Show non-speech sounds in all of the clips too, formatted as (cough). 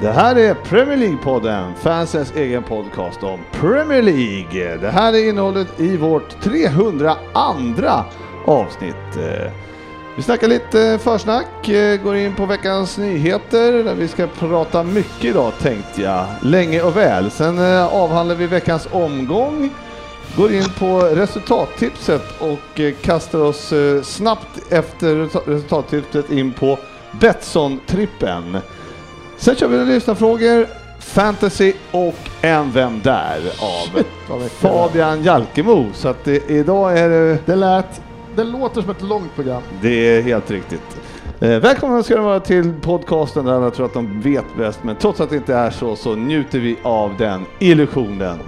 Det här är Premier League-podden, fansens egen podcast om Premier League. Det här är innehållet i vårt 302 avsnitt. Eh, Vi snackar lite försnack, eh, går in på veckans nyheter där vi ska prata mycket idag tänkte jag, länge och väl. Sen eh, avhandlar vi veckans omgång, går in på resultattipset och eh, kastar oss eh, snabbt efter resulta- resultattipset in på Betsson-trippen. Sen kör vi några lyssnarfrågor, fantasy och en Vem Där av Fabian Jalkemo. Så att det, idag är det, Det lät... Det låter som ett långt program. det är helt riktigt. Eh, välkomna ska ni vara till podcasten där alla tror att de vet bäst, men trots att det inte är så så njuter vi av den illusionen.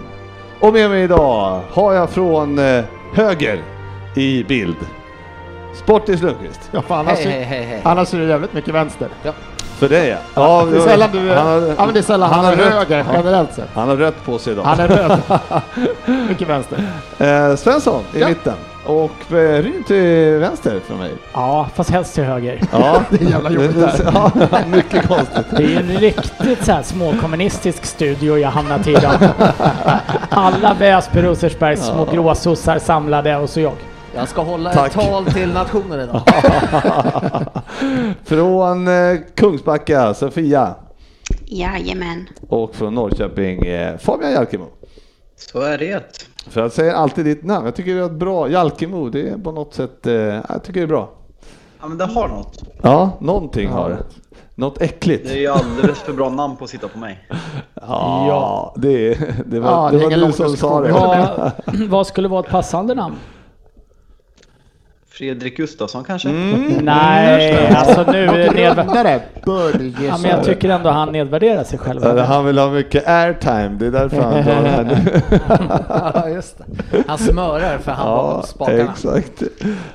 Och med mig idag har jag från eh, höger i bild, Sportis Lundqvist. Ja, för annars, Hej, hej, hej, hej. annars är det jävligt mycket vänster. För dig ja. ja. Det är sällan du... han har, ja, men det är sällan han, är rött- höger Ja, generellt sett. han har rött på sig idag. Han är (laughs) röd. mycket vänster. Eh, Svensson i Ja. mitten och eh, Ryd till vänster från mig. Ja, fast helst till höger. Ja, Det är jävla jobbigt där. (laughs) Ja, mycket konstigt. Det är ju en riktigt så här småkommunistisk studio jag hamnat i idag. Alla Väsby Rosersbergs små gråsossar samlade och så jag. Jag ska hålla Tack. ett tal till nationen idag. Från eh, Kungsbacka, Sofia Jajamän. och från Norrköping, eh, Fabian Jalkemo. Så är det. För jag säger alltid ditt namn. Jag tycker det är ett bra Jalkemo. Det är på något sätt, eh, jag tycker det är bra. Ja, men det har något. Ja, någonting har det. Något äckligt. Det är ju alldeles för bra namn på att sitta på mig. Ja, det, är- det var, Ja, det det är ingen var du lång som sa diskussion. det. Ja. Vad, vad skulle vara ett passande namn? Fredrik Gustafsson kanske? Mm. Nej, alltså nu är det nedvär- Rödare. ja, Börjesson. men jag tycker ändå han nedvärderar sig själv. Eller Han vill ha mycket airtime, det är därför han drar det här nu. Ja, just det. Han smörar för han bakom spakarna. exakt.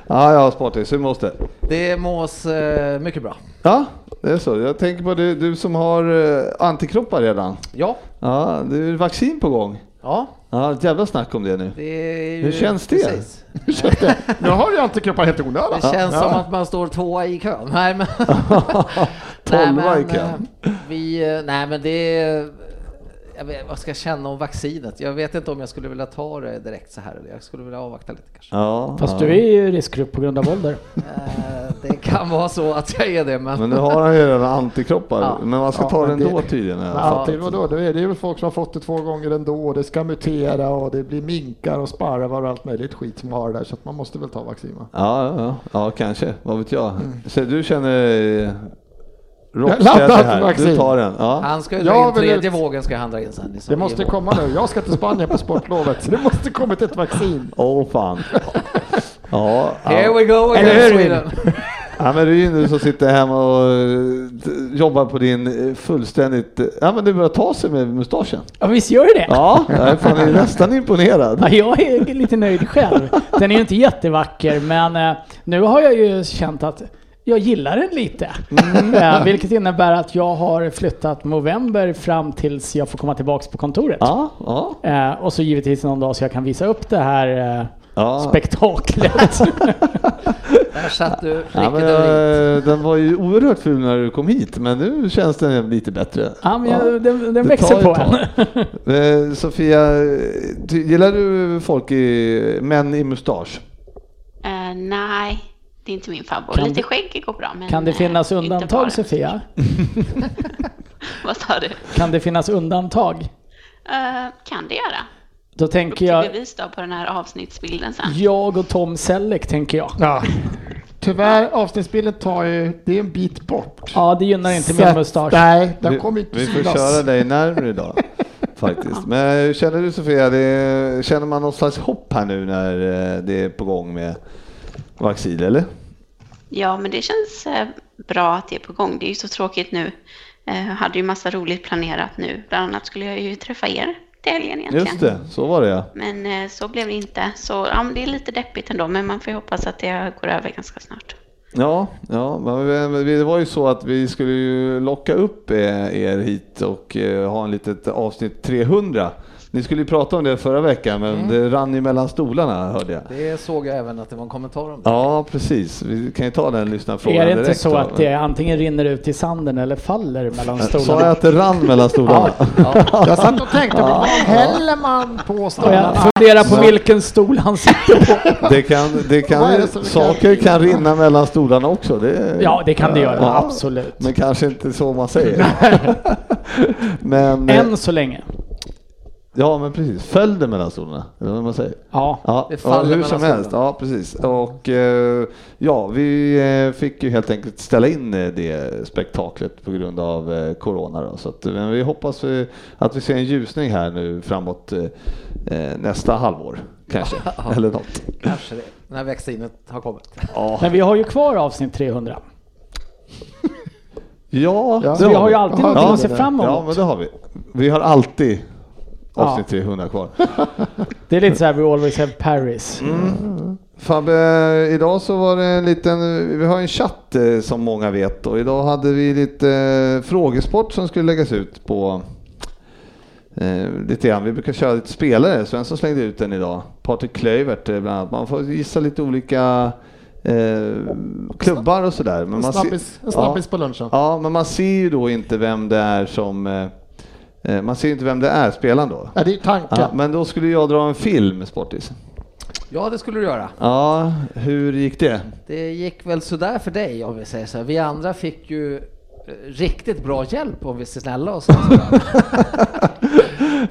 Ja, ja, Spartis, hur mås det? Det mås eh, mycket bra. Ja, det är så. Jag tänker på du, du som har eh, antikroppar redan. Ja, Ja, det är vaccin på gång. ja, Ja, ett jävla snack om det nu. det är ju... Hur känns det? (laughs) Precis. Nu har jag antikroppar helt i Det onödan. känns som att man står tvåa i kön. (laughs) Nej men... (laughs) (laughs) Nej, Tolva i men, kön. eh, Vi... eh, Nej men det... är- Jag vet, vad ska jag känna om vaccinet? Jag vet inte om jag skulle vilja ta det direkt så här. Jag skulle vilja avvakta lite kanske. Ja, Fast ja. du är ju i riskgrupp på grund av ålder. Eh, det kan vara så att jag är det men... Men nu har han ju redan antikroppar. Ja. Men man ska Ja, ta men den det- då tydligen. jag Ja, fattar. det, vadå? Det, är, det är väl folk som har fått det två gånger ändå och det ska mutera och det blir minkar och sparvar och allt möjligt skit som har det där så att man måste väl ta vaccin va? Ja, ja, ja. ja, kanske. Vad vet jag. Mm. Så du känner eh, Jag rocksteady laddar för här. Du vaccin. tar den. Ja. Han ska ju Jag dra in vill tredje ut- vågen ska han dra in sen. Liksom, Det måste i vår. komma nu. Jag ska till Spanien på sportlovet så det måste kommit ett vaccin. Åh fan. Ja, Here ja. we go Eller hur, again Sweden. ja, men det är ju nu som sitter hemma och eh, jobbar på din eh, fullständigt... eh, Ja, men du börjar ta sig med mustaschen. Ja, visst gör det Ja, jag är fan nästan imponerad. Ja, jag är lite nöjd själv. Den är ju inte jättevacker, men eh, nu har jag ju känt att jag gillar den lite. Mm. Eh, vilket innebär att jag har flyttat november fram tills jag får komma tillbaks på kontoret. Ja, ja. Eh, och så givetvis någon dag så jag kan visa upp det här eh, Ja. spektaklet. Där satt du Ja, men, pricket över i. eh, den var ju oerhört ful när du kom hit, men nu känns den lite bättre. ja, men jag, den, den Det tar växer på ett tag. en. Eh, Sofia, ty- gillar du folk i, män i mustasch? Eh, nej, det är inte min favorit. Kan Lite det- skägg går bra, men... Kan det eh, finnas inte bara. undantag Sofia? (laughs) Vad sa du? Kan det finnas undantag? Eh, kan det göra. Då Upp tänker till jag, bevis då på den här avsnittsbilden sen. jag och Tom Selleck tänker jag. Ja. Tyvärr, avsnittsbilden tar ju, det är en bit bort. Ja, det gynnar inte Så min att- mustasch. Nej, den Vi- kommer inte Vi får synas. (laughs) köra dig närmare idag. faktiskt. Men hur känner du Sofia, det, känner man någon slags hopp här nu när eh, det är på gång med Vaxil eller? Ja, men det känns eh, bra att det är på gång. Det är ju så tråkigt nu. Eh, Jag hade ju massa roligt planerat nu. Bland annat skulle jag ju träffa er till helgen egentligen. Just det, så var det ja. Men eh, så blev det inte. Så ja, men det är lite deppigt ändå, men man får ju hoppas att det går över ganska snart. Ja, ja men vi- men vi- det var ju så att vi skulle ju locka upp eh, er hit och eh, ha en litet avsnitt 300. Ni skulle ju prata om det förra veckan Mm. men det rann ju mellan stolarna hörde jag. Det såg jag även att det var en kommentar om det. Ja, precis. Vi kan ju ta den lyssnarfrågan Är det direkt. inte så då. Äh, att det antingen rinner ut i sanden eller faller mellan Sa jag stolarna? att det rann mellan stolarna? Jag satt och tänkte, vad häller man på Och jag stolarna? funderar på vilken stol han sitter på. Det kan, det Vad är kan, det som saker kan rinna mellan stolarna också. Det, Ja, det kan det göra, Ja. absolut. Men kanske inte så man säger. (laughs) men, eh, Än så länge. ja, men precis. Föll det mellan stolarna? Eller vad man säger. Ja. Ja, Det faller ja, hur mellan som stolarna. helst. Ja, precis. Och eh, ja, vi eh, fick ju helt enkelt ställa in eh, det spektaklet på grund av eh, corona. Då. Så att, eh, men vi hoppas eh, att vi ser en ljusning här nu framåt eh, eh, nästa halvår (laughs) kanske. Eller något. Kanske det. När vaccinet har kommit. Ja, Men vi har ju kvar avsnitt 300. ja, Ja. det Så vi har ju alltid Jaha, någonting det att se är det. fram Ja, emot. men det har vi. Vi har alltid Ja. avsnitt 300 kvar. Det är lite så här we always have Paris. (laughs) Fabbe, idag så var det en liten, vi har en chatt eh, som många vet och idag hade vi lite eh, frågesport som skulle läggas ut på eh, lite grann. Vi brukar köra lite spelare, Svensson slängde ut den idag. Patrik Klöivert eh, bland annat. Man får gissa lite olika eh, klubbar och sådär. Men En man ser- snabbis, en snabbis på lunchen. Ja, men man ser ju då inte vem det är som... eh, eh, Man ser ju inte vem det är, spelaren då. Ja, det är ju tanken. Ja, men då skulle jag dra en film, Sportis. Ja, det skulle du göra. Ja, hur gick det? Det gick väl sådär för dig om vi säger så här. Vi andra fick ju eh, riktigt bra hjälp om vi ser snälla och sånt.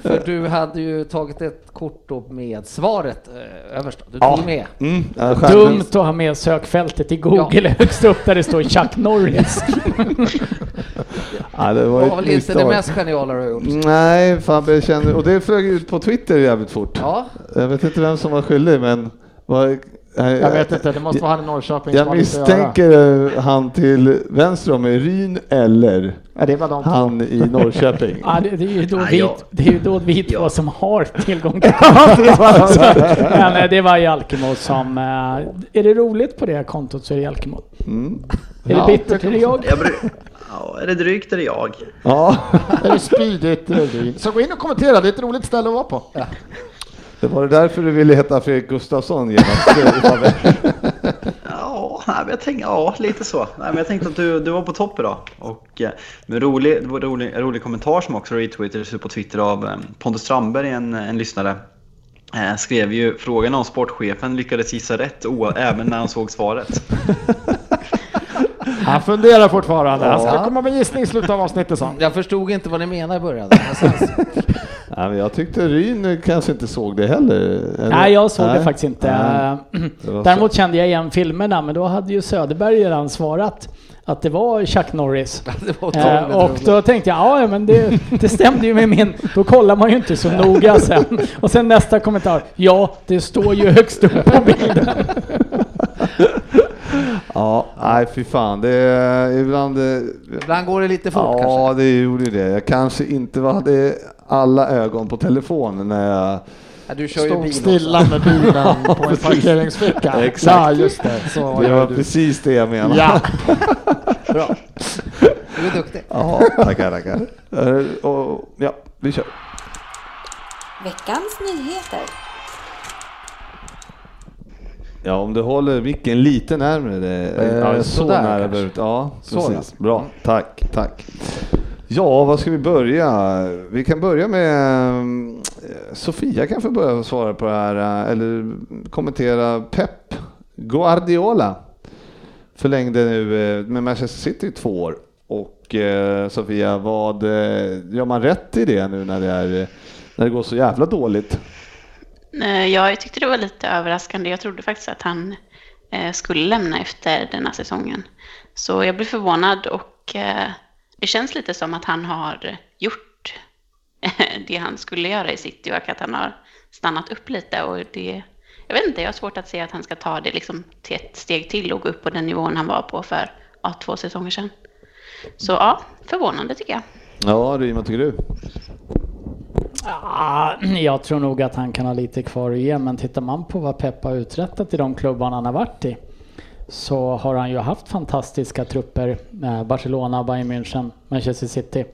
För du hade ju tagit ett kort då med svaret eh, överst. Du tog med. Mm, ja, skärmen- Dumt att ha med sökfältet i Google (laughs) högst upp där det står Chuck Norris. Ja, det var Det ju var ett väl inte det misstag. Mm. mest geniala du har gjort. Nej, Fabbe kände... Och det flög ut på Twitter jävligt fort. Ja, Jag vet inte vem som var skyldig, men... Var... Jag vet inte, det måste vara han i Norrköping som Jag har lite att misstänker eh, han till vänster om mig, Ryn eller göra. Ja, det var de två. han i (laughs) Norrköping. Ja, det, det är ju då Ja, vi, ja. det är ju då vi två Ja. som har tillgång till Så, Men eh, det var Jalkemo som... eh, Är det roligt på det här kontot så är det Jalkemo. Mm. Är Ja, det bittert är det jag. Jag bry... ja, är det drygt eller jag? (laughs) (laughs) Ja. Är det spydigt? eller vin? Så gå in och kommentera, det är ett roligt ställe att vara på. Det var det därför du ville heta Fredrik Gustafsson genast? Ja, nej, men jag tänkte, ja lite så. Nej, men jag tänkte att du, du var på topp idag. Och, eh, men rolig, det var rolig, en rolig kommentar som också retweetades ut på Twitter av eh, Pontus Strandberg, en, en lyssnare. Eh, skrev ju frågan om sportchefen lyckades gissa rätt o- även när han såg svaret. Han funderar fortfarande. Han ska Ja. komma med en gissning i slutet av avsnittet sa han. jag förstod inte vad ni menade i början. Men sen- Nej, men jag tyckte Ryn kanske inte såg det heller. eller? Nej, jag såg det Nej. faktiskt inte. Eh, Nej. Det var så. Däremot kände jag igen filmerna, men då hade ju Söderberg redan svarat att det var Chuck Norris. det var Eh, otroligt och roligt. då tänkte jag, ja ja, men det, det stämde ju med min. Då kollar man ju inte så noga sen. Och sen nästa kommentar, ja det står ju högst upp på bilden. Ja, nej fy fan. Det är ibland... eh, Ibland går det lite fort kanske. Ja, det gjorde ju det. Jag kanske inte var- hade alla ögon på telefonen när jag... Ja, du kör ju bil Stod också. stilla med bilen på (laughs) en precis. parkeringsficka. Exakt. Ja, just det. Så var Det var jag. precis det jag menade. Ja. Bra. (laughs) Du är duktig. Ja, tackar, tackar. Eh, och- Ja, vi kör. Veckans nyheter. Ja, om du håller micken lite närmare det. Eh, ja, så sådär nära kanske. behöver Ja, Mm. Så, precis. Bra, tack, tack. Ja, vad ska vi börja? Vi kan börja med eh, Sofia kan få börja svara på det här eh, eller kommentera Pep Guardiola. Förlängde nu eh, med Manchester City i två år. Och eh, Sofia, vad eh, gör man rätt i det nu när det, är, eh, när det går så jävla dåligt? Eh, Ja, jag tyckte det var lite överraskande. Jag trodde faktiskt att han eh, skulle lämna efter den här säsongen. Så jag blev förvånad och eh, det känns lite som att han har gjort (laughs) det han skulle göra i city och att han har stannat upp lite. Och det, jag vet inte, jag har svårt att se att han ska ta det liksom till ett steg till och gå upp på den nivån han var på för ja, två säsonger sedan. Så ja, förvånande tycker jag. Ja, Ryn, vad tycker du? Ah, jag tror nog att han kan ha lite kvar att ge, men tittar man på vad Pep har uträttat i de klubbarna han har varit i så har han ju haft fantastiska trupper. Eh, Barcelona, Bayern München, Manchester City.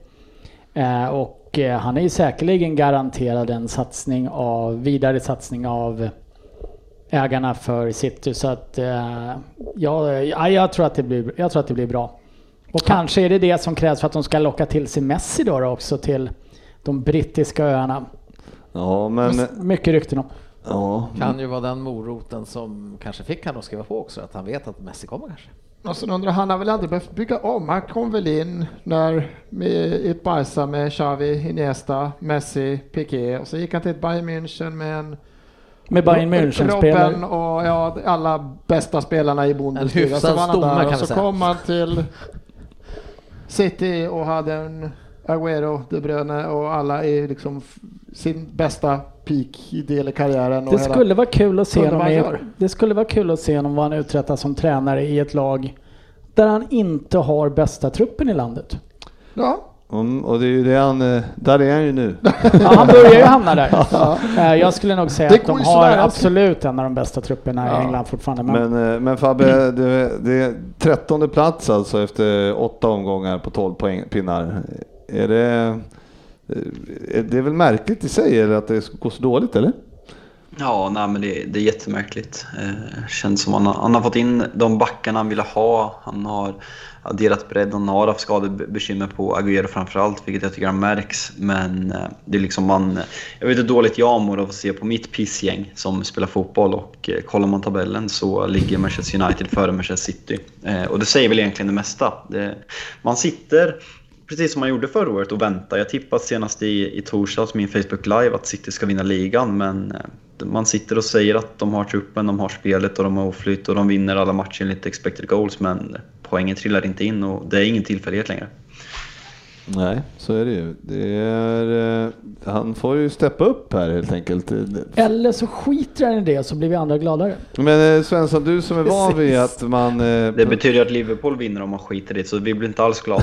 Eh, och eh, han är ju säkerligen garanterad en satsning av, vidare satsning av ägarna för City. Så att eh, jag, ja, eh, jag, tror att det blir, jag tror att det blir bra. Och kanske är det det som krävs för att de ska locka till sig Messi då, då också till de brittiska öarna. Ja, men... Mycket rykten om. Ja, Kan ju vara den moroten som kanske fick han att skriva på också, att han vet att Messi kommer kanske. Och sen Alltså, undrar han har väl aldrig behövt bygga om. Han kom väl in när, med, i ett Barca med Xavi, Iniesta, Messi, Piqué och så gick han till ett Bayern München med en Med Bayern München-spelare. Robben och ja, alla bästa spelarna i En Bundesliga. hyfsad Så var han stomme, där kan och vi så säga. kom han till City och hade en Agüero, De Bruyne och alla i liksom f- sin bästa peak i del i karriären. Och Det hela- skulle vara kul att se Undrar vad honom han i, gör. Det skulle vara kul att se honom vad han uträttar som tränare i ett lag där han inte har bästa truppen (laughs) i landet. Ja, mm, och det är ju det han... eh, Där är han ju nu. Ja, han börjar ju (laughs) hamna där. Eh, Jag skulle nog säga Det att går de ju har sådär. absolut en av de bästa trupperna i England fortfarande. Men, Men, eh, men Fabbe, det, det är trettonde plats alltså efter åtta omgångar på 12 poäng, pinnar. Är det... eh, Det är väl märkligt i sig eller att det går så dåligt eller? Ja, nej, men det, det är jättemärkligt. Eh, känns som han, har- han har fått in de backarna han ville ha. Han har adderat bredd, han har haft skadebekymmer på Agüero framförallt, vilket jag tycker han märks. Men eh, det är liksom man... Jag vet hur dåligt jag mår av att se på mitt pissgäng som spelar fotboll och eh, kollar man tabellen så ligger Manchester United före Manchester City. Eh, och det säger väl egentligen det mesta. Det, man sitter precis som man gjorde förra året och vänta. Jag tippade senast i, i torsdags min Facebook Live att City ska vinna ligan men eh, man sitter och säger att de har truppen, de har spelet och de har oflyt och de vinner alla matcher enligt expected goals men poängen trillar inte in och det är ingen tillfällighet längre. Nej, så är det ju. Det är, eh, han får ju steppa upp här helt enkelt. eller så skiter han i det så blir vi andra gladare. Men eh, Svensson, du som är van vid att man... eh, Det betyder att Liverpool vinner om man skiter i det så vi blir inte alls glada.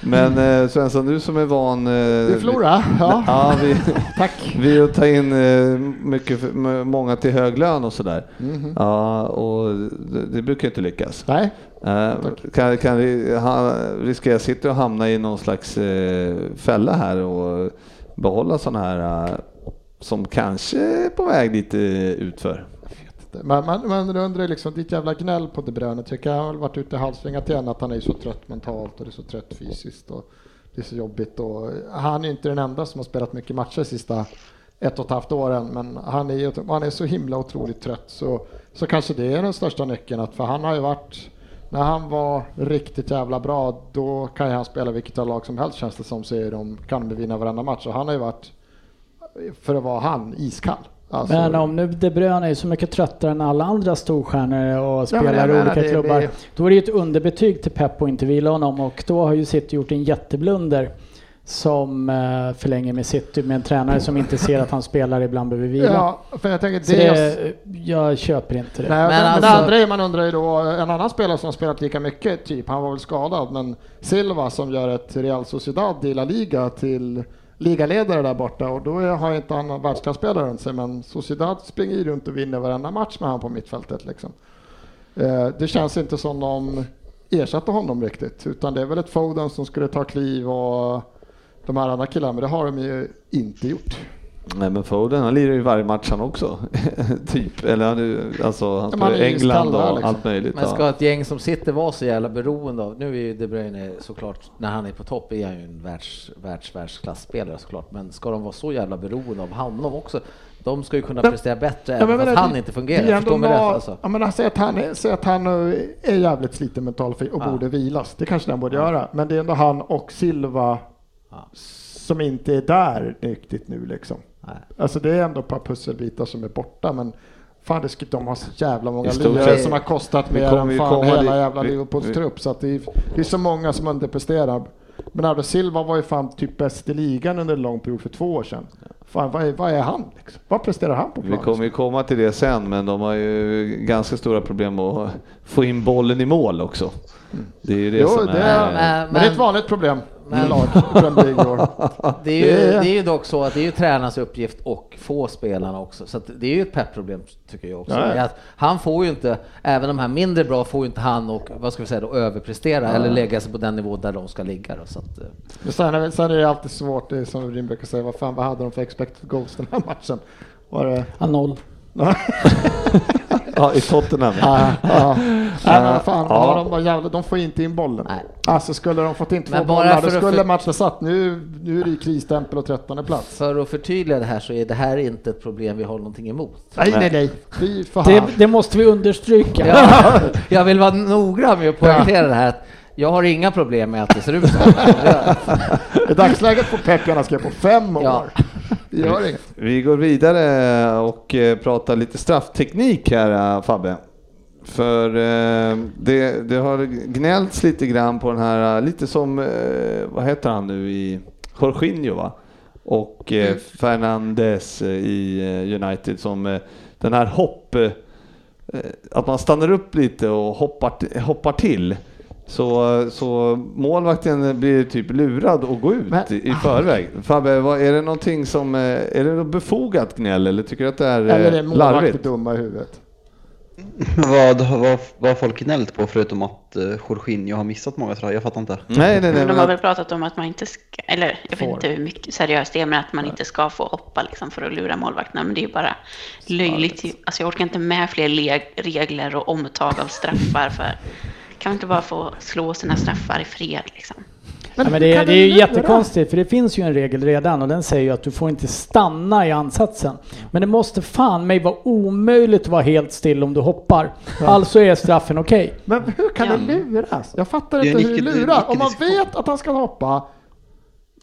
Men eh, Svensson, du som är van... eh, det är Flora. Ja. (laughs) Ja, vi, (laughs) Tack. vi att ta in eh, mycket, för- m- många till hög lön och sådär. Mhm. Ja, och det, det brukar inte lyckas. Nej, Eh, kan, kan vi, ha, riskerar City att hamna i någon slags eh, fälla här och behålla sådana här eh, som kanske är på väg lite utför? Man, man, man undrar ju liksom, ditt jävla gnäll på De Bruyne, tycker jag har väl varit ute och halvsvingat igen att han är så trött mentalt och det är så trött fysiskt och det är så jobbigt och han är ju inte den enda som har spelat mycket matcher sista ett och ett halvt åren men han är, ju- han är så himla otroligt trött så, så kanske det är den största nyckeln att för han har ju varit när han var riktigt jävla bra då kan ju han spela vilket lag som helst känns det som så är de kan de vinna varenda match och han har ju varit för att vara han iskall. Alltså- Men om nu De Bruyne är så mycket tröttare än alla andra storstjärnor och Ja, men jag spelar i menar, olika det- klubbar. det- Då är det ju ett underbetyg till Pep att inte vila honom och då har ju City gjort en jätteblunder som eh, förlänger med City med en tränare som inte ser att han spelar ibland behöver vila. Ja, för jag tänker Så det, är det, jag köper inte det. Nej, Men men alltså- det andra är man undrar ju då, en annan spelare som har spelat lika mycket, typ, han var väl skadad, men Silva som gör ett Real Sociedad i La Liga till ligaledare där borta och då är- har inte han någon världsklasspelare runt sig, men Sociedad springer ju runt och vinner varenda match med han på mittfältet liksom. Eh, Det känns inte som de ersatte honom riktigt, utan det är väl ett Foden som skulle ta kliv och de här andra killarna, men det har de ju inte gjort. Nej men Foden han lirar ju varje match han också. (laughs) typ. Eller han, är ju- alltså, han spelar man är i ju England och skallad, liksom. allt möjligt. Men ska ja. ett gäng som sitter vara så jävla beroende av, nu är ju De Bruyne såklart, när han är på topp är han ju en världs, världs, världsklasspelare såklart, men ska de vara så jävla beroende av honom också? De ska ju kunna Men- prestera bättre Ja, men även fast menar, han det- inte det är fungerar, ändå förstår mig rätt lag- alltså? Ja, men säg att han, är- säg att han eh, är jävligt sliten mental och Ja. borde vilas. Det kanske den borde göra. Men det är ändå han och Silva Ja. som inte är där riktigt nu liksom. Nej. Alltså det är ändå ett par pusselbitar som är borta men fan det ska, de har så jävla många I stort lirare sett- som har kostat vi mer kommer än ju fan komma hela dit- jävla vi- Liverpools vi- trupp så att det är, det är så många som underpresterar. Bernardo Silva var ju fan typ bäst i ligan under en lång period för två år sedan. Fan, vad är, vad är han? Liksom? Vad presterar han på Vi planen? kommer ju komma till det sen, men de har ju ganska stora problem att få in bollen i mål också. Det är ju det Jo, som det är... är, men, Men- det är ett vanligt problem Men- i lag. i Premier (laughs) League i år. Det är, ju, Det är- det är ju dock så att det är ju tränarens uppgift och få spelarna också, så att det är ju ett pepproblem tycker jag också. Ja, ja. Det är Att han får ju inte, även de här mindre bra får ju inte han och vad ska vi säga då, överprestera eller lägga sig på den nivå där de ska ligga då, så att, eh, Men sen, är- sen är det alltid svårt, det är som Rim brukar säga, vad fan vad hade de för expected goals den här matchen? Var det... Ja, noll. (laughs) Ja, i Tottenham. Ja, ja. Nej, men fan, Ja. ja. de, var jävla, de får inte in bollen. Nej. Alltså skulle de fått in två Men bara bollar, då för att skulle för- matchen satt. Nu, nu är det ju krisstämpel och trettonde plats. För att förtydliga det här så är det här inte ett problem vi har någonting emot. Nej, nej, nej. Fy fan. Det, det måste vi understryka. (laughs) Jag, jag vill vara noggrann med att poängtera det här att jag har inga problem med att det ser ut så. (laughs) här. I dagsläget får Pep gärna skriva på fem år. Ja. Det gör inget. Vi går vidare och eh, pratar lite straffteknik här eh, Fabbe. För eh, det, det har gnällts lite grann på den här, eh, lite som, eh, vad heter han nu i Jorginho va? Och eh, Mm. Fernandes eh, i eh, United som eh, den här hopp, eh, att man stannar upp lite och hoppar, t- hoppar till. Så, så målvakten blir typ lurad att gå ut Men- i- i förväg. (laughs) Fabbe, vad, är det någonting som, eh, är det något befogat gnäll eller tycker du att det är, eh, Eller är målvakter larvigt? dumma i huvudet? (laughs) Vad vad- vad har folk gnällt på förutom att uh, Jorginho har missat många tror jag? Jag fattar inte. Nej, nej, nej. Men de Men har att, väl pratat om att man inte ska, eller jag Får. vet inte hur mycket seriöst det är, men att man inte ska få hoppa liksom för att lura målvakterna. Men det är ju bara löjligt. ju. Alltså jag orkar inte med fler le- regler och omtag av straffar för kan man inte bara få slå sina straffar i fred liksom? Men, ja, men det, det är ju jättekonstigt för det finns ju en regel redan och den säger ju att du får inte stanna i ansatsen. Men det måste fan mig vara omöjligt att vara helt still om du hoppar. Alltså är straffen okej. Men hur kan Ja. det luras? Jag fattar Det är inte hur det en icke- lurar. Om man icke-diskussion. vet att han ska hoppa,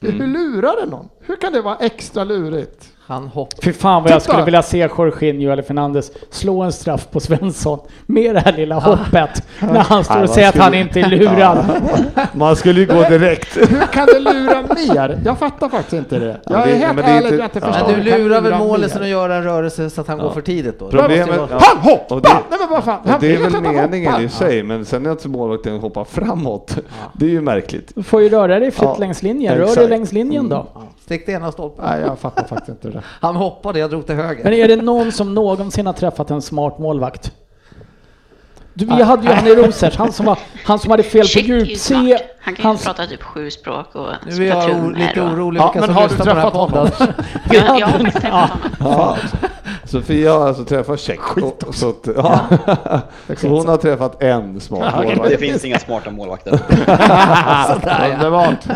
hur lurar det någon? Hur kan det vara extra lurigt? Han hoppar. Fy fan vad jag Titta! skulle vilja se Jorginho eller Fernandes slå en straff på Svensson med det här lilla hoppet. När han står vad och säger att skulle- han inte är lurad. man skulle ju gå (laughs) direkt. Hur kan det lura mer? Jag fattar faktiskt inte det. Ja, Jag det- är helt men det är ärlig, inte- jag har inte Ja. förstått. Men du hur kan det lurar väl lura målisen mer? att göra en rörelse så att han Ja. går för tidigt då? Problemet- Det måste ju vara- Ja. Han hoppar! Och det- Nej men vad fan, Och han det är vet väl att han meningen i hoppar. sig, men sen är att målvakten hoppar framåt. Det är ju märkligt. Du får ju röra dig fritt Ja, längs linjen. Rör dig exakt. längs linjen då. Stick till ena stolpen. Mm. Nej, jag fattar faktiskt inte det där. Han hoppade, jag drog till höger. Men är det någon som någonsin har träffat en smart målvakt? Ah. Du, vi hade ju han i Rosers, han som, var, han som hade fel på Check är ju djup smart. C. Han kan ju Han, prata typ sju språk och Nu är jag o- platoner lite och... orolig Ja, vilka men som har du lyssnar på den här träffat podden. (laughs) Jag, jag har också träffat honom. Sofia har alltså träffat check. och- Så, att, (laughs) ja. så hon har träffat en smart målvakt. Det finns inga smarta målvakter. Underbart.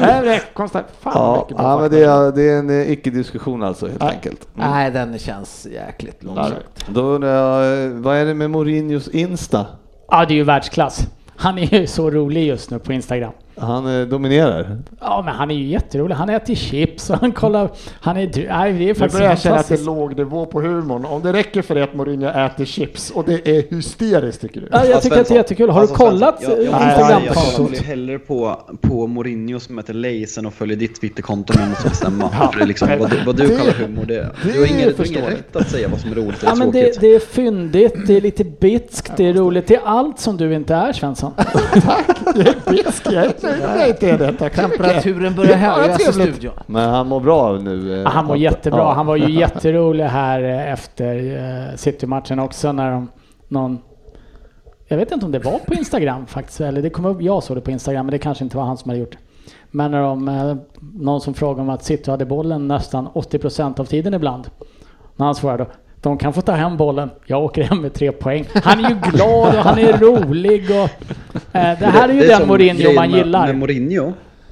Nej, det är konstigt. Fan Ja, vad mycket bra ja men fakta. det är, det är en eh, icke-diskussion alltså helt enkelt. Nej, den känns jäkligt långsökt. Då undrar jag, eh, vad är det med Mourinhos Insta? ja, det är ju världsklass. Han är ju så rolig just nu på Instagram. Han eh, dominerar. Ja, men han är ju jätterolig. Han äter chips och han kollar... Han är... dr- Nej, det är Alltså, Nu faktiskt börjar jag känna att det är fantastiskt. låg nivå på humorn. Om det räcker för det att Mourinho äter chips och det är hysteriskt tycker du? Ja, jag Alltså, tycker att det är Svensson. jättekul. Har du Alltså, kollat eh, Svensson, jag- jag- Jag jag Instagram-kontot? kollar ju hellre på, på Mourinho som heter Leisen och följer ditt Twitterkonto om jag måste bestämma. För det är liksom, vad, du- vad du Det- kallar humor, det, det du har ingen, du har ingen förstår jag. rätt att säga vad som är roligt eller Ja, men tråkigt. det, det är fyndigt, det är lite bitskt, det är roligt. Det är allt som du inte är, Svensson. Jag är bisk, jag är nöjd med att det är det. Tack så mycket. Temperaturen börjar Det är bara höjas i trevligt. studion. Men han mår bra nu. eh, Ja, Ah, Han mår Ante. jättebra. Ja. Han var ju jätterolig här eh, efter eh, City-matchen också när de, någon... Jag vet inte om det var på Instagram faktiskt, eller det kom upp, jag såg det på Instagram, men det kanske inte var han som hade gjort det. Men när de, eh, någon som frågade om att City hade bollen nästan 80% av tiden ibland. När han svarade då, de kan få ta hem bollen, jag åker hem med tre poäng. Han är ju glad och han är rolig och... Eh, det här är ju Det den som Mourinho grejen man med- gillar. Med Mourinho,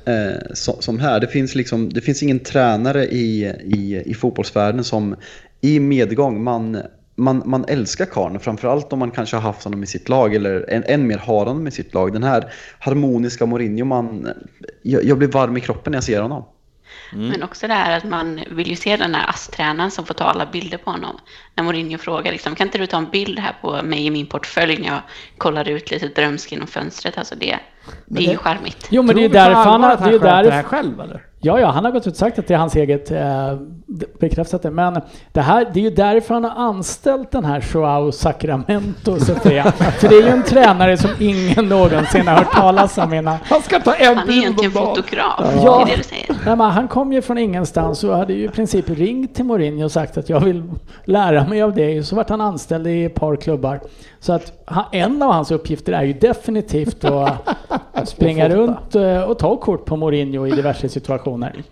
eh, som, som här, det finns, liksom, det finns ingen tränare i, i, i fotbollsvärlden som i medgång, man, man, man älskar karln. Framförallt om man kanske har haft honom i sitt lag eller än, än mer har honom i sitt lag. Den här harmoniska Mourinho, man, jag, jag blir varm i kroppen när jag ser honom. Men också det här att man vill ju se den här astränaren som får ta alla bilder på honom. När Mourinho frågar liksom, kan inte du ta en bild här på mig i min portfölj när jag kollar ut lite drömsk genom fönstret. Alltså det, det är ju charmigt. Jo men det Tror är ju vi på därför han allvar har... att Det är ju sköter det här därför... själv eller? Ja, ja, han har gått ut och sagt att det är hans eget eh, bekräftat det. Men det, här, det är ju därför han har anställt den här Joao Sacramento, (laughs) så att (laughs) säga. För det är ju en tränare som ingen någonsin har hört talas om innan. Han ska ta en Han är bild egentligen om dagen. fotograf, Ja. det är det du säger. Nej, men han kom ju från ingenstans och hade ju i princip ringt till Mourinho och sagt att jag vill lära mig av dig. Så vart han anställd i ett par klubbar. Så att han, en av hans uppgifter är ju definitivt att springa runt eh, och ta kort på Mourinho i diverse situationer.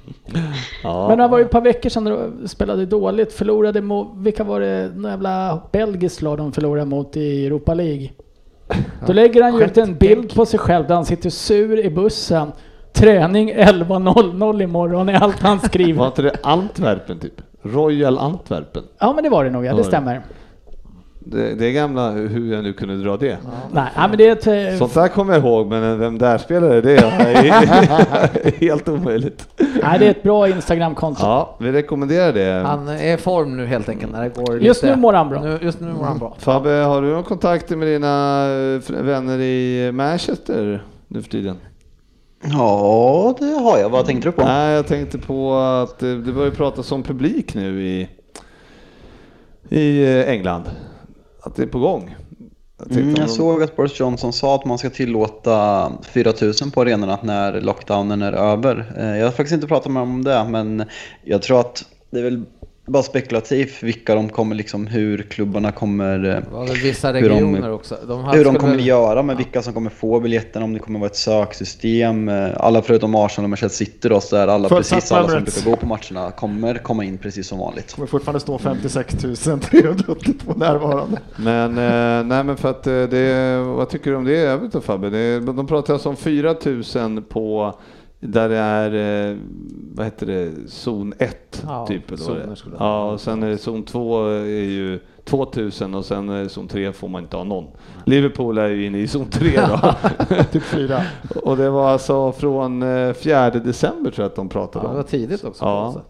Men det var ju ett par veckor sedan de spelade dåligt, förlorade mot, vilka var det, någon jävla belgiskt lag de förlorade mot i Europa League. Då lägger han ju ut en bild på sig själv där han sitter sur i bussen. Träning 11.00 imorgon är allt han Var (laughs) skriver. inte det Antwerpen typ? Royal Antwerpen? Ja men det var det nog, ja det stämmer. Det, det är gamla, hur jag nu kunde dra det. Nej, ja, men det är ett, eh, Sånt där kommer jag ihåg, men vem där spelare det är (laughs) helt omöjligt. nej, det är ett bra Instagramkonto. Ja, vi rekommenderar det. Han är i form nu helt enkelt. När det går Just lite- nu mår han bra. Mm. Nu, just nu mår han bra. Fabbe, har du någon kontakt med dina eh, fr- vänner i Manchester nu för tiden? Ja, det har jag. Vad tänkte du på? Nej, jag tänkte på att eh, det börjar pratas om publik nu i, i eh, England. Att det är på gång. Jag tänkte Mm, om jag de- såg att Boris Johnson sa att man ska tillåta 4000 på arenorna när lockdownen är över. Eh, Jag har faktiskt inte pratat med honom om det, men jag tror att det är väl bara spekulativt vilka de kommer, liksom hur klubbarna kommer eh, Det var väl vissa Hur de- regioner också. De här hur de skulle kommer väl- göra med vilka som kommer få biljetterna, om det kommer vara ett söksystem. eh, Alla förutom Arsenal och Manchester City då, så är alla, Fullsatt precis alla som Emirates. brukar gå på matcherna kommer komma in precis som vanligt. kommer fortfarande stå 56 382 närvarande. Men, eh, nej men för att eh, det, vad tycker du om det i övrigt då Fabbe? Det, de pratar alltså om 4000 på, där det är, eh, vad heter det, zon 1 Ja, typ? eller vad det är. zoner skulle det vara. Ja, och sen är det zon 2 är ju 2000 och sen är det zon 3 får man inte ha någon. Liverpool är ju inne i zon 3 (laughs) då. Typ fyra. och det var alltså från eh, 4 december tror jag att de Ja, pratade det var om. tidigt också. Ja. Så.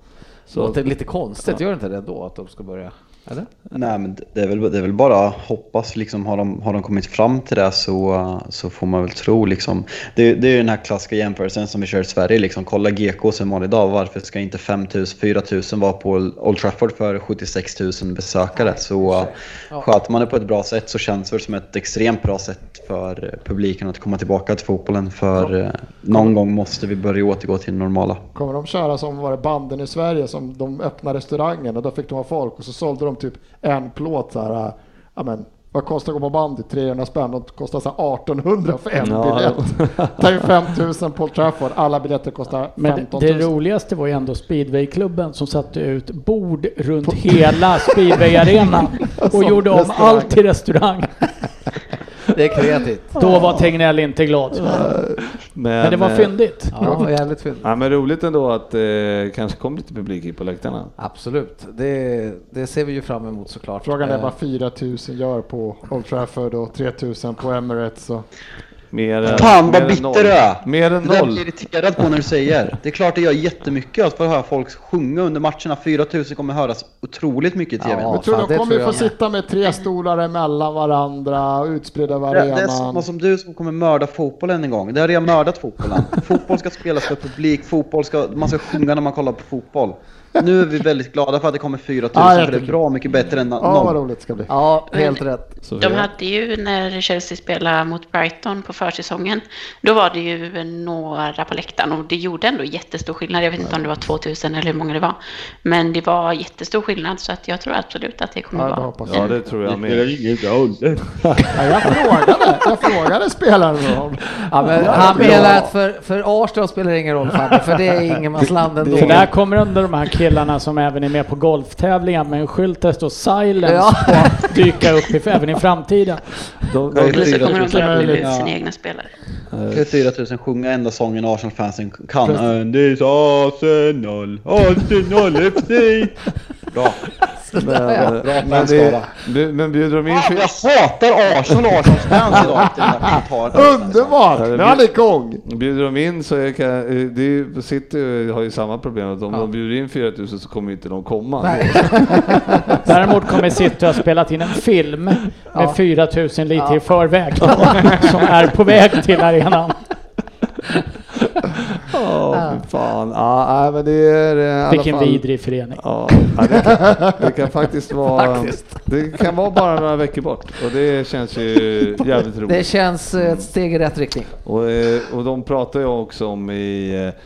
Så- Låter lite konstigt, gör det inte det då att de ska börja? Eller? (laughs) Nej, men det är väl, det är väl bara hoppas. Liksom, har, de, har de kommit fram till det så, så får man väl tro. Liksom. Det, det är ju den här klassiska jämförelsen som vi kör i Sverige. Liksom. Kolla GK som vanlig dag. Varför ska inte 5 000, 4 000 vara på Old Trafford för 76 000 besökare? Så eh, Ja. sköter man det på ett bra sätt så känns det som ett extremt bra sätt för eh, publiken att komma tillbaka till fotbollen. För eh, någon gång måste vi börja återgå till det normala. Kommer de köra som var det banden i Sverige som de öppnade restaurangen och då fick de ha folk och så sålde de typ en plåt så här. äh, Ja men vad kostar att gå på bandy? 300 spänn. De kostar så här 1800 för en Ja, (laughs) biljett. Ta in 5000 på Old Trafford. Alla biljetter kostar Men 15 det 000. roligaste var ju ändå speedwayklubben som satte ut bord runt hela speedwayarenan och Som gjorde om restaurang. allt till restaurang. Det är kreativt. Då var Tegnell inte glad. Men det var eh, fyndigt. Ja, jävligt fint. Ja, men roligt ändå att eh, kanske kom lite publik hit på läktarna. Absolut, det, det ser vi ju fram emot såklart. Frågan är Eh, vad 4000 gör på Old Trafford och 3000 på Emirates. Och... Mer än, Fan mer vad än bitter noll. du är! Mer än Det där noll. blir jag irriterad på när du säger. Det är klart det gör jättemycket att få höra folk sjunga under matcherna. 4000 kommer höras otroligt mycket i TV. Ja, Jag tror fan, de det kommer tror ju få jag med. sitta med tre stolar emellan varandra och utspridda över Det, det är arenan. samma som du som kommer mörda fotbollen en gång. Det har redan mördat (laughs) fotbollen. fotboll ska spelas för publik, fotboll ska, man ska sjunga när man kollar på fotboll. Nu är vi väldigt glada för att det kommer 4000 Ja, för det är jättekul. bra mycket bättre än Ja, vad någon. roligt det ska bli. Ja, helt rätt. Sofia? De hade ju när Chelsea spelade mot Brighton på försäsongen, då var det ju några på läktaren och det gjorde ändå jättestor skillnad. Jag vet inte om det var 2000 eller hur många det var, men det var jättestor skillnad så att jag tror absolut att det kommer Mm. Ja, det vara. hoppas jag. Ja, det tror jag med. Ja, jag, frågade, jag frågade spelaren om Ja, men han menar att för, för Arsenal spelar det ingen roll Fabbe, för det är ingenmansland ändå. För där kommer ändå de här killarna som även är med på golftävlingar med en skylt där det står silence Ja. på dyka upp i, även i framtiden. De, (laughs) de, Eller Alltså, så fyra kommer de tusen. börja bli ut Ja. sina egna spelare. Det är 4000 sjunga enda sången Arsenal-fansen kan. And it's Arsenal, Arsenal FC! Bra. Ah, Men, men, det, skada. du- men bjuder de in... Fan, Jag hatar Arsenal och Arsenalsfans (laughs) idag. Det är verkligen par- Underbart! Nu är han igång! Bjuder de in så är, kan, eh, det är, City har ju samma problem att om de bjuder in 4000 så kommer inte de komma. (laughs) Däremot kommer City ha spelat in en film med 4000 lite i förväg som är på väg till arenan. Ja, fy fan. Ja, nej, men det är eh, i alla Vilken fall- vidrig förening. Ja, ja, det, kan, det kan (laughs) faktiskt vara... Det kan vara bara några veckor bort och det känns (laughs) ju jävligt Det roligt. känns eh, ett steg i rätt riktning. Och, eh, och de pratar ju också om i eh,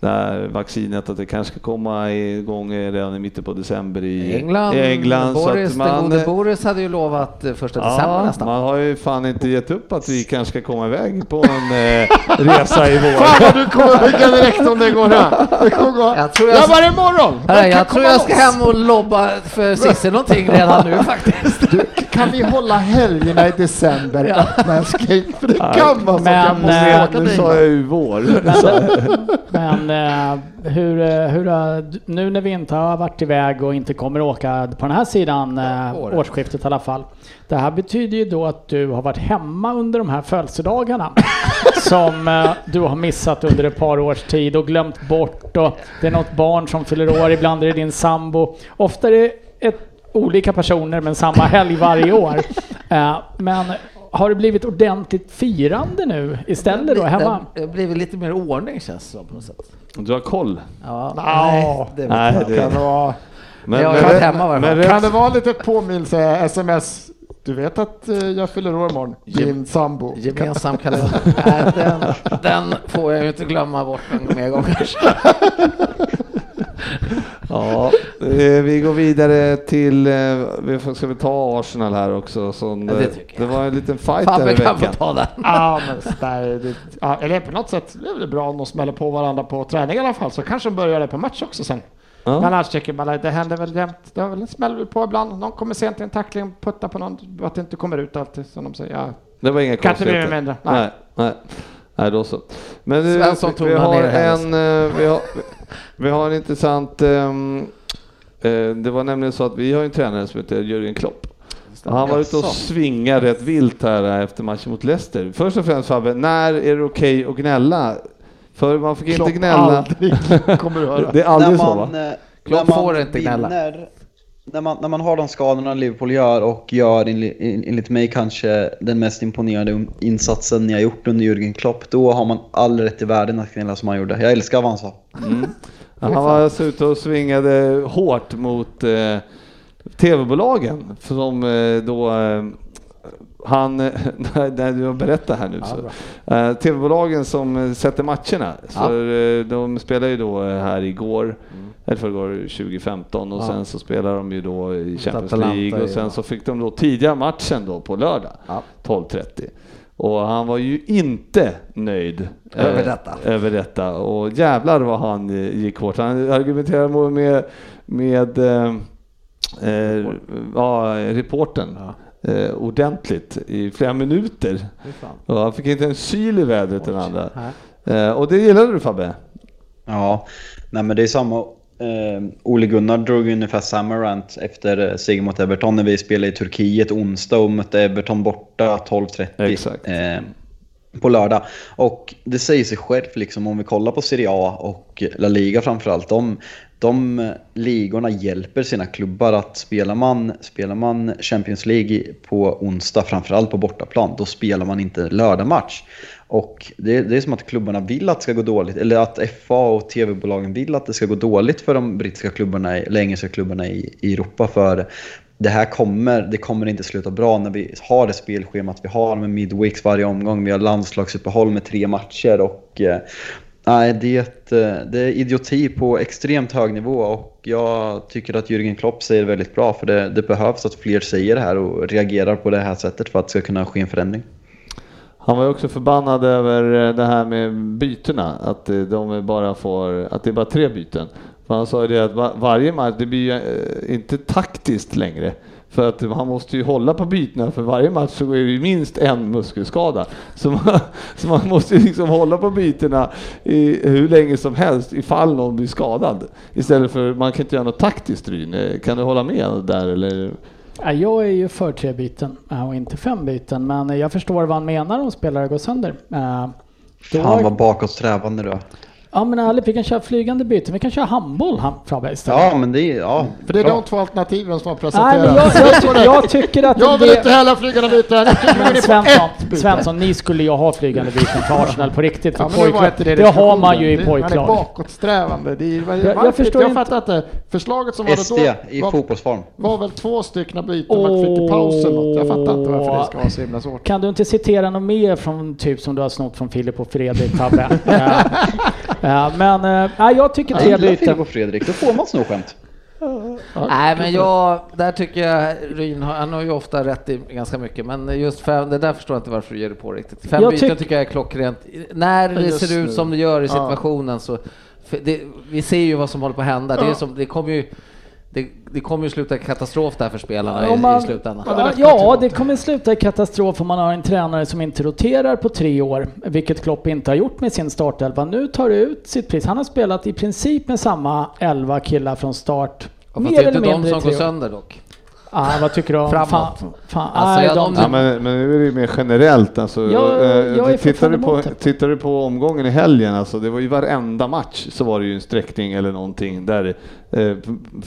det här vaccinet att det kanske ska komma igång eh, redan i mitten på december i England, I England så Boris, att man, den gode Boris hade ju lovat eh, första december Ja, nästan. man har ju fan inte gett upp att vi kanske ska komma iväg på en (laughs) eh, resa i vår. Fan vad du kommer rycka direkt om det går här. Det kommer gå. Jag tror jag- Grabbar imorgon! Nej, De kan jag tror komma jag ska loss. hem och lobba för Cissi någonting (laughs) redan nu faktiskt. Du, kan vi hålla helgerna i december öppna älskling? För det kan vara så. Men, Jag måste eh, åka Nu dit. sa jag ju vår. Men eh, hur, eh, hur, har- nu när vi inte har varit iväg och inte kommer åka på den här sidan eh, året. årsskiftet i alla fall. Det här betyder ju då att du har varit hemma under de här födelsedagarna som eh, du har missat under ett par års tid och glömt bort och det är något barn som fyller år, ibland är det din sambo. Ofta är det ett, olika personer men samma helg varje år. Eh, men har det blivit ordentligt firande nu istället då hemma? Det har blivit lite mer ordning känns det som på något sätt. Du har koll. Ja, Nej. det vet Nej, jag. det- Kan det vara, Men, eh, Jag har varit hemma i varje men fall. rätt kan det vara en liten påminnelse, sms? Du vet att eh, jag fyller år imorgon, din Oh, sambo. (laughs) Gemensam kalender. Nej, den, den får jag ju inte glömma bort en mer gång kanske. Ja, eh, vi går vidare till, eh, vi får- ska vi ta Arsenal här också? Som, Ja, det eh, tycker det jag. var en liten fight där i Fabbe kan få veckan. ta den. Ja, men så där, det, ja, eller på något sätt det är det bra om de smäller på varandra på träning i alla fall, så kanske de börjar det på match också sen. Ja. Men annars tycker man att det händer väl jämt. Det har väl- smäller väl på ibland. Någon kommer sent till en tackling, puttar på någon, att det inte kommer ut alltid som de säger. Ja. Det var inga Kan inte bli konstigheter. mindre. Nej. Nej. Nej, nej. då så. Men eh, Svensson tog vi han har ner hennes. en, eh, vi har, vi har en intressant, ehm, eh, det var nämligen så att vi har ju en tränare som heter Jürgen Klopp. Och Han var ute och svingade rätt vilt här eh, efter matchen mot Leicester. Först och främst Fabbe, när är det okej att gnälla? För man fick Klopp inte gnälla. aldrig (laughs) kommer du höra. Det är aldrig när så man, va? eh, Klopp när man får inte gnälla. vinner- När man, när man har de skadorna Liverpool gör och gör enli- en- enligt mig kanske den mest imponerande insatsen ni har gjort under Jürgen Klopp, då har man all rätt i världen att gnälla som han gjorde. Jag älskar vad han sa. Han var alltså ute och svingade hårt mot eh, tv-bolagen. för Som eh, då eh, han, (laughs) nej, nej, du har berättat här nu. så. Eh, tv-bolagen som eh, sätter matcherna. För, eh, de spelar ju då eh, här igår, eller förrgår 2015 och Mm. Ja. sen så spelar de ju då i Champions Atalanta League och i- sen så fick de då tidiga matchen då på lördag Ja. 12.30. Och han var ju inte nöjd eh, Över detta. över detta. Och jävlar vad han eh, gick hårt. Han argumenterade mo- med, med eh, eh, ja, reportern eh, ordentligt i flera minuter. Och han fick inte en syl i vädret den andra. Eh, och det gillade du Fabbe? Ja, nej men det är samma. Eh, Ole Gunnar drog ju ungefär samma rant efter eh, seger mot Everton när vi spelade i Turkiet onsdag och mötte Everton borta 12.30 Exakt. eh, på lördag. Och det säger sig själv liksom om vi kollar på Serie A och La Liga framförallt. De, de eh, ligorna hjälper sina klubbar att spelar man, spelar man Champions League i- på onsdag, framförallt på bortaplan, då spelar man inte lördagmatch. Och det, det är som att klubbarna vill att det ska gå dåligt, eller att FA och TV-bolagen vill att det ska gå dåligt för de brittiska klubbarna, i- eller engelska klubbarna i, i Europa. För det här kommer, det kommer inte sluta bra när vi har det spelschemat vi har med midweeks varje omgång. Vi har landslagsuppehåll med tre matcher och eh, nej, det, är ett, eh, det är idioti på extremt hög nivå och jag tycker att Jürgen Klopp säger väldigt bra för det, det behövs att fler säger det här och reagerar på det här sättet för att det ska kunna ske en förändring. Han var ju också förbannad över eh, det här med bytena, att eh, de bara får, att det är bara tre byten. För han sa ju det att va- varje match, det blir ju eh, inte taktiskt längre. För att han måste ju hålla på bytena för varje match så är det ju minst en muskelskada. Så (laughs) man, så man måste ju liksom hålla på bytena i, hur länge som helst ifall någon blir skadad. Istället för, man kan inte göra något taktiskt Ryn. Eh, Kan du hålla med där eller? Ja, jag är ju för tre byten eh, och inte fem byten, men jag förstår vad han menar om spelare går sönder. Eh, Då, Fan vad bakåtsträvande du är. Ja men ärligt, vi kan köra flygande byten. Vi kan köra handboll han, Frabbe istället. Ja, men det är... Ja. För det är bra. de två alternativen som har Nej, men jag, presenterats. (laughs) jag, jag tycker att Jag vill det- inte heller flyga den biten. Jag tycker vi Men går ner på ett Svensson, byte. Svensson, ni skulle ju ha flygande byten till Arsenal på riktigt. För Ja, men nu var pojklag, inte det, har diskussionen. man ju i Det- Man är pojklag. bakåtsträvande. Det är, jag, jag jag, förstår jag inte. fattar inte. Förslaget som var det SD i då var, fotbollsform. var väl två stycken byten man fick i paus eller något. Jag fattar inte varför det ska vara så himla svårt. Kan du inte citera något mer från typ som du har snott från Filip och (laughs) Fredrik, Tabbe? ja. Ja, men eh, nej, jag tycker Jag tre gillar Filip byten. och Fredrik, då får man skämt. Nej, men jag, där tycker jag Ryn, har- han har ju ofta rätt i ganska mycket, men just fem, det där förstår jag inte varför du ger dig på riktigt. Fem Jag byten tyck- tycker jag är klockrent. När det Just ser ut nu. som det gör i Ja. situationen så, för det, vi ser ju vad som håller på att hända. Det, är Ja. som, det kommer ju, det, det kommer ju sluta katastrof där för spelarna Om i, man- i slutändan. Ja, det räcker Ja, till det något. kommer sluta i katastrof om man har en tränare som inte roterar på tre år, vilket Klopp inte har gjort med sin startelva. Nu tar det ut sitt pris. Han har spelat i princip med samma elva killar från start. Ja, fast det är eller inte de mindre i som går tre år. sönder dock. Ah, vad tycker du om Framåt. Fan, fan, Alltså, nej, jag- de, de- Ja, men, men nu är det ju mer generellt alltså. Jag- Eh, jag tittar, är du fortfarande på, emot det. tittar du på omgången i helgen alltså, det var ju varenda match så var det ju en sträckning eller någonting där. Eh,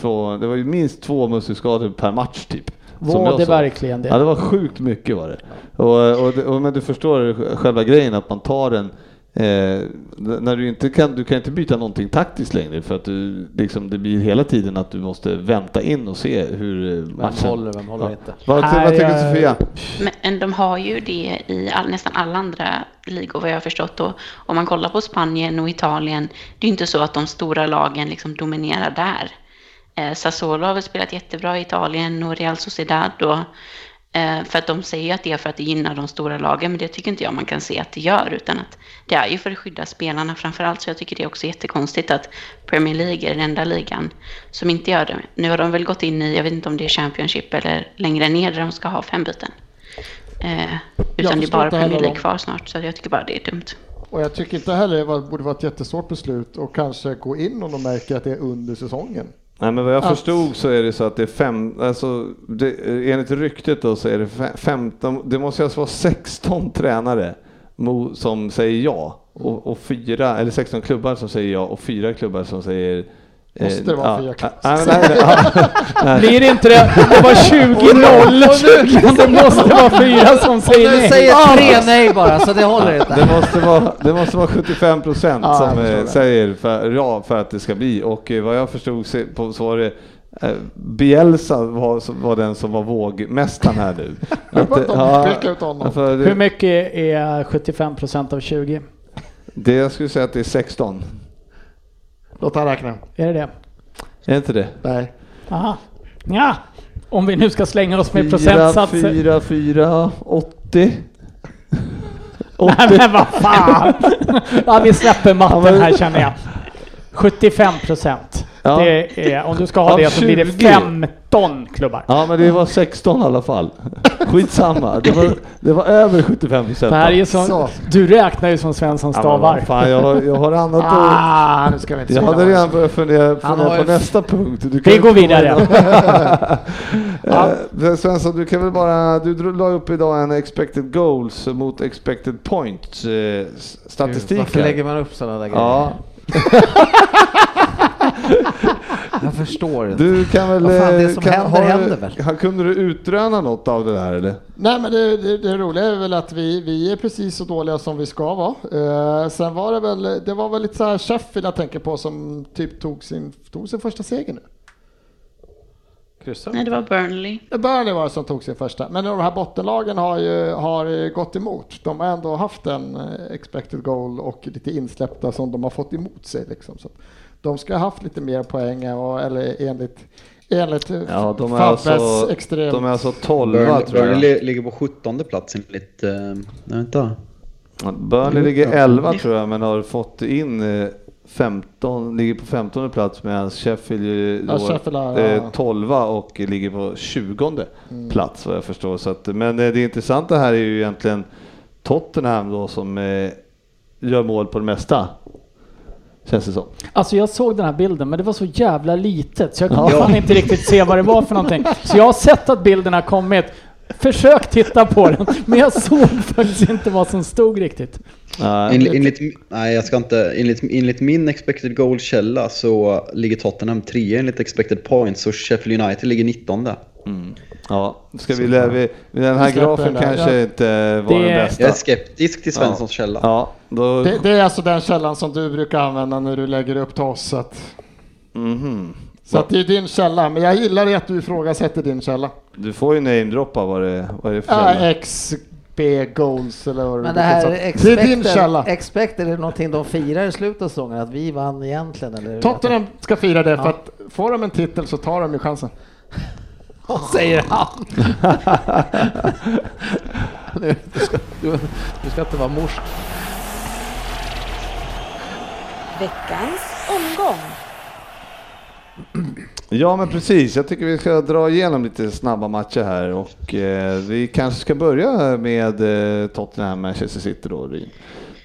på, det var ju minst två muskelskador per match typ. Var Som jag det såg. verkligen det? Ja, det var sjukt mycket var det. Och, och, det- och, men du förstår själva grejen att man tar en Eh, när du inte kan, du kan inte byta någonting taktiskt längre för att du, liksom, det blir hela tiden att du måste vänta in och se hur eh, Vem matchen... håller, vem håller Ja. inte? Vad, Nej, vad tycker jag- Sofia? Men de har ju det i all, nästan alla andra ligor vad jag har förstått. Och om man kollar på Spanien och Italien, det är ju inte så att de stora lagen liksom dominerar där. Eh, Sassuolo har väl spelat jättebra i Italien och Real Sociedad. Och, eh, för att de säger ju att det är för att det gynnar de stora lagen, men det tycker inte jag man kan se att det gör. Utan att det är ju för att skydda spelarna framför allt. Så jag tycker det är också jättekonstigt att Premier League är den enda ligan som inte gör det. Nu har de väl gått in i, jag vet inte om det är Championship eller längre ner där de ska ha fem byten. Eh, utan det är förstår bara inte heller Premier League dem. kvar snart, så jag tycker bara det är dumt. Och jag tycker inte heller det var- borde vara ett jättesvårt beslut och kanske gå in om de märker att det är under säsongen. Nej, men vad jag Att- förstod så är det så att det är fem, alltså, det, enligt ryktet då så är det fe- 15, det måste alltså vara 16 tränare mo- som säger ja och, och fyra, eller 16 klubbar som säger ja och fyra klubbar som säger eh, Måste det vara ja, fyra klubbar? Ja, (laughs) nej, nej, ah, ja. Blir inte det, det (laughs) var 20-0, det måste vara fyra (laughs) som Du säger nej. säger tre nej bara, så det håller inte. Det måste vara, det måste vara 75 procent Ja, jag som förstår eh, det. säger för, ja för att det ska bli och eh, vad jag förstod se- på så var det eh, Bielsa var, som var den som var vågmästaren här nu. (laughs) Det var Att, eh, de pekade ut honom. för det- Hur mycket är 75% av 20? Det jag skulle säga att det är 16. Låt han räkna. Är det det? Är inte det? Nej. Aha. Ja. Om vi nu ska slänga oss med 4, procentsatser. 4, 4, 80. (laughs) (laughs) Nej men vad fan! ja, vi släpper matten här känner jag. 75 procent. Ja. Det är, om du ska ha Av det så blir det 20. 15 klubbar. Ja, men det var 16 i alla fall. Skitsamma. Det var, det var över 75 procent. Det här är ju som, Så. du räknar ju som Svensson stavar. fan, jag, har- jag har annat att... Ah, nu ska vi inte Jag syna hade varandra. redan börjat fundera, har fundera ju- på nästa punkt. Du kan Vi ju går inte vidare. Eh, Svensson, du kan väl bara... Du dro- la upp idag en expected goals mot expected points eh, s- statistik. Varför här. lägger man upp sådana där grejer? Ja, Jag förstår inte. Du kan väl... eh, Vad fan, det som kan, händer, har, händer väl? har- Kunde du utröna något av det där eller? Nej men det, det, det roliga är väl att vi, vi är precis så dåliga som vi ska vara. Eh, sen var det väl, det var väl lite så här Sheffield jag tänker på som typ tog sin, tog sin första seger nu. Kryssar. Nej, det var Burnley. Det Burnley var det som tog sin första. Men de här bottenlagen har ju har eh, gått emot. De har ändå haft en eh, expected goal och lite insläppta som de har fått emot sig. Liksom. Så att de ska ha haft lite mer poäng eh, och, eller enligt, enligt eh, Ja, de är Fabbes alltså, extremt... de är alltså 12 tror jag. Burnley ligger på 17 plats enligt... eh, Nej, vänta. Mm. Burnley ligger 11 tror jag men har fått in eh, 15, ligger på 15 plats medan Sheffield ju då, Ja, Sheffield har- eh, ja. Mm. 12 och ligger på 20 plats vad jag förstår. Så att, men eh, det intressanta här är ju egentligen Tottenham då som eh, gör mål på det mesta. Känns det som. Alltså jag såg den här bilden, men det var så jävla litet så jag kunde Ja. fan inte riktigt se vad det var för någonting. Så jag har sett att bilden har kommit, försökt titta på den, men jag såg faktiskt inte vad som stod riktigt. Nej. Enligt, enligt, typ- nej, jag ska inte. Enligt, enligt min expected goal-källa så ligger Tottenham 3 enligt expected points och Sheffield United ligger 19 där. Ja, ska vi, lä- vi, den här Vi släpper grafen den där. kanske Ja. inte var Det- den Jag är bästa. skeptisk till Svenssons källa. Ja, då, Det, det är alltså den källan som du brukar använda när du lägger upp till oss. Så, att, Mhm. så att det är din källa, men jag gillar det att du ifrågasätter din källa. Du får ju namedroppa vad det, vad det är för Ja, eh, jävla- XB Goals eller vad Men det här brukar säga. Det är din källa. expected, expected är det någonting de firar i slutet av säsongen, att vi vann egentligen? Eller Tottenham ska fira det för att får de en titel så tar de ju chansen. (laughs) säger han. (laughs) nu, du, ska, du, du ska inte vara morsk. Veckans omgång. Ja men precis, jag tycker vi ska dra igenom lite snabba matcher här och eh, vi kanske ska börja med eh, Tottenham Manchester City då Ryn.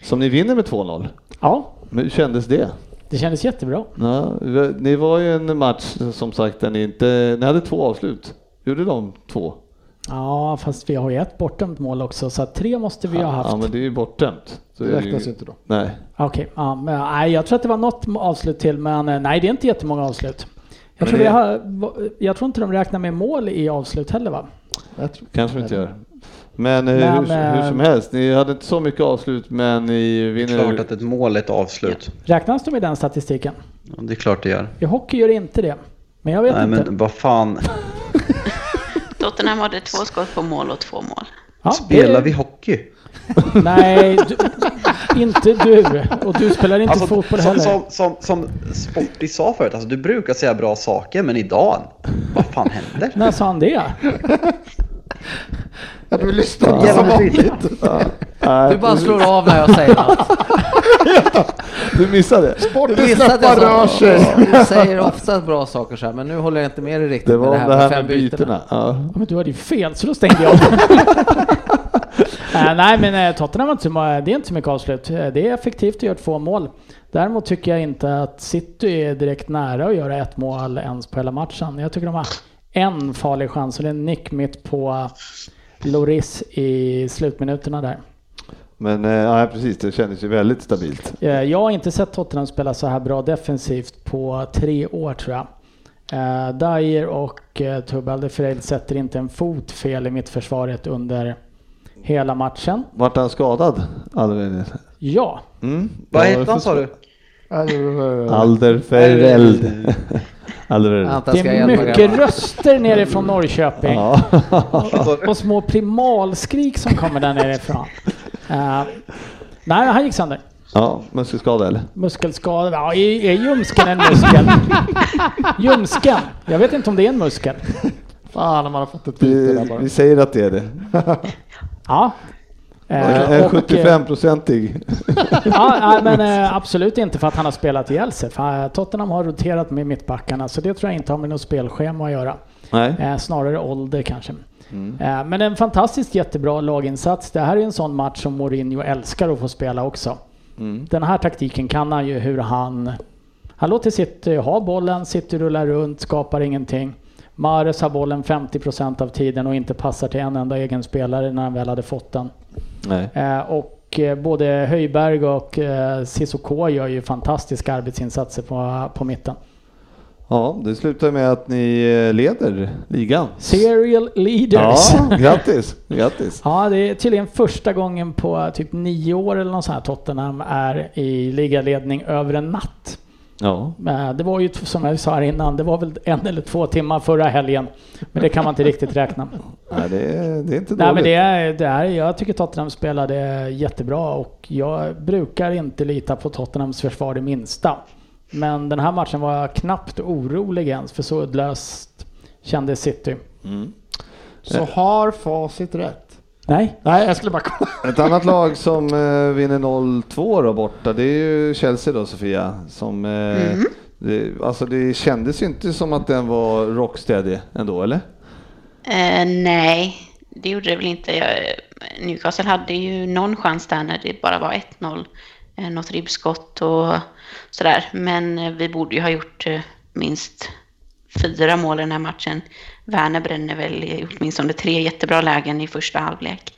Som ni vinner med 2-0. Ja, Men hur kändes det? det kändes jättebra. Ja, vi- ni var ju en match som sagt där ni inte, ni hade två avslut. Gjorde de två? Ja, fast vi har ju ett bortdömt mål också, så att tre måste vi ha haft. Ja men det är ju bortdömt. Så Det är ju- räknas ju inte då. Nej. Okej, ja, men, nej, jag tror att det var något avslut till, men eh, nej, det är inte jättemånga avslut. Jag Men tror, det- vi har, va- jag tror inte de räknar med mål i avslut heller va? Jag tror- Kanske vi inte gör. Men, eh, Men, hur, hur som eh, helst, ni hade inte så mycket avslut men ni Det är klart vinner. att ett mål är ett avslut. Räknas de i den statistiken? Ja, Det är klart det gör. I hockey gör det inte det. Men jag vet Nej inte. men vad fan, Tottenham hade två skott på mål och två mål. Ja, spelar det- vi hockey? (laughs) Nej, du, inte du. Och du spelar inte Alltså, fotboll Alltså, som, heller. som, som, som Sportis sa förut, alltså, du brukar säga bra saker men idag, vad fan händer? När sa han det? Ja, du lyssnar inte som Jävla vanligt. (laughs) tydligt. (laughs) Nej, Du bara slår av när jag säger något. Du missade. Du Sporten visste att jag släppar sa- rör sig. Du säger ofta bra saker så här, men nu håller jag inte med dig riktigt Det var om med det här med fem bytena. Ja. Ja, men du hade ju fel, så då stängde jag av. Eh, nej, men eh, Tottenham har inte så, ma- det är inte så mycket avslut. Eh, Det är effektivt att göra två mål. Däremot tycker jag inte att City är direkt nära att göra ett mål ens på hela matchen. Jag tycker de har en farlig chans och det är en nick mitt på Loris i slutminuterna där. Men eh, ja, precis, det kändes ju väldigt stabilt. Eh, Jag har inte sett Tottenham spela så här bra defensivt på tre år tror jag. Eh, Dyer och eh, Tubbe Alderfereld sätter inte en fot fel i mittförsvaret under hela matchen. Vart han skadad? Alvin? Ja, Mm. Vad Ja, hette han sa du? (laughs) Alderfereld. Alderfereld. Anton det ska är hjälpa mycket grabbarna. röster nere från Norrköping. Ja. (laughs) Och små primalskrik som kommer där nerifrån. Eh, nej, han gick sönder. ja, muskelskada eller? Muskelskada. Ja, är är ljumsken en muskel? Ljumsken. Jag vet inte om det är en muskel. Fan om man har fått ett byte där Vi, bara. vi säger att det är det. Ja. Eh, (laughs) En och, eh, 75-procentig. Ja, nej, men eh, absolut inte för att han har spelat ihjäl sig. För, eh, Tottenham har roterat med mittbackarna, så det tror jag inte har med något spelschema att göra. Nej. Eh, snarare ålder kanske. Eh, men en fantastiskt jättebra laginsats. Det här är en sån match som Mourinho älskar att få spela också. Den här taktiken kan han ju hur han... Han låter City ha bollen, City rullar runt, skapar ingenting. Mahrez har bollen 50% av tiden och inte passar till en enda egen spelare när han väl hade fått den. Nej. Eh, Och eh, både Höjberg och eh, Sissoko gör ju fantastiska arbetsinsatser på, på mitten. Ja, det slutar med att ni eh, leder ligan. Serial leaders. Ja, Ja. (laughs) grattis. grattis. det är tydligen första gången på eh, typ nio år eller något sånt här Tottenham är i ligaledning över en natt. Ja. Eh, Det var ju t- som jag sa här innan, det var väl en eller två timmar förra helgen. Men det kan man inte riktigt räkna. Nej, det, är, det är inte dåligt. Nej men det är, det är, jag tycker Tottenham spelade jättebra och jag brukar inte lita på Tottenhams försvar det minsta. Men den här matchen var jag knappt orolig ens för så uddlöst kände City. Så har facit rätt? Nej. Nej, jag skulle bara kolla. Ett annat lag som eh, vinner 0-2 då borta, det är ju Chelsea då Sofia. Som, eh, det, alltså det kändes ju inte som att den var rocksteady ändå eller? Eh, nej, det gjorde det väl inte. Jag, Newcastle hade ju någon chans där när det bara var 1-0. Eh, något ribbskott och sådär. Men eh, vi borde ju ha gjort eh, minst fyra mål i den här matchen. Werner bränner väl åtminstone tre jättebra lägen i första halvlek.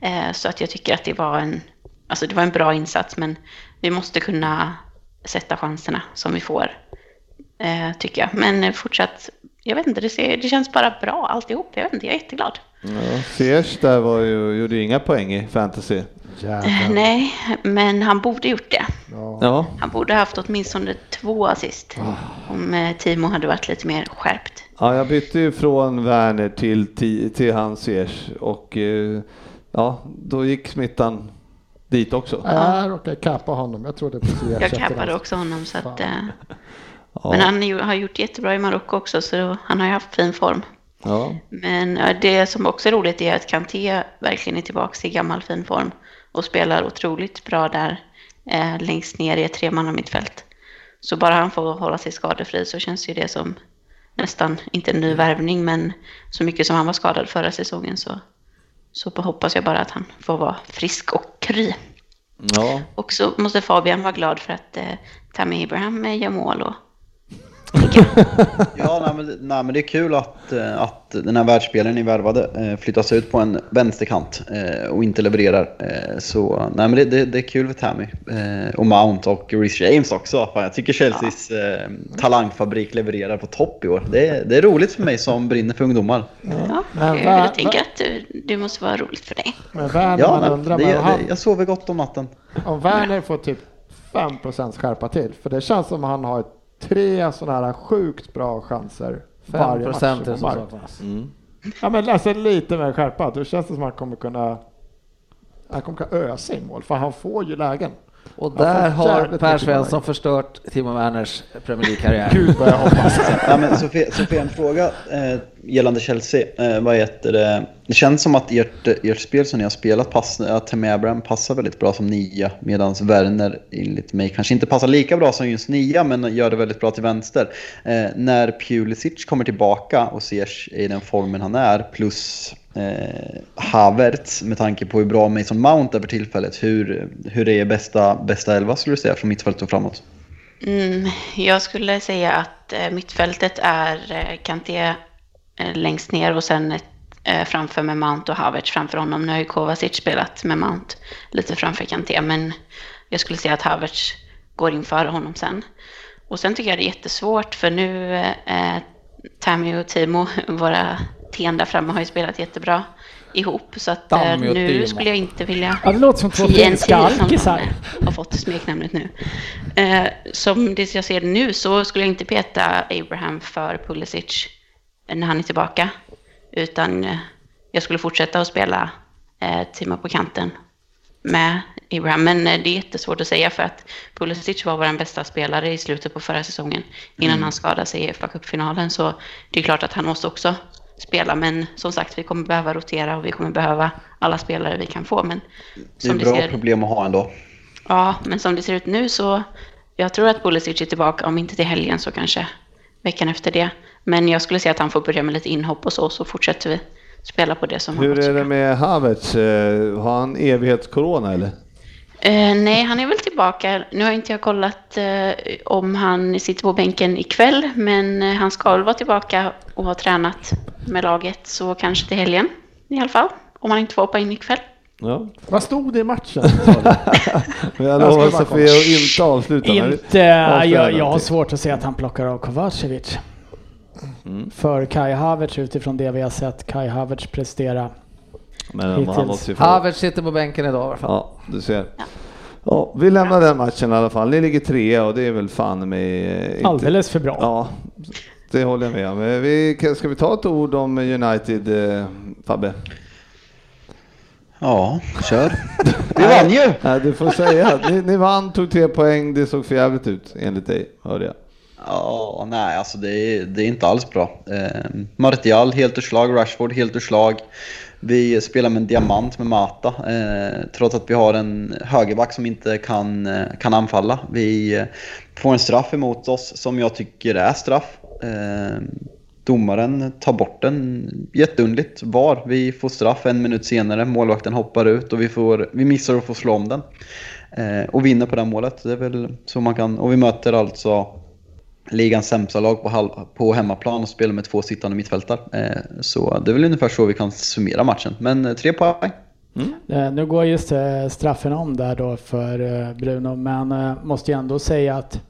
Eh, så att jag tycker att det var en, alltså det var en bra insats, men vi måste kunna sätta chanserna som vi får. Eh, tycker jag. Men eh, fortsatt, jag vet inte, det, ser, det känns bara bra alltihop. Jag vet inte, jag är jätteglad. Ja, Ziyech där var ju, gjorde ju inga poäng i fantasy. (laughs) Eh, Jävlar. Nej, men han borde gjort det. Ja. Ja, Han borde haft åtminstone två assist. Om eh, Timo hade varit lite mer skärpt. ja jag bytte ju från Werner till, till, till han Ziyech och eh, ja, då gick smittan dit också. Jag råkade Äh, kappa honom. Jag trodde precis jag Jag köpte kappade den. också honom så att... Eh, Ja, Men han ju- har gjort jättebra i Marocko också så han har ju haft fin form. ja. Men eh, det som också är roligt är att Kanté verkligen är tillbaka i gammal fin form och spelar otroligt bra där eh, längst ner i ett tremannamittfält. Så bara han får hålla sig skadefri så känns ju det som nästan, inte en ny värvning, men så mycket som han var skadad förra säsongen så, så hoppas jag bara att han får vara frisk och kry. ja. Och så måste Fabian vara glad för att eh, Tammy Abraham eh, gör mål och Ja, nej, men, nej, men det är kul att, eh, att den här världsspelaren ni värvade eh, flyttas ut på en vänsterkant eh, och inte levererar. Eh, Så nej, men det, det, det är kul för Tammy. Eh, Och Mount och Rhys James också. Fan, jag tycker Chelseas eh, talangfabrik levererar på topp i år. Det, är- det är roligt för mig som brinner för ungdomar. Ja, Men jag, va- jag tänker att du, du måste vara roligt för dig. Men Werner, Ja, man nej, undrar det, men han, det, jag sover gott om natten. om Werner får typ 5% skärpa till. För det känns som han har tre sådana här sjukt bra chanser. 5 varje match procent på som mark. saknas. Ja men alltså lite mer skärpa. Då känns det som att han kommer kunna han kommer kunna ösa i mål, för han får ju lägen. Och Ja, där fan, har jävligt Per mycket Svensson poäng. förstört Timo Werners Premier League-karriär. Gud vad jag hoppas. Ja, men Sofie, Sofie, en fråga eh, gällande Chelsea. Eh, vad heter det? det känns som att ert, ert spel som ni har spelat, pass, att Tammy Abraham passar väldigt bra som nia. Medan Werner enligt mig kanske inte passar lika bra som just nia, men gör det väldigt bra till vänster. Eh, när Pulisic kommer tillbaka och Ziyech är i den formen han är, plus eh, Havertz med tanke på hur bra Mason Mount är för tillfället. Hur, hur är bästa, bästa elva skulle du säga från mittfältet och framåt? Mm, jag skulle säga att eh, mittfältet är eh, Kanté eh, längst ner och sen ett, eh, framför med Mount och Havertz framför honom. Nu har ju Kovacic spelat med Mount lite framför Kanté, men jag skulle säga att Havertz går in före honom sen. Och sen tycker jag det är jättesvårt för nu eh, Tammy och Timo, (laughs) våra ten där framme, har ju spelat jättebra ihop. Så att eh, Tammy och Timo. nu skulle jag inte vilja Ja, det låter som två TNT finska som alkisar. de har fått smeknamnet nu. Eh, som det jag ser det nu så skulle jag inte peta Abraham för Pulisic när han är tillbaka. Utan eh, jag skulle fortsätta att spela eh, Timo på kanten med Abraham. Men eh, det är jättesvårt att säga för att Pulisic var vår bästa spelare i slutet på förra säsongen. Innan Mm. han skadade sig i fa Cup-finalen. Så det är klart att han måste också spela. Men som sagt, vi kommer behöva rotera och vi kommer behöva alla spelare vi kan få. Men Det är som ett det bra ser, problem att ha ändå. ja, men som det ser ut nu så jag tror att Pulisic är tillbaka, om inte till helgen så kanske veckan efter det. Men jag skulle säga att han får börja med lite inhopp och så, så fortsätter vi spela på det som har Hur gått så är bra. det med Havertz? Eh, Har han evighetscorona eller? Eh, nej, han är väl tillbaka. Nu har inte jag kollat eh, om han sitter på bänken ikväll, men eh, han ska väl vara tillbaka och ha tränat med laget, så kanske till helgen i alla fall. Om han inte får hoppa in ikväll. Ja. vad stod det i (laughs) matchen? sa du? Men jag Jag ska lovar bara Sofia att inte avsluta. men- Inte, äh, avslöja jag, jag har någonting. svårt att se att han plockar av Kovacevic. Mm. För Kai Havertz utifrån det vi har sett Kai Havertz prestera. Men han hittills. måste ju få... Havertz sitter på bänken idag i alla fall. Ja, du ser. Ja, vi lämnar den matchen i alla fall. Ni ligger trea och det är väl fan med... eh, inte- Alldeles för bra. Ja, det håller jag med om. Eh, Vi, kan- ska vi ta ett ord om United, eh, Fabbe? Ja, kör. Vi vann ju! Nej, du får säga. Ni, ni vann, tog tre poäng, det såg för jävligt ut enligt dig, hörde jag. Ja, nej, Ehm, alltså det är, det är inte alls bra. Eh, Martial helt ur slag, Rashford helt ur slag. Vi spelar med en diamant med Mata, eh, trots att vi har en högerback som inte kan, eh, kan anfalla. Vi eh, får en straff emot oss som jag tycker är straff. Eh, domaren tar bort den jätteundligt. VAR. Vi får straff en minut senare, målvakten hoppar ut och vi, får, vi missar att få slå om den. Eh, och vinner på det här målet. Det är väl så man kan. Och vi möter alltså ligans sämsta lag på, halv, på hemmaplan och spelar med två sittande mittfältare. Eh, så det är väl ungefär så vi kan summera matchen. Men eh, tre poäng. Eh, Nu går just eh, straffen om där då för eh, Bruno, men eh, måste ju ändå säga att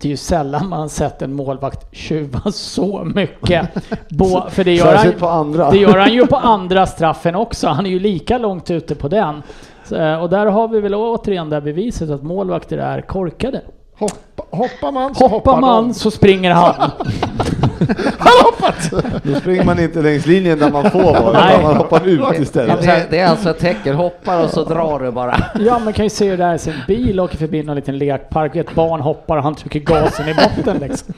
det är ju sällan man sett en målvakt tjuva så (laughs) mycket. Bå, för det gör, Särskilt på han, andra. det gör han (laughs) ju på andra straffen också. Han är ju lika långt ute på den. Så, eh, och där har vi väl återigen det här beviset att målvakter är korkade. Hoppa, hoppar man så Hoppar man så springer (laughs) han. Han hoppat! Då springer man inte längs linjen där man får vara, Nej. utan man hoppar ut Ja, istället. men det, det är alltså ett tecken, hoppar och så drar du bara. Ja, man kan ju se hur det är. Så En bil åker förbi någon liten lekpark, ett barn hoppar och han trycker gasen i botten liksom.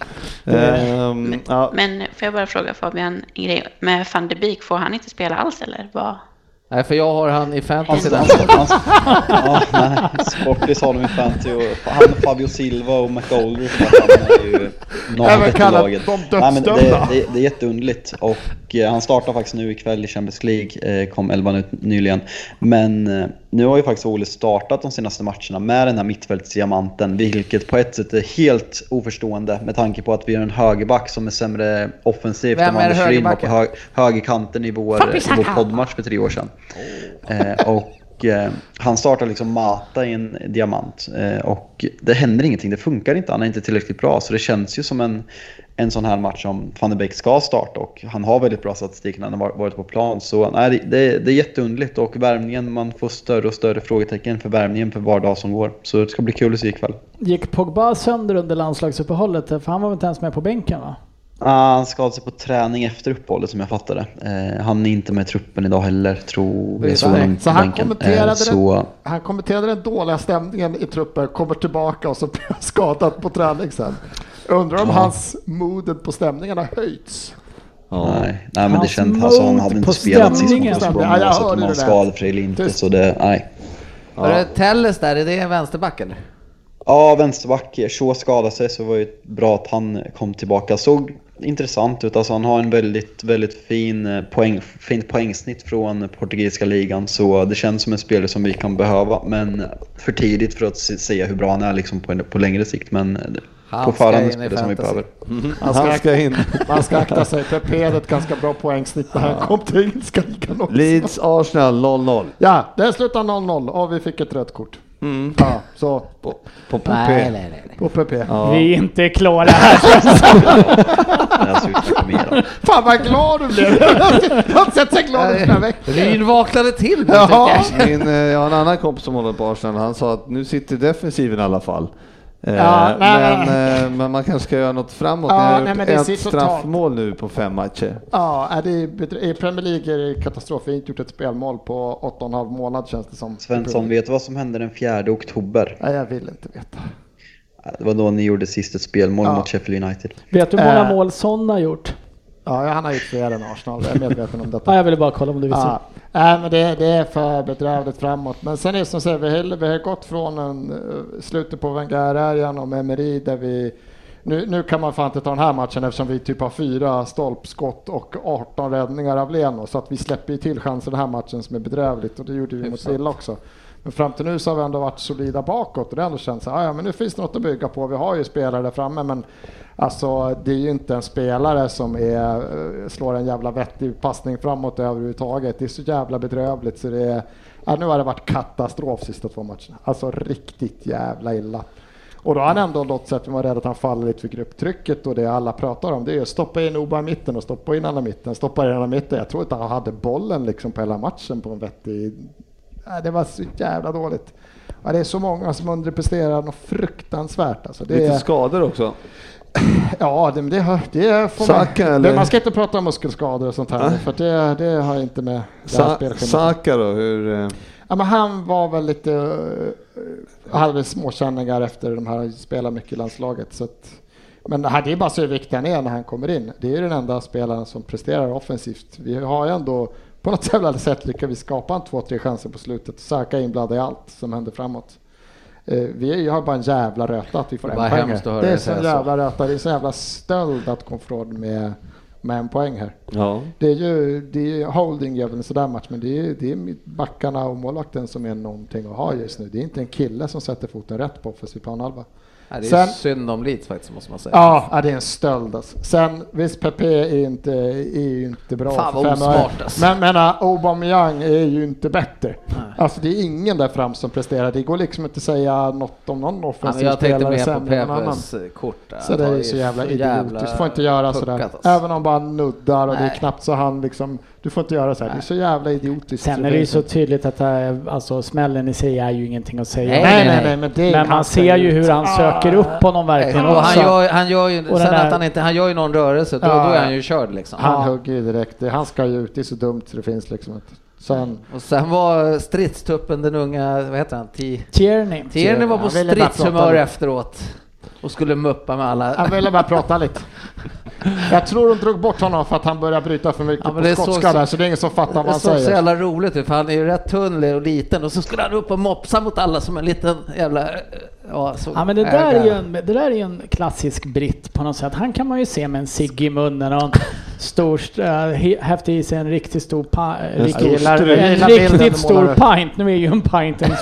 Ehm, ja. Men får jag bara fråga Fabian en grej? Med van de Beek, får han inte spela alls eller? Vad? Nej, för jag har han i fantasy. Alltså, där. alltså, (laughs) alltså, ja, nej, Sportis har de ju fantasy och han och Fabio Silva och McAulder så att han är ju Även navet i kallat laget. de Nej, men det, dödsdömda. det, det är jätteunderligt och eh, han startar faktiskt nu ikväll i Champions League, eh, kom elvan ut nyligen. Men eh, nu har ju faktiskt Ole startat de senaste matcherna med den här mittfältsdiamanten, vilket på ett sätt är helt oförstående med tanke på att vi har en högerback som är sämre offensivt Vem än är vad Anders Rydh var på högerbacken? hög, högerkanten i vår, i vår poddmatch för tre år sedan. Eh, och eh, han startar liksom Mata i en diamant. Eh, och det händer ingenting, det funkar inte, han är inte tillräckligt bra. Så det känns ju som en, en sån här match som van de Beek ska starta. Och han har väldigt bra statistik när han har var- varit på plan. Så nej, det- det, det är jätteunderligt och värmningen, man får större och större frågetecken för värmningen för var dag som går. Så det ska bli kul att se ikväll. Gick Pogba sönder under landslagsuppehållet? För han var väl inte ens med på bänken va? Ah, han skadade sig på träning efter uppehållet som jag fattade. Eh, han är inte med i truppen idag heller, tror jag. Precis. såg honom Så på han bänken. kommenterade, Eh, så... den, han kommenterade den dåliga stämningen i truppen, kommer tillbaka och så blir han skadad på träning sen. Undrar om Ja. hans modet på stämningen har höjts. Nej, nej men det Hans kändes... Alltså, han mode hade på inte spelat sist mot stämningen. West Ja, jag Brom oavsett hörde det om han var där. skadefri eller inte. Tyst. Så det, nej. Var det Telles där, är det vänsterbacken? Ja, vänsterback. Shaw skadade sig så det var ju bra att han kom tillbaka. Såg intressant ut. Alltså, han har en väldigt, väldigt fin eh, poäng, fint poängsnitt från portugisiska ligan. Så det känns som en spelare som vi kan behöva. Men för tidigt för att se- säga hur bra han är liksom på, en, på längre sikt. Men eh, Han på ska förhand är in en i spelare som vi fantasy. (laughs) behöver. Han Han ska, ska in. man ska akta sig, Pepe hade ett ganska bra poängsnitt när han kom till engelska ligan (laughs) också. Leeds Arsenal 0-0. Ja, det slutade 0-0 och vi fick ett rött kort. Mm. Ja, så på, På PP. Nej, nej, nej. nej. på Pepe. Vi är inte klara här. Men jag ser ut att komma igen. Fan vad glad du (laughs) blev! Jag har inte sett så glad ut den här veckan. Ryn vaknade till. Jaha. Min, eh, jag har en annan kompis som håller på Arsenal, han sa att nu sitter defensiven i alla fall. Eh, Ja, nej, men, nej. eh, men man kanske ska göra något framåt. Ja, Ni har nej, men gjort det ett sitter straffmål nu på fem matcher. Ja, är det är bedrö- i Premier League är det katastrof. Vi har inte gjort ett spelmål på 8,5 månad känns det som. Svensson, vet du vad som hände den 4 oktober? Nej, jag vill inte veta. Det var då ni gjorde sist ett spelmål Ja. mot Sheffield United. Vet du hur många Eh. mål Son har gjort? Ja, han har gjort fler än Arsenal. Jag är medveten om Ja, detta. jag ville bara kolla om du visste. Ja, nej, men det, det är för bedrövligt framåt. Men sen är det som säger, vi har, vi har gått från en, eh, slutet på Wenger-eran och Emery där vi nu, nu kan man fan inte ta den här matchen eftersom vi typ har fyra stolpskott och 18 räddningar av Leno. Så att vi släpper ju till chanser den här matchen som är bedrövligt och det gjorde vi mot Villa också. Men fram till nu så har vi ändå varit solida bakåt och det har ändå känts så här, "Ah, ja men nu finns det något att bygga på. Vi har ju spelare där framme men alltså det är ju inte en spelare som är, eh, slår en jävla vettig passning framåt överhuvudtaget. Det är så jävla bedrövligt så det är, ja, nu har det varit katastrof sista två matcherna. Alltså riktigt jävla illa. Och då har han ändå något sätt, man var rädd att han faller lite för grupptrycket och det alla pratar om det är ju stoppa in Oba i mitten och stoppa in alla i mitten, stoppa in alla i mitten. Jag tror inte han hade bollen liksom på hela matchen på en vettig... Nej, det var så jävla dåligt. Ja, det är så många som underpresterar något fruktansvärt alltså. Det Lite är, skador också. (laughs) ja, det, men det, har- det får Saka, man... eller? Men man ska inte prata om muskelskador och sånt här Nej. för det, det har inte med det här Sa- spelschemat Saka då, hur... eh, Ja, men han var väl lite... eh, hade små känningar efter de här, spelar mycket i landslaget. Så att, men det här- det är bara så hur viktig han är när han kommer in. Det är ju den enda spelaren som presterar offensivt. Vi har ju ändå på något jävla sätt lyckades vi skapa en två, tre chanser på slutet. Söka inblandade i allt som hände framåt. Eh, Vi är ju- har bara en jävla röta att vi får Det en var poäng hemskt här. att höra Det är dig så säga så. jävla röta, det är så jävla stöld att komma från med, med en poäng här. Ja. Det är ju, det är ju holding gör väl en sådär match, men det är, det är backarna och målvakten som är någonting att ha just nu. Det är inte en kille som sätter foten rätt på offensiv planhalva. Nej, det är Sen- synd om Leeds faktiskt måste man säga. Ja, ja, det är en stöld alltså. Sen, visst Pepe är ju inte, är ju inte bra. Fan, vad för fem öre. osmart, alltså. Men men, äh, Aubameyang är ju inte bättre. Alltså det är ingen där fram som presterar. Det går liksom inte att säga något om någon Ja, men offensiv jag tänkte spelare mer på sämre än någon annan. Pepes eh, kort. där. Så det Han är var ju så jävla idiotiskt. Du får inte göra sådär. puckat, alltså. Även om bara nuddar och det är Nej. knappt så han liksom. Du får inte göra sådär. Det är så jävla idiotiskt. Sen är det ju så tydligt att det här, alltså, smällen i sig är ju ingenting att säga Nej, om. Nej, nej, nej, men det är Men man hans ser ju fel. hur han söker upp honom verkligen Och han Alltså. också. gör, han gör ju, sen den där- att han inte, han gör ju någon rörelse, då, Ja. då är han ju körd liksom. Han Ja. hugger ju direkt. Det- Han ska ju ut. Det är så dumt så det finns liksom inte. Sen, Och sen var stridstuppen den unga, vad heter han, T- Tierney. Tierney var på Han ville bara prata stridshumör lite. efteråt och skulle muppa med alla. Han ville bara prata lite. Jag tror de drog bort honom för att han började bryta för mycket Ja, men på det såg skotska så- där, så det är ingen som fattar vad Det han såg så säger. jävla roligt ut för han är ju rätt tunn och liten och så skulle han upp och mopsa mot alla som en liten jävla... eh, Ja, så Ja men det där, är ägare. ju en, det där är ju en klassisk britt på något sätt. Han kan man ju se med en cigg i munnen och en stor, st- äh, he- häfte i sig en riktigt stor, pa, en stor riktigt, strut. en Gillar bilden riktigt du stor målar pint. Nu är ju en pint en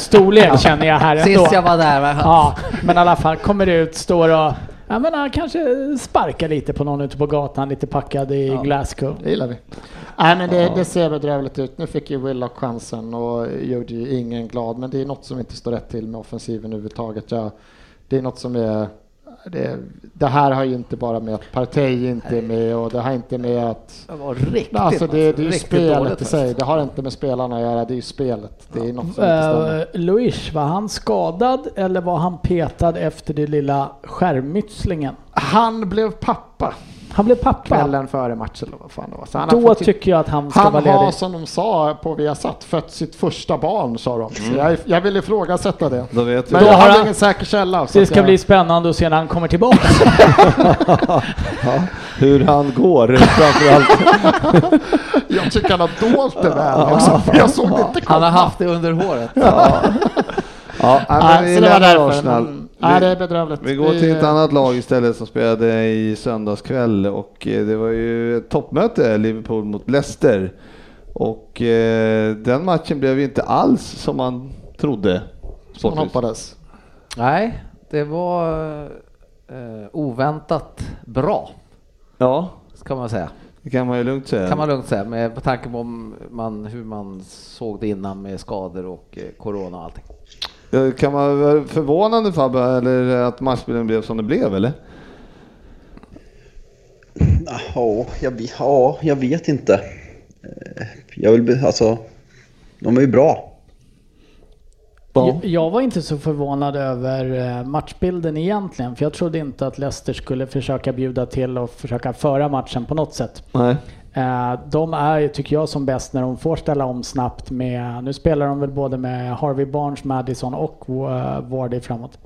(laughs) storlek känner jag här ändå. Sist jag var där var han. Ja, men i alla fall kommer ut, står och Ja men han kanske sparkar lite på någon ute på gatan, lite packad i Glasgow. Det gillar vi. Nej men det, det ser bedrövligt ut. Nu fick ju Willock chansen och gjorde ju ingen glad. Men det är något som inte står rätt till med offensiven överhuvudtaget. Ja, det är något som är... Det, det här har ju inte bara med att Partey inte är med och det har inte med att... (laughs) Det var riktigt, Alltså det, det är ju riktigt spelet dåligt i sig. faktiskt. Det har inte med spelarna att göra. Det är ju spelet. Det är något som inte stämmer. Uh, Luis, var han skadad eller var han petad efter det lilla skärmmytslingen? Han blev pappa. Han blev pappa. kvällen före matchen eller vad fan det var. Så han har Då fått sitt- tycker jag att han ska han vara har ledig. som de sa på Viasat fött sitt första barn sa de. Så jag, jag vill ifrågasätta det. Då vet vi. Men jag Mm. Då har har han- ingen säker källa. så Det att ska jag, bli spännande att se när han kommer tillbaka. Ja, hur han går (laughs) framförallt. jag tycker han har dolt det väl också. För jag såg det inte Han komma. har haft det under håret. Ja, men Nej, vi så det lämnar var därför. Arsenal. Men, nej, det Vi- är bedrövligt. Vi går till ett annat lag istället som spelade i söndagskväll och eh, det var ju ett toppmöte, Liverpool mot Leicester. Och eh, den matchen blev ju inte alls som man trodde. Som sportvis. hoppades. Nej, det var eh, oväntat bra, Ja, ska man säga. det kan man ju lugnt säga. Kan man lugnt säga, med på tanke på om man, hur man såg det innan med skador och eh, corona och allting. Eh, Kan man vara förvånande Fabbe, eller att matchbilden blev som den blev eller? Ja, jag, vet- ja, jag vet inte. Eh, Jag vill, be- alltså, de är ju bra. Jag- Jag var inte så förvånad över eh, matchbilden egentligen, för jag trodde inte att Leicester skulle försöka bjuda till och försöka föra matchen på något sätt. Nej. Eh, De är ju, tycker jag, som bäst när de får ställa om snabbt med, nu spelar de väl både med Harvey Barnes, Madison och eh, Vardy framåt.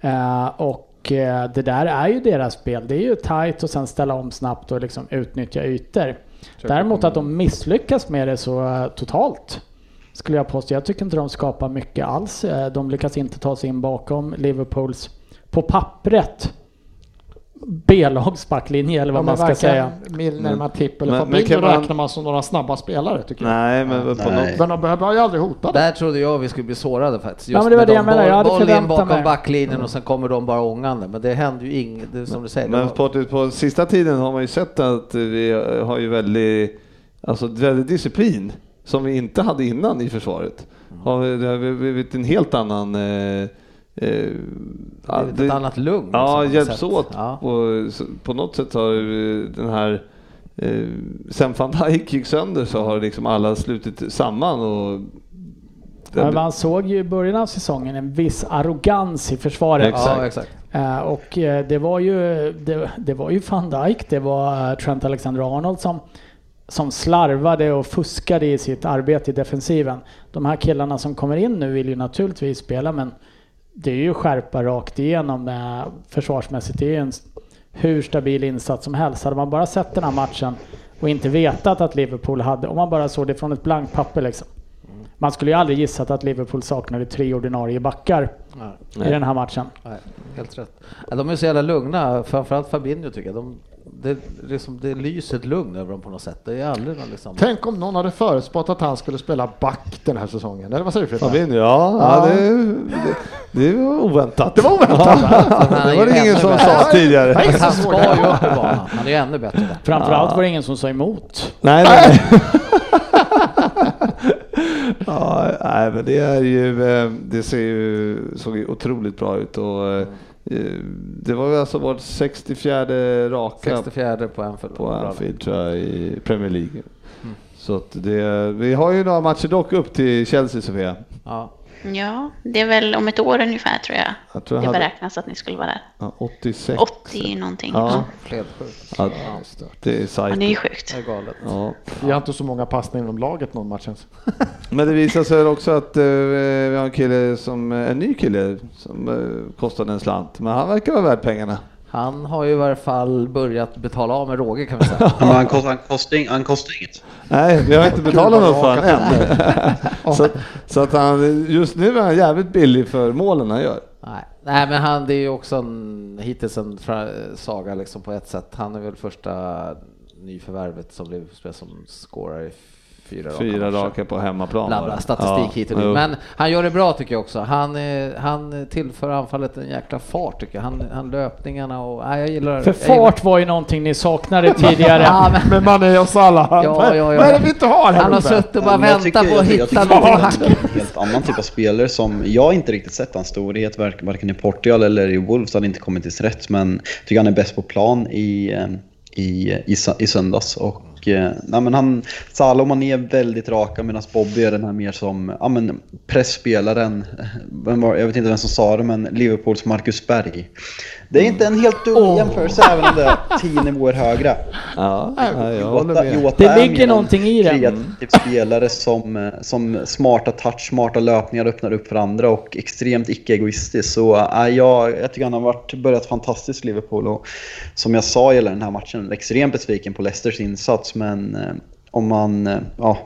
Eh, Och eh, det där är ju deras spel. Det är ju tight och sen ställa om snabbt och liksom utnyttja ytor. Däremot att de misslyckas med det så eh, totalt skulle jag påstå. Jag tycker inte de skapar mycket alls. Eh, De lyckas inte ta sig in bakom Liverpools, på pappret, B-lags backlinje eller vad Ja, men man ska varken säga. Mm. Milner, Matip eller Men- men Fabinho kan man- räknar man som några snabba spelare tycker jag. Nej, men på något... Nej. Men de behöver ju aldrig hota dem. Där trodde jag vi skulle bli sårade faktiskt. Ja, men det var med det de jag menade. Jag hade boll in förväntat bakom mig. backlinjen och sen kommer de bara ångande. Men det hände ju inget, det är som du säger. Men det var, på, på sista tiden har man ju sett att vi har ju väldigt, alltså väldigt disciplin som vi inte hade innan i försvaret. Mm. Har vi, det har blivit en helt annan... Eh, eh, det ja, är ett annat liksom, lugn. som Ja, man har hjälps sett. åt. Ja. Och så- på något sätt har eh, den här eh, sen van Dijk gick sönder så har liksom alla slutit samman och Men man såg ju i början av säsongen en viss arrogans i försvaret. Exakt. Ja, exakt. Eh, Och eh, det var ju, det, det var ju van Dijk, det var eh, Trent Alexander-Arnold som, som slarvade och fuskade i sitt arbete i defensiven. De här killarna som kommer in nu vill ju naturligtvis spela men det är ju skärpa rakt igenom eh, försvarsmässigt. Det är ju en s- hur stabil insats som helst. Hade man bara sett den här matchen och inte vetat att Liverpool hade, om man bara såg det från ett blankt papper liksom. Mm. Man skulle ju aldrig gissat att Liverpool saknade tre ordinarie backar Nej. i Nej. den här matchen. Nej, helt rätt. Ja, de är så jävla lugna, framförallt Fabinho tycker jag. De, det, liksom, det lyser ett lugn över dem på något sätt. Det är aldrig någon liksom... Tänk om någon hade förutspått att han skulle spela back den här säsongen. Eller vad säger du Fredrik? Fabinho, ja, ja. Ja. det, det, det var oväntat. Det var oväntat. Ja, det var det ingen som sa tidigare. Nej, så Han svårt. ska ju upp i banan. Han är ju ännu bättre där. Framförallt var det ingen som sa emot. Nej, nej. (laughs) ja, nej, men det är ju, eh, det ser ju, såg ju otroligt bra ut och eh, det var ju alltså vårt 64 raka 64 på Anfield. på Bra. Anfield tror jag i Premier League. Mm. Så att det, vi har ju några matcher dock upp till Chelsea Sofia. Ja. Ja, det är väl om ett år ungefär tror jag. Jag tror jag det hade- beräknas att ni skulle vara där. Ja, 86. 80 någonting. Ja. Ja. Fredsjukt. Ja, det är Ja, det är ju sajt. sjukt. Det är galet. Ja. Vi har inte så många passningar inom laget någon match ens. Men det visar sig också att eh, vi har en kille som, en ny kille som eh, kostade en slant. Men han verkar vara värd pengarna. Han har ju i varje fall börjat betala av med råge kan (laughs) vi säga. Ja, men han kostar, han kostar, ing- han kostar inget. Nej, vi har inte betalat något för honom än. (laughs) Ja. så, så att han, just nu är han jävligt billig för målen han gör. Nej. Nej, men han, det är ju också en, hittills en fra- saga liksom på ett sätt. Han är väl första nyförvärvet som blev som scorar i fyra, Fyra matcher. raka på hemmaplan. Bla, var bla, det. statistik Ja, hit och dit. jo. Men han gör det bra tycker jag också. Han, eh, han tillför anfallet en jäkla fart tycker jag. Han, han löpningarna och... Nej, jag gillar... För jag gillar- fart var ju någonting ni saknade tidigare. Ja, men, Men man är oss alla. ja, ja. Vad är det vi inte har här han har uppe? suttit och bara Men jag väntat tycker- på att jag tycker- hitta jag tycker någon att hack. det är En helt annan typ av spelare som jag inte riktigt sett hans storhet, vark- varken i Portugal eller i Wolves, han har inte kommit till sin rätt. Men jag tycker han är bäst på plan i, eh, i, i, sö- i söndags. Och, eh, nej men han, Salah och Mané är väldigt raka medan Bobby är den här mer som ja men, pressspelaren. Vem var- Jag vet inte vem som sa det, men Liverpools Marcus Berg. Det är inte en helt dum jämförelse även om det är tio nivåer högre. Ja, ja, jag håller Jota- med. Jota Det är ligger mer en någonting i det. Kreativ spelare som, eh, som smarta touch, smarta löpningar öppnar upp för andra och extremt icke-egoistisk. Så äh, jag, jag tycker han har varit, börjat fantastiskt i Liverpool och som jag sa gäller den här matchen, extremt besviken på Leicesters insats men eh, om man, eh, ja,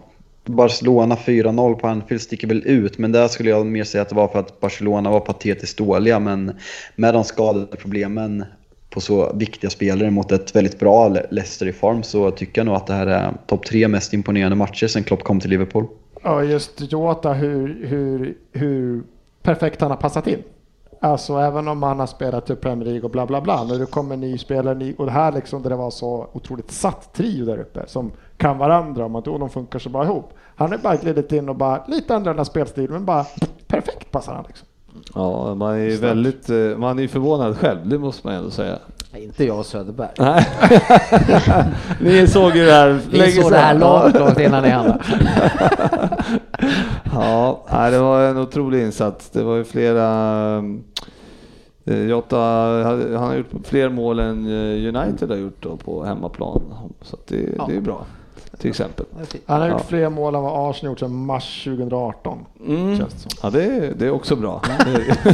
Barcelona 4-0 på Anfield sticker väl ut, men där skulle jag mer säga att det var för att Barcelona var patetiskt dåliga, men med de skadade problemen på så viktiga spelare mot ett väldigt bra Le- Leicester i form så tycker jag nog att det här är topp tre mest imponerande matcher sen Klopp kom till Liverpool. Ja, just Jota, hur, hur, hur perfekt han har passat in. Alltså även om han har spelat i Premier League och bla bla bla. När du kommer ny spelare ny, och det här liksom där det var så otroligt satt trio där uppe som kan varandra om att och de funkar så bra ihop. Han är bara glidit in och bara lite annorlunda spelstil men bara perfekt passar han liksom. Ja, man är ju väldigt, eh, man är ju förvånad själv, det måste man ändå säga. Nej, Inte jag och Söderberg. Nej. (laughs) Ni såg ju det här Vi såg det här långt, långt innan ni handlade. (laughs) Ja, nej, det var en otrolig insats. Det var ju flera... eh, Jota, han har gjort fler mål än eh, United har gjort då på hemmaplan. Så att det, det är bra, till exempel. Han har Ja. gjort fler mål än vad Arsenal gjort sedan mars 2018. Mm. Känns det som. Ja, det, är- det är också bra.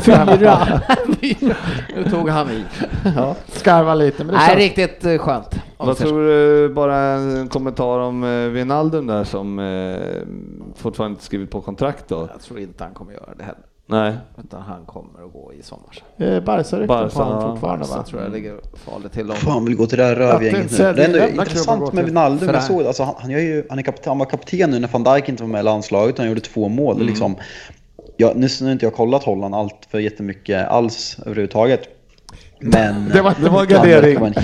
Fyra. (laughs) Nu tog han i. Ja. Skarvar lite men det Nej, känns... riktigt eh, skönt. Om vi Vad säger så. tror du, bara en kommentar om eh, Wijnaldum där som eh, fortfarande inte skrivit på kontrakt då? Jag tror inte han kommer göra det heller. Nej. Utan han kommer att gå i sommar. Eh, Barca-rykten Barca, på ja. honom fortfarande Så va? jag tror jag ligger farligt till om. Fan vill gå till det här Att rövgänget det- nu. så är Det det är ändå jävla klubb att gå intressant till. med Wijnaldum. För Jag det- såg, alltså, han, han, gör ju, han, är kapten, han var kapten nu när van Dijk inte var med i landslaget. Han gjorde två mål. Mm. Det är Liksom. Jag, nu har inte jag kollat Holland allt för jättemycket alls överhuvudtaget. Men (laughs) Det var- det var han verkar gardering. vara en-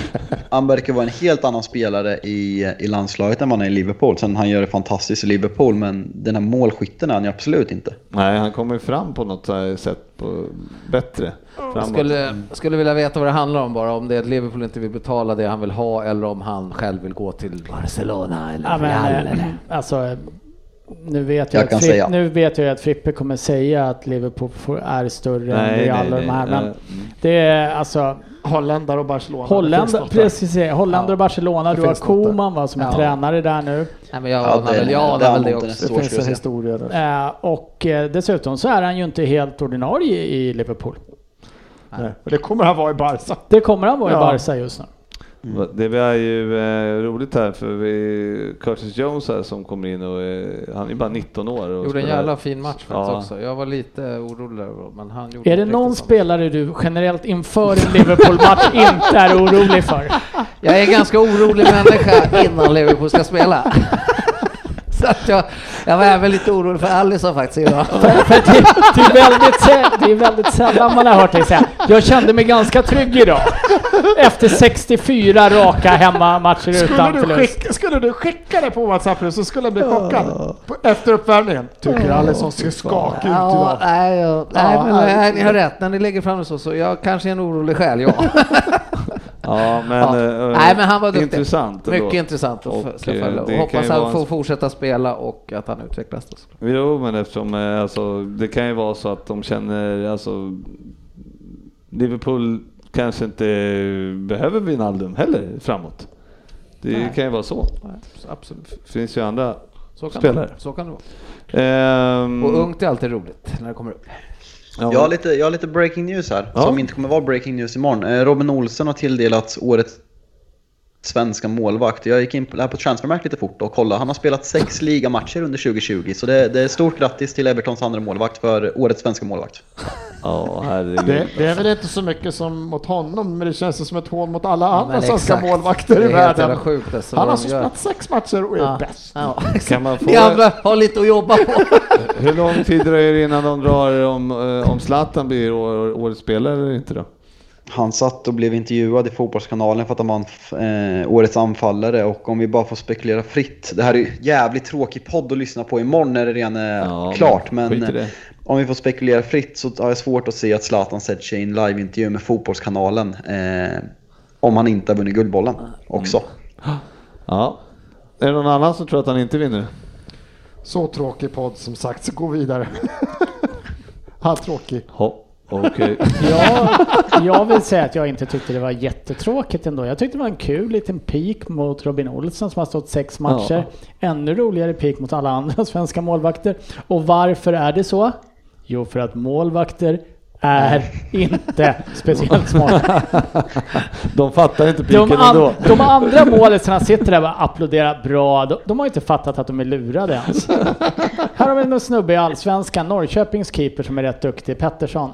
Han verkar vara en helt annan spelare i, i landslaget än vad han är i Liverpool. Sen han gör det fantastiskt i Liverpool, men den här målskytten är han ju absolut inte. Nej, han kommer ju fram på något så här sätt på bättre. Jag Framåt. skulle, skulle vilja veta vad det handlar om bara, om det är att Liverpool inte vill betala det han vill ha eller om han själv vill gå till Barcelona eller Ja, men, Real. eh, Eller. alltså, eh, nu vet Jag jag, kan att Frippe, säga. nu vet jag att Frippe kommer säga att Liverpool får- är större än Real och de här. Men nej. det är alltså Holländare och Barcelona. det finns Hollanda, något där. precis, Hollander och Barcelona. Det Du har finns något där. Koman va, som är Ja. tränare där nu. Nej, men jag Ja, anar det- väl, jag det anar väl det använder också. Så Det finns skulle jag en säga. historia där. Eh, och eh, dessutom så är han ju inte helt ordinarie i Liverpool. Nej. Och det kommer han vara i Barca. Det kommer han vara i Ja. Barca just nu. Eh, Det var ju eh, roligt här för vi, Curtis Jones här som kommer in och eh, han är bara 19 år. Och Gjorde en spelar- jävla fin match faktiskt Ja. också. Jag var lite orolig där, men han gjorde Är det inte någon riktigt samma. spelare du generellt inför (laughs) en Liverpool-match inte är orolig för? Jag är en (laughs) ganska orolig människa innan Liverpool ska spela. (laughs) Så att jag, jag var även lite orolig för Alisson faktiskt idag. För att det, det, är väldigt, sä- det är väldigt sällan man har hört dig säga jag kände mig ganska trygg idag. Efter 64 raka hemmamatcher Skulle utan du, förlust. skicka, skulle du skicka det på WhatsApp nu så skulle jag bli chockad. På- Efter uppvärmningen. Tycker Alisson ser skakig ut Ja, idag. nej, ja, nej, Ja, men, nej. nej, ni har rätt. När ni lägger fram det så, så jag kanske är en orolig (laughs) själ, ja. Ja, men, ja. eh, nej, men han var duktig. Intressant ändå. Mycket intressant att Och, och, eh, följa. Och det kan hoppas ju vara han en får sp- fortsätta spela och att han utvecklas. Då. Jo, men eftersom eh, alltså, det kan ju vara så att de känner, alltså Liverpool kanske inte behöver Wijnaldum heller framåt. Det kan ju vara så. Nej, så absolut. Det finns ju andra. Så kan, Spelare. det, så kan det vara. Ehm, Och ungt är alltid roligt när det kommer upp. ja, Jag har, lite, jag har lite breaking news här, Ja. som inte kommer vara breaking news imorgon. Eh, Robin Olsen har tilldelats årets svenska målvakt. Jag gick in på, här på transfermarkt lite fort och kollade. Han har spelat sex ligamatcher under 2020, så det, det är stort grattis till Evertons andra målvakt för årets svenska målvakt. ja, Det, herregud. det är väl inte så mycket som mot honom, men det känns ju som ett hån mot alla Ja, andra men svenska exakt. Det är målvakter i helt jävla världen. sjukt alltså, Han vad har alltså de gör. spelat sex matcher och är Ja. bäst. Ja, (laughs) Kan (laughs) man få- Ni andra har lite att (laughs) jobba på. Hur lång tid dröjer det innan de drar om, eh, om Zlatan blir å- årets spelare eller inte då? Han satt och blev intervjuad i Fotbollskanalen för att han vann f- eh, årets anfallare och om vi bara får spekulera fritt. Det här är ju jävligt tråkig podd att lyssna på imorgon när det redan är Ja, klart. men Men skit i det. eh, om vi får spekulera fritt så har jag svårt att se att Zlatan sätter sig i en liveintervju med Fotbollskanalen. Eh, om han inte har vunnit Guldbollen också. Mm. Ja. Är det någon annan som tror att han inte vinner? Så tråkig podd som sagt, så gå vidare. (laughs) Han tråkig. Ja, okej. Ja, jag vill säga att jag inte tyckte det var jättetråkigt ändå. Jag tyckte det var en kul liten pik mot Robin Olsen som har stått sex matcher. Ännu roligare pik mot alla andra (laughs) svenska målvakter. Och varför är det så? Jo, för att målvakter är inte speciellt smarta. De fattar inte piken De, ändå. an, de andra målisarna sitter där och applåderar bra. De, de har inte fattat att de är lurade ens. Här har vi en snubbe i Allsvenskan, Norrköpings keeper som är rätt duktig, Pettersson.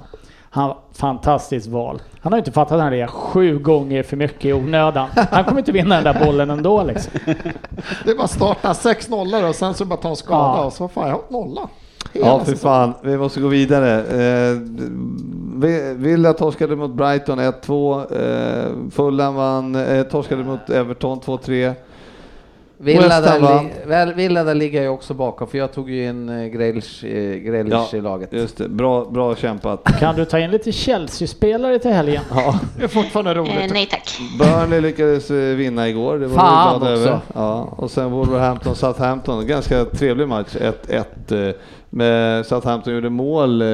Han, fantastiskt val. Han har inte fattat att han rear sju gånger för mycket i onödan. Han kommer inte vinna den där bollen ändå liksom. Det är bara att starta sex nollor och sen så bara ta en skada Ja. och så fan, jag har nolla. Ja, för fan. Vi måste gå vidare. Eh, vi- Villa torskade mot Brighton 1-2. Eh, Fulham vann, eh, torskade mot Everton 2-3. Villa West Ham där, vann. li- väl, Villa där ligger jag också bakom för jag tog ju in eh, Grealish, eh, Grealish i laget. just det. Bra, bra kämpat. Kan du ta in lite Chelsea-spelare till helgen? Det är fortfarande Eh, roligt. nej tack. Burnley lyckades eh, vinna igår. Det var Fan vi glada också. Över. Ja, och sen Wolverhampton, Southampton. Ganska trevlig match, 1-1. eh, Med Southampton gjorde mål eh,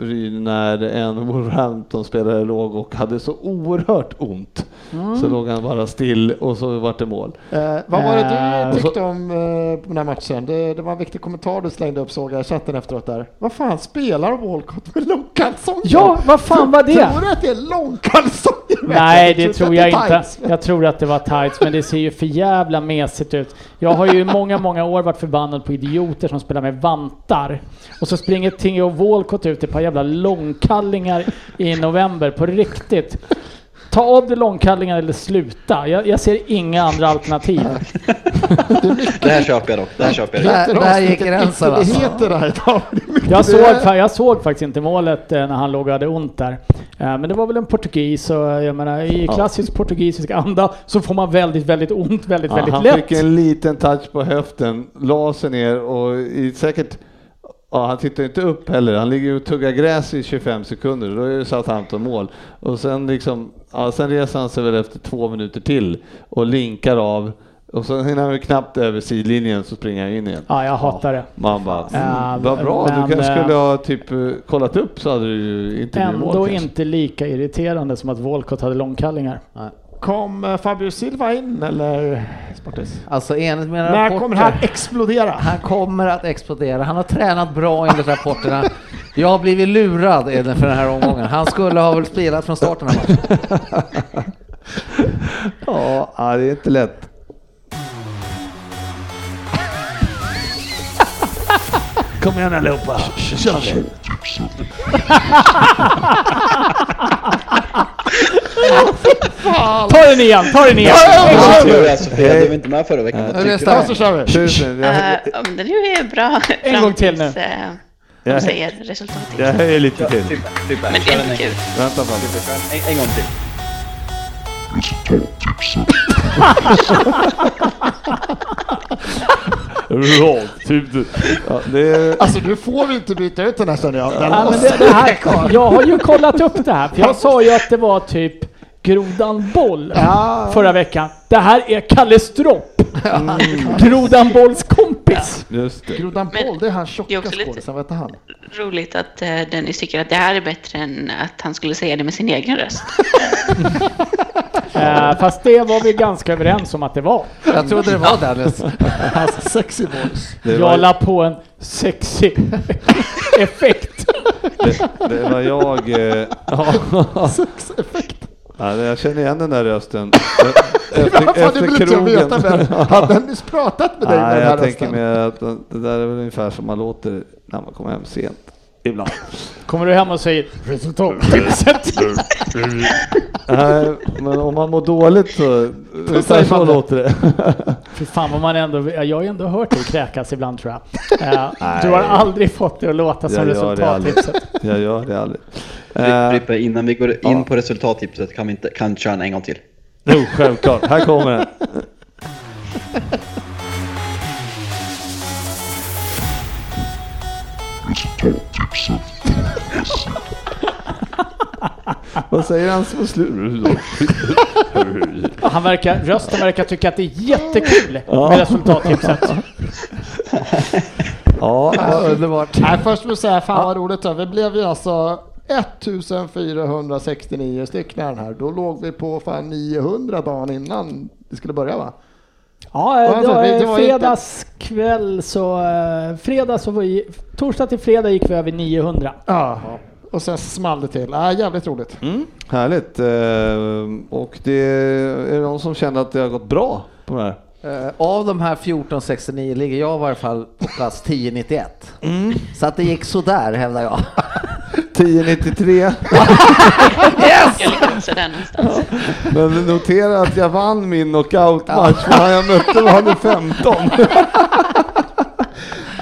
Ryn, när en Wolverhampton-spelare låg och hade så oerhört ont. Mm. Så låg han bara still och så vart det mål. Eh, vad var det Eh, du tyckte om eh, på den här matchen? Det, det var en viktig kommentar du slängde upp såg jag i chatten efteråt där. Vad fan spelar Walcott med långkalsonger? Ja, vad fan var det? Tror du att det är långkalsonger? Nej, det Jag tror att jag det är inte. tights. Jag tror att det var tights, men det ser ju för jävla mesigt ut. Jag har ju i många, många år varit förbannad på idioter som spelar med vantar. Och så springer Theo Walcott ut i ett par jävla långkallingar i november, på riktigt. Ta av dig långkallingarna eller sluta. Jag, jag ser inga andra alternativ. Det här köper jag dock. Det här köper (laughs) jag. Där, där gick Vilket gränsen alltså. Det heter det här idag. Jag såg, fa- jag såg faktiskt inte målet eh, när han låg och hade ont där. Eh, Men det var väl en portugis och eh, jag menar i klassisk portugisisk anda så får man väldigt, väldigt ont väldigt, Ja, väldigt han lätt. fick en liten touch på höften, la sig ner och i, säkert Ja, han tittar inte upp heller. Han ligger och tuggar gräs i 25 sekunder. Då är det Southampton mål. Och sen, liksom, ja, sen reser han sig väl efter två minuter till och linkar av. Och sen hinner han ju knappt över sidlinjen så springer han in igen. Ja, jag hatar det. Man bara, Ja, vad bra. men, du kanske eh, skulle ha typ eh, kollat upp så hade du ju inte blivit mål. Ändå kanske. inte lika irriterande som att Volkot hade långkallingar. Kom eh, Fabio Silva in eller Sportis? Alltså enligt mina När rapporter. kommer han explodera? Han kommer att explodera. Han har tränat bra enligt rapporterna. Jag har blivit lurad är det för den här omgången. Han skulle ha väl spelat från starten. här matchen. Ja, ja, det är inte lätt. (laughs) Kom igen allihopa, kör vi! Ta den igen, ta den igen! tur alltså, för jag var inte med förra veckan. Vad tyckte Ja, så kör vi. Tusen, jag, Eh, om det nu är bra fram gång till nu. tills, eh, de jag, säger resultatet. jag höjer lite Typ. till. Men det är ändå kul. Vänta fan. du? En, en gång till. Radtuben. typ Ja, det är... Alltså du får inte byta ut den här känner jag. Den Ja, men måste det, det här, jag har ju kollat upp det här, för jag sa ju att det var typ Grodan Boll förra veckan. Det här är Kalle Stropp, Mm. Grodan Bolls kompis. Just det. Grodan Men- Boll, det är han Det är tjocka också lite- skådisen, vad heter han? Roligt att eh, Dennis tycker att det här är bättre än att han skulle säga det med sin (laughs) egen röst. Eh, fast det var vi ganska överens om att det var. Jag trodde det var Dennis. Hans sexy voice. Det Jag var, la på en sexy (laughs) effekt. det, det var jag... Eh... Ja. Ja, jag känner igen den där (laughs) rösten. Efter, Vad fan, det vill inte jag veta vem. Hade han nyss pratat med dig med Nej, den här jag tänker rösten? mer att den- det där är väl ungefär som man låter när man kommer hem sent. Ibland. Kommer du hem och säger (laughs) resultattipset? Nej, men om man mår dåligt så, ungefär säger så man det. låter det. Fy fan vad man ändå, jag har ju ändå hört dig kräkas ibland (laughs) tror jag. Eh, Nej. du har aldrig fått det att låta som Jag gör det aldrig. resultattipset. Jag gör det aldrig. Ripp, Eh, Rippe, innan vi går in på resultattipset kan vi inte, kan köra en, en gång till. Eh, jo, självklart. Här kommer den. Vad säger han som slur? (laughs) Han verkar, rösten verkar tycka att det är jättekul med resultattipset. Ja, Underbart. Nej, först vill jag säga fan vad roligt det här. Vi blev ju alltså 1469 stycken den här. Då låg vi på fan 900 dagen innan det skulle börja va? Ja, eh, Alltså, då, det- det eh, var ju inte- fredagskväll så... eh, Fredag så var vi, torsdag till fredag gick vi över 900. Ja. Och sen small det till. Ja, jävligt roligt. Mm. Härligt. Eh, Och det är det någon som känner att det har gått bra på det här? Eh, Av de här 1469 ligger jag i varje fall på plats 1091. Mm. Så att det gick sådär hävdar jag. 1093. Jag ligger också där någonstans. Men notera att jag vann min knockoutmatch. Ja. Jag mötte var han i 15.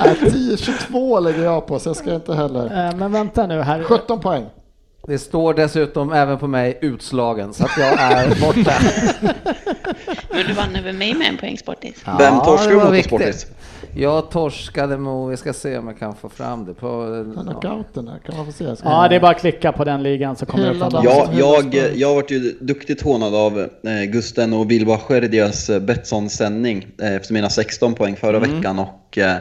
Nej, 10-22 Äh, lägger jag på så jag ska inte heller. Eh, Men vänta nu här. 17 poäng. Det står dessutom även på mig utslagen så att jag är borta. Men du vann över mig med en poäng sportis. Ja, Vem torskar det var mot oss, viktigt. Sportis? Jag torskade mot, vi ska se om jag kan få fram det. På, ja. Knockouten där, kan man få se? Jag ska- Ja, det är bara att klicka på den ligan så kommer det Hela fram. dagen. Jag, men- jag, jag vart ju duktigt hånad av eh, Gusten och Wilbacher i deras eh, Betsson-sändning eh, efter mina 16 poäng förra Mm. veckan och eh, eh,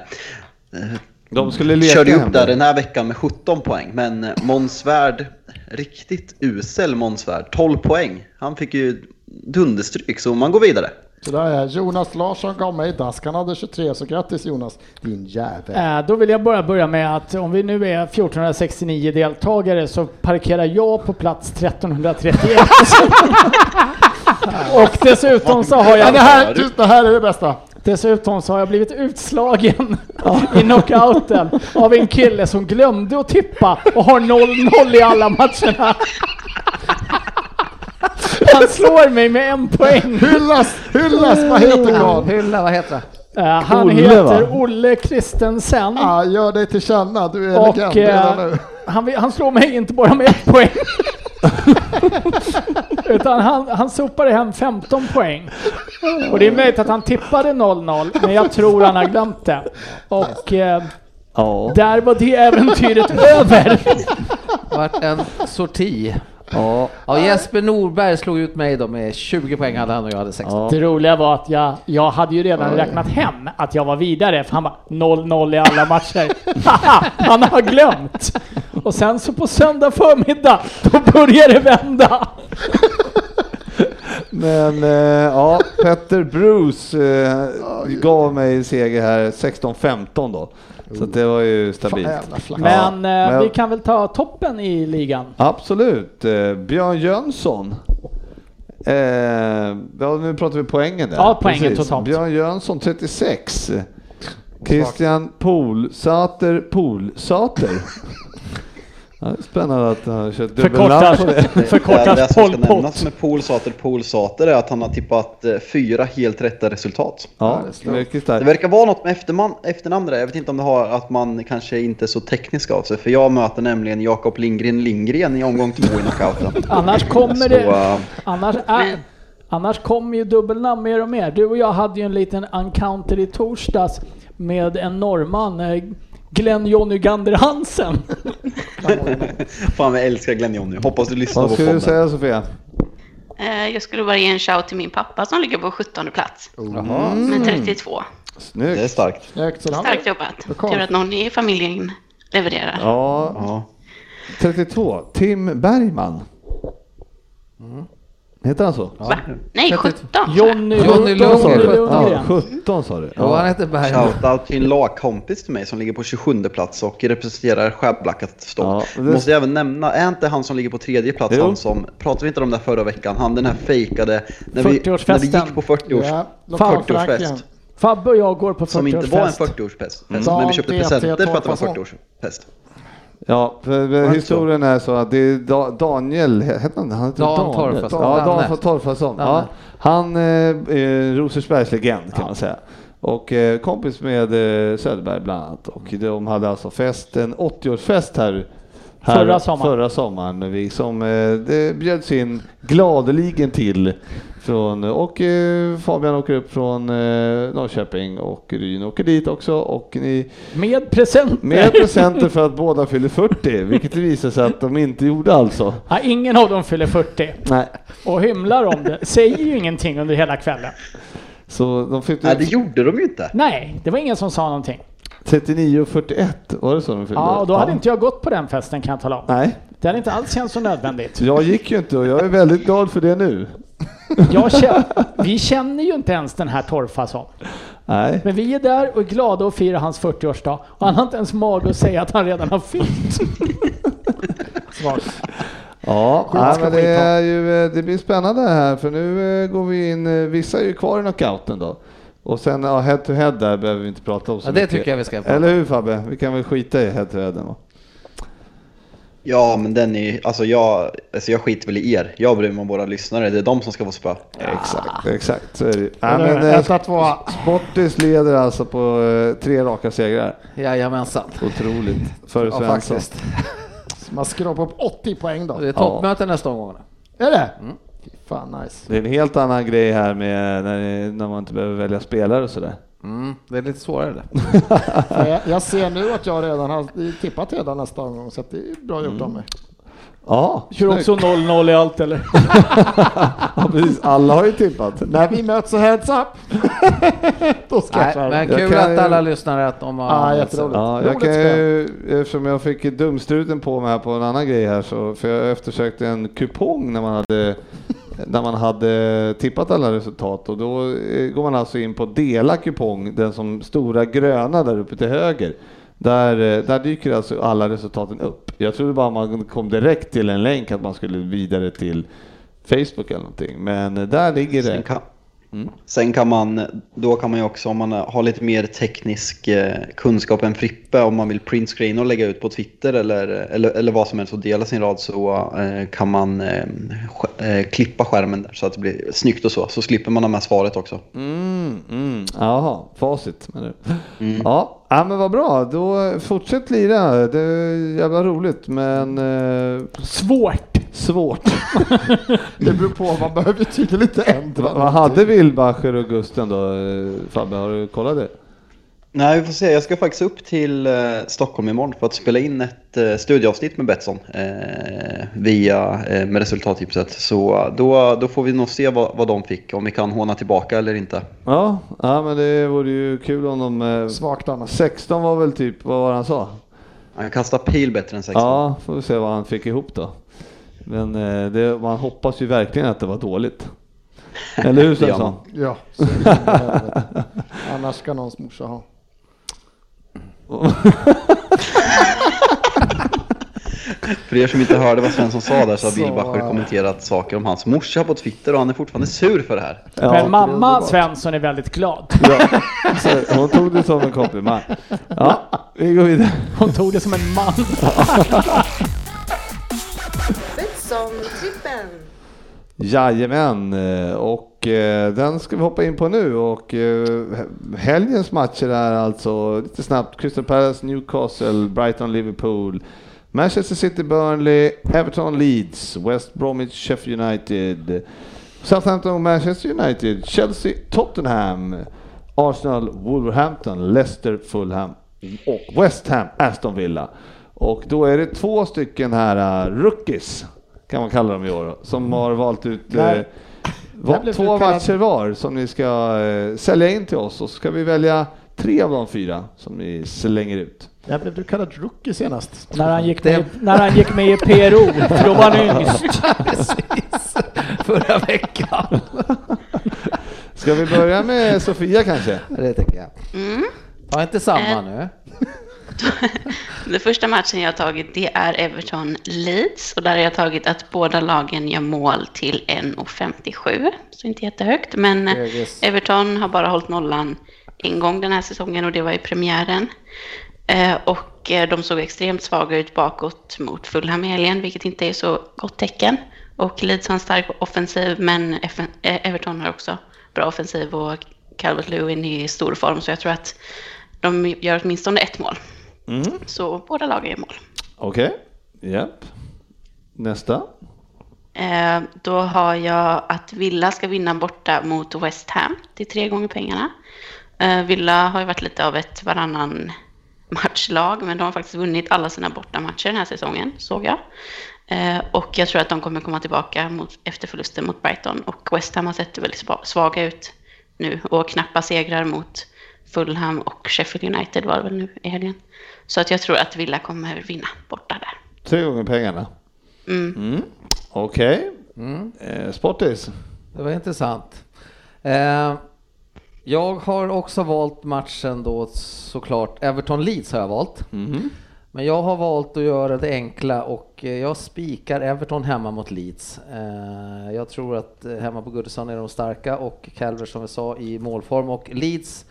De skulle leka körde ju hemma. upp där den här veckan med 17 poäng. Men eh, Måns Svärd, riktigt usel Måns Svärd, 12 poäng. Han fick ju dunderstryk så man går (laughs) vidare. Så där är Jonas Larsson gav mig dask. Han hade 23, så grattis Jonas. Din jävel. Eh, Då vill jag bara börja med att om vi nu är 1469 deltagare så parkerar jag på plats 1331. Och dessutom så har Ja, jag... det, här, tyst, det här är det bästa. Dessutom så har jag blivit utslagen i knockouten av en kille som glömde att tippa och har 0-0 i alla matcherna. Han slår mig med en poäng. Hyllas, hyllas, vad Äh. heter karln? Hylla, vad heter det? Eh, han Olle, heter va? Olle Kristensen. Ja, gör dig till känna. Du är Och elegant redan eh, nu. han, vill- han slår mig inte bara med (laughs) en poäng. Utan han, han sopade hem 15 poäng. Och det är möjligt att han tippade 0-0, men jag tror han har glömt det. Och eh, Ja. Där var det äventyret (laughs) över. Vart en sorti. ja. Ja, Jesper Norberg slog ut mig då med 20 poäng hade han och jag hade 16. Ja. Det roliga var att jag, jag hade ju redan räknat hem att jag var vidare, för han bara 0-0 i alla matcher. Haha, han har glömt! Och sen så på söndag förmiddag, då börjar det vända. Men eh, ja, Petter Bruce eh, gav mig seger här 16-15 då. Så att det var ju stabilt. Fan, jävla flack. Men, eh, men- vi kan väl ta toppen i ligan. Absolut. Eh, Björn Jönsson. Eh, ja, nu pratar vi poängen där. Ja, poängen totalt. Björn Jönsson 36. Christian Polsater Polsater. (laughs) Ja, det är spännande att han har kört dubbelnamn Förkortas, på (laughs) det. det, det förkortas som Pol ska nämnas Pot. med Polsater Polsater är att han har tippat eh, fyra helt rätta resultat. Ja, mycket Det starkt. verkar vara något med efterman, efternamn där. Jag vet inte om det har att man kanske inte är så teknisk av sig. För jag möter nämligen Jakob Lindgren Lindgren i omgång två i knockouten. (laughs) Annars Så, kommer det... eh, Annars, är, annars kommer ju dubbelnamn mer och mer. Du och jag hade ju en liten encounter i torsdags med en norrman, eh, Glenn Jonny Gander (laughs) Hansen. Fan jag älskar Glenn Jonny. Hoppas du lyssnar Vad på skulle du säga podden. Sofia? Eh, Jag skulle bara ge en shout till min pappa som ligger på 17 plats Mm. med 32. Det är Snyggt. starkt. Snyggt, så han- Starkt jobbat. kom. Tur att någon i familjen levererar. Ja, Ja. 32. Tim Bergman. Mm. Heter han så? Va? Nej, 17! Jonny Johnny Lundgren. Ja, Lundgren. 17 sa du. Ja, han Ja. heter Bergman. Shoutout till en lagkompis till mig som ligger på 27 plats och representerar Skärblackat stopp. Ja, det- Måste jag även nämna, är inte han som ligger på tredje plats Jo. han som, pratade vi inte om det här förra veckan, han den här fejkade, när, vi, när vi 40-årsfesten. gick på 40-års, Ja, lokal 40-årsfest. förankring. Fabbe och jag går på Som inte var en 40-årsfest. 40-årsfest, men Dan vi köpte TT presenter för att det var tårtfason. 40-årsfest. Ja, för för historien är så att det är Da- Daniel, hette han han heter Dan Daniel. Torfason. Ja, Danne. Dan från Torfason. Ja, Danne. han eh, är Rosersbergslegend kan man säga. Och eh, kompis med eh, Söderberg bland annat. Och de hade alltså fest, en 80-årsfest här, här Förra sommaren. förra sommaren. Vi som, eh, det bjöds in gladeligen till. Från, och eh, Fabian åker upp från eh, Norrköping och Ryn åker dit också. Och ni Med presenter. med presenter för att båda fyller 40, vilket det visade sig att de inte gjorde alltså. (laughs) Ja, ingen av dem fyller 40 Nej, och hymlar om det. Säger ju ingenting under hela kvällen. så de fick Nej, det gjorde de ju inte. Nej, det var ingen som sa någonting. 39 och 41, var det så de fyllde? Ja, och då hade inte jag gått på den festen kan jag tala om. Nej, Det hade inte alls känts så nödvändigt. jag gick ju inte och jag är väldigt glad för det nu. Jag känner, vi känner ju inte ens den här Torfason. Nej, Men vi är där och är glada och firar hans 40-årsdag. Och han har inte ens mag att säga att han redan har fyllt. Svagt. ja, nej, ska men det, skita. är ju, eh, det blir spännande här för nu eh, går vi in, eh, vissa är ju kvar i knockouten då. Och sen ja, head to head där behöver vi inte prata om så Ja, det mycket. tycker jag vi ska prata Eller hur Fabbe? Vi kan väl skita i head to headen va? Ja, men den är alltså jag, alltså jag skiter väl i er. Jag bryr mig om våra lyssnare, det är de som ska få spö. Exakt, exakt så är det ju. Nej, Eller men, eh, etta, tvåa. Sportis leder alltså på eh, tre raka segrar. Jajamensan. Otroligt. För Ja, Svensson. faktiskt. Man skrapar upp 80 poäng då. Det är toppmöte nästa omgång. Är det? Fy Fan nice. det är en helt annan grej här med när, det- när man inte behöver välja spelare och (laughs) sådär. Mm, det är lite (laughs) svårare det. Ja, Jag, jag ser nu att jag redan har tippat redan nästa omgång så att det är bra gjort av mig. Ja, Kör också 0-0 i allt eller? ja, precis. Alla har ju tippat. När vi möts så heads up! Då ska jag Nej, köra. men Jag kul kan att alla ju- lyssnare att de har... Ja, (laughs) jätteroligt. Ja, jag kan ju, eftersom jag fick dumstruten på mig här på en annan grej här så, för jag eftersökte en kupong när man hade, när man hade tippat alla resultat och då eh, går man alltså in på dela kupong, den som stora gröna där uppe till höger. Där, eh, där dyker alltså alla resultaten upp. Jag trodde bara man kom direkt till en länk att man skulle vidare till Facebook eller någonting, men eh, där ligger Sen det. kan, sen kan man, då kan man ju också om man har lite mer teknisk eh, kunskap än Frippe, om man vill printscreena och lägga ut på Twitter eller, eller, eller vad som helst och dela sin rad så eh, kan man eh, sk- eh, klippa skärmen där så att det blir snyggt och så. Så slipper man ha med svaret också. Mm, mm. Jaha, facit menar du. Ja. ja, men vad bra. Då fortsätt lira. Det är jävla roligt, men eh, Svårt. (laughs) svårt. Det beror på, man behöver ju tydligen lite ändra. Va- Vad hade Wilbacher och Gusten då? eh, Fabbe, har du kollat det? Nej, vi får se. Jag ska faktiskt upp till eh, Stockholm imorgon för att spela in ett eh, studieavsnitt med Betsson eh, via eh, med resultattipset. Så eh, då, då får vi nog se vad, vad de fick, om vi kan håna tillbaka eller inte. Ja, ja, men det vore ju kul om de... eh, Svagt annars. 16 var väl typ, vad var det han sa? Han kastar pil bättre än 16. Ja, får vi se vad han fick ihop då. Men eh, det, man hoppas ju verkligen att det var dåligt. Eller hur Det gör Svensson? man. Ja, så in i helvete. Annars ska någons morsa ha. För er som inte hörde vad Svensson sa där så har Så, Bilbacher eh, kommenterat saker om hans morsa på Twitter och han är fortfarande sur för det här. Ja. Men mamma Svensson är väldigt glad. Ja. Så hon tog det som en komplimang. Ja, vi går vidare. Hon tog det som en man. Betsson-trippen. Jajamän, eh, och eh, den ska vi hoppa in på nu och eh, he- helgens matcher är alltså lite snabbt Crystal Palace, Newcastle, Brighton, Liverpool, Manchester City, Burnley, Everton, Leeds, West Bromwich, Sheffield United, Southampton, Manchester United, Chelsea, Tottenham, Arsenal, Wolverhampton, Leicester, Fulham och West Ham, Aston Villa. Och då är det två stycken här eh, rookies kan man kalla dem i år, Mm. som har valt ut eh, Där. va- Där blev två du kallad. matcher var som ni ska eh, sälja in till oss och så ska vi välja tre av de fyra som ni slänger ut. Där blev du kallad rookie senast. När han gick med, i- när han gick med i PRO, för då var han yngst. (laughs) Precis, förra veckan. Ska vi börja (laughs) med Sofia kanske? Det tänker jag. Mm. Ta inte samma nu. Den första matchen jag har tagit det är Everton-Leeds och där har jag tagit att båda lagen gör mål till 1,57. Så inte jättehögt, men eh, Högis. Everton har bara hållit nollan en gång den här säsongen och det var i premiären. Eh, Och eh, de såg extremt svaga ut bakåt mot Fulham i helgen, vilket inte är så gott tecken. Och Leeds har en stark offensiv, men Effen- eh, Everton har också bra offensiv och Calvert-Lewin är i stor form, så jag tror att de gör åtminstone ett mål. Så båda lagen gör mål. Okej, japp. Nästa. Eh, Då har jag att Villa ska vinna borta mot West Ham. Det är tre gånger pengarna. Eh, Villa har ju varit lite av ett varannan matchlag, men de har faktiskt vunnit alla sina bortamatcher den här säsongen, såg jag. Eh, Och jag tror att de kommer komma tillbaka mot, efter förlusten mot Brighton. Och West Ham har sett väldigt sva- svaga ut nu och knappa segrar mot Fulham och Sheffield United var det väl nu i helgen. Så att jag tror att Villa kommer vinna borta där. Tre gånger pengarna. Mm. Okej. Mm. Eh, sportis. Det var intressant. Eh, jag har också valt matchen då såklart. Everton-Leeds har jag valt. Men jag har valt att göra det enkla och eh, jag spikar Everton hemma mot Leeds. Eh, Jag tror att eh, hemma på Goodison är de starka och Calvert som vi sa i målform och Leeds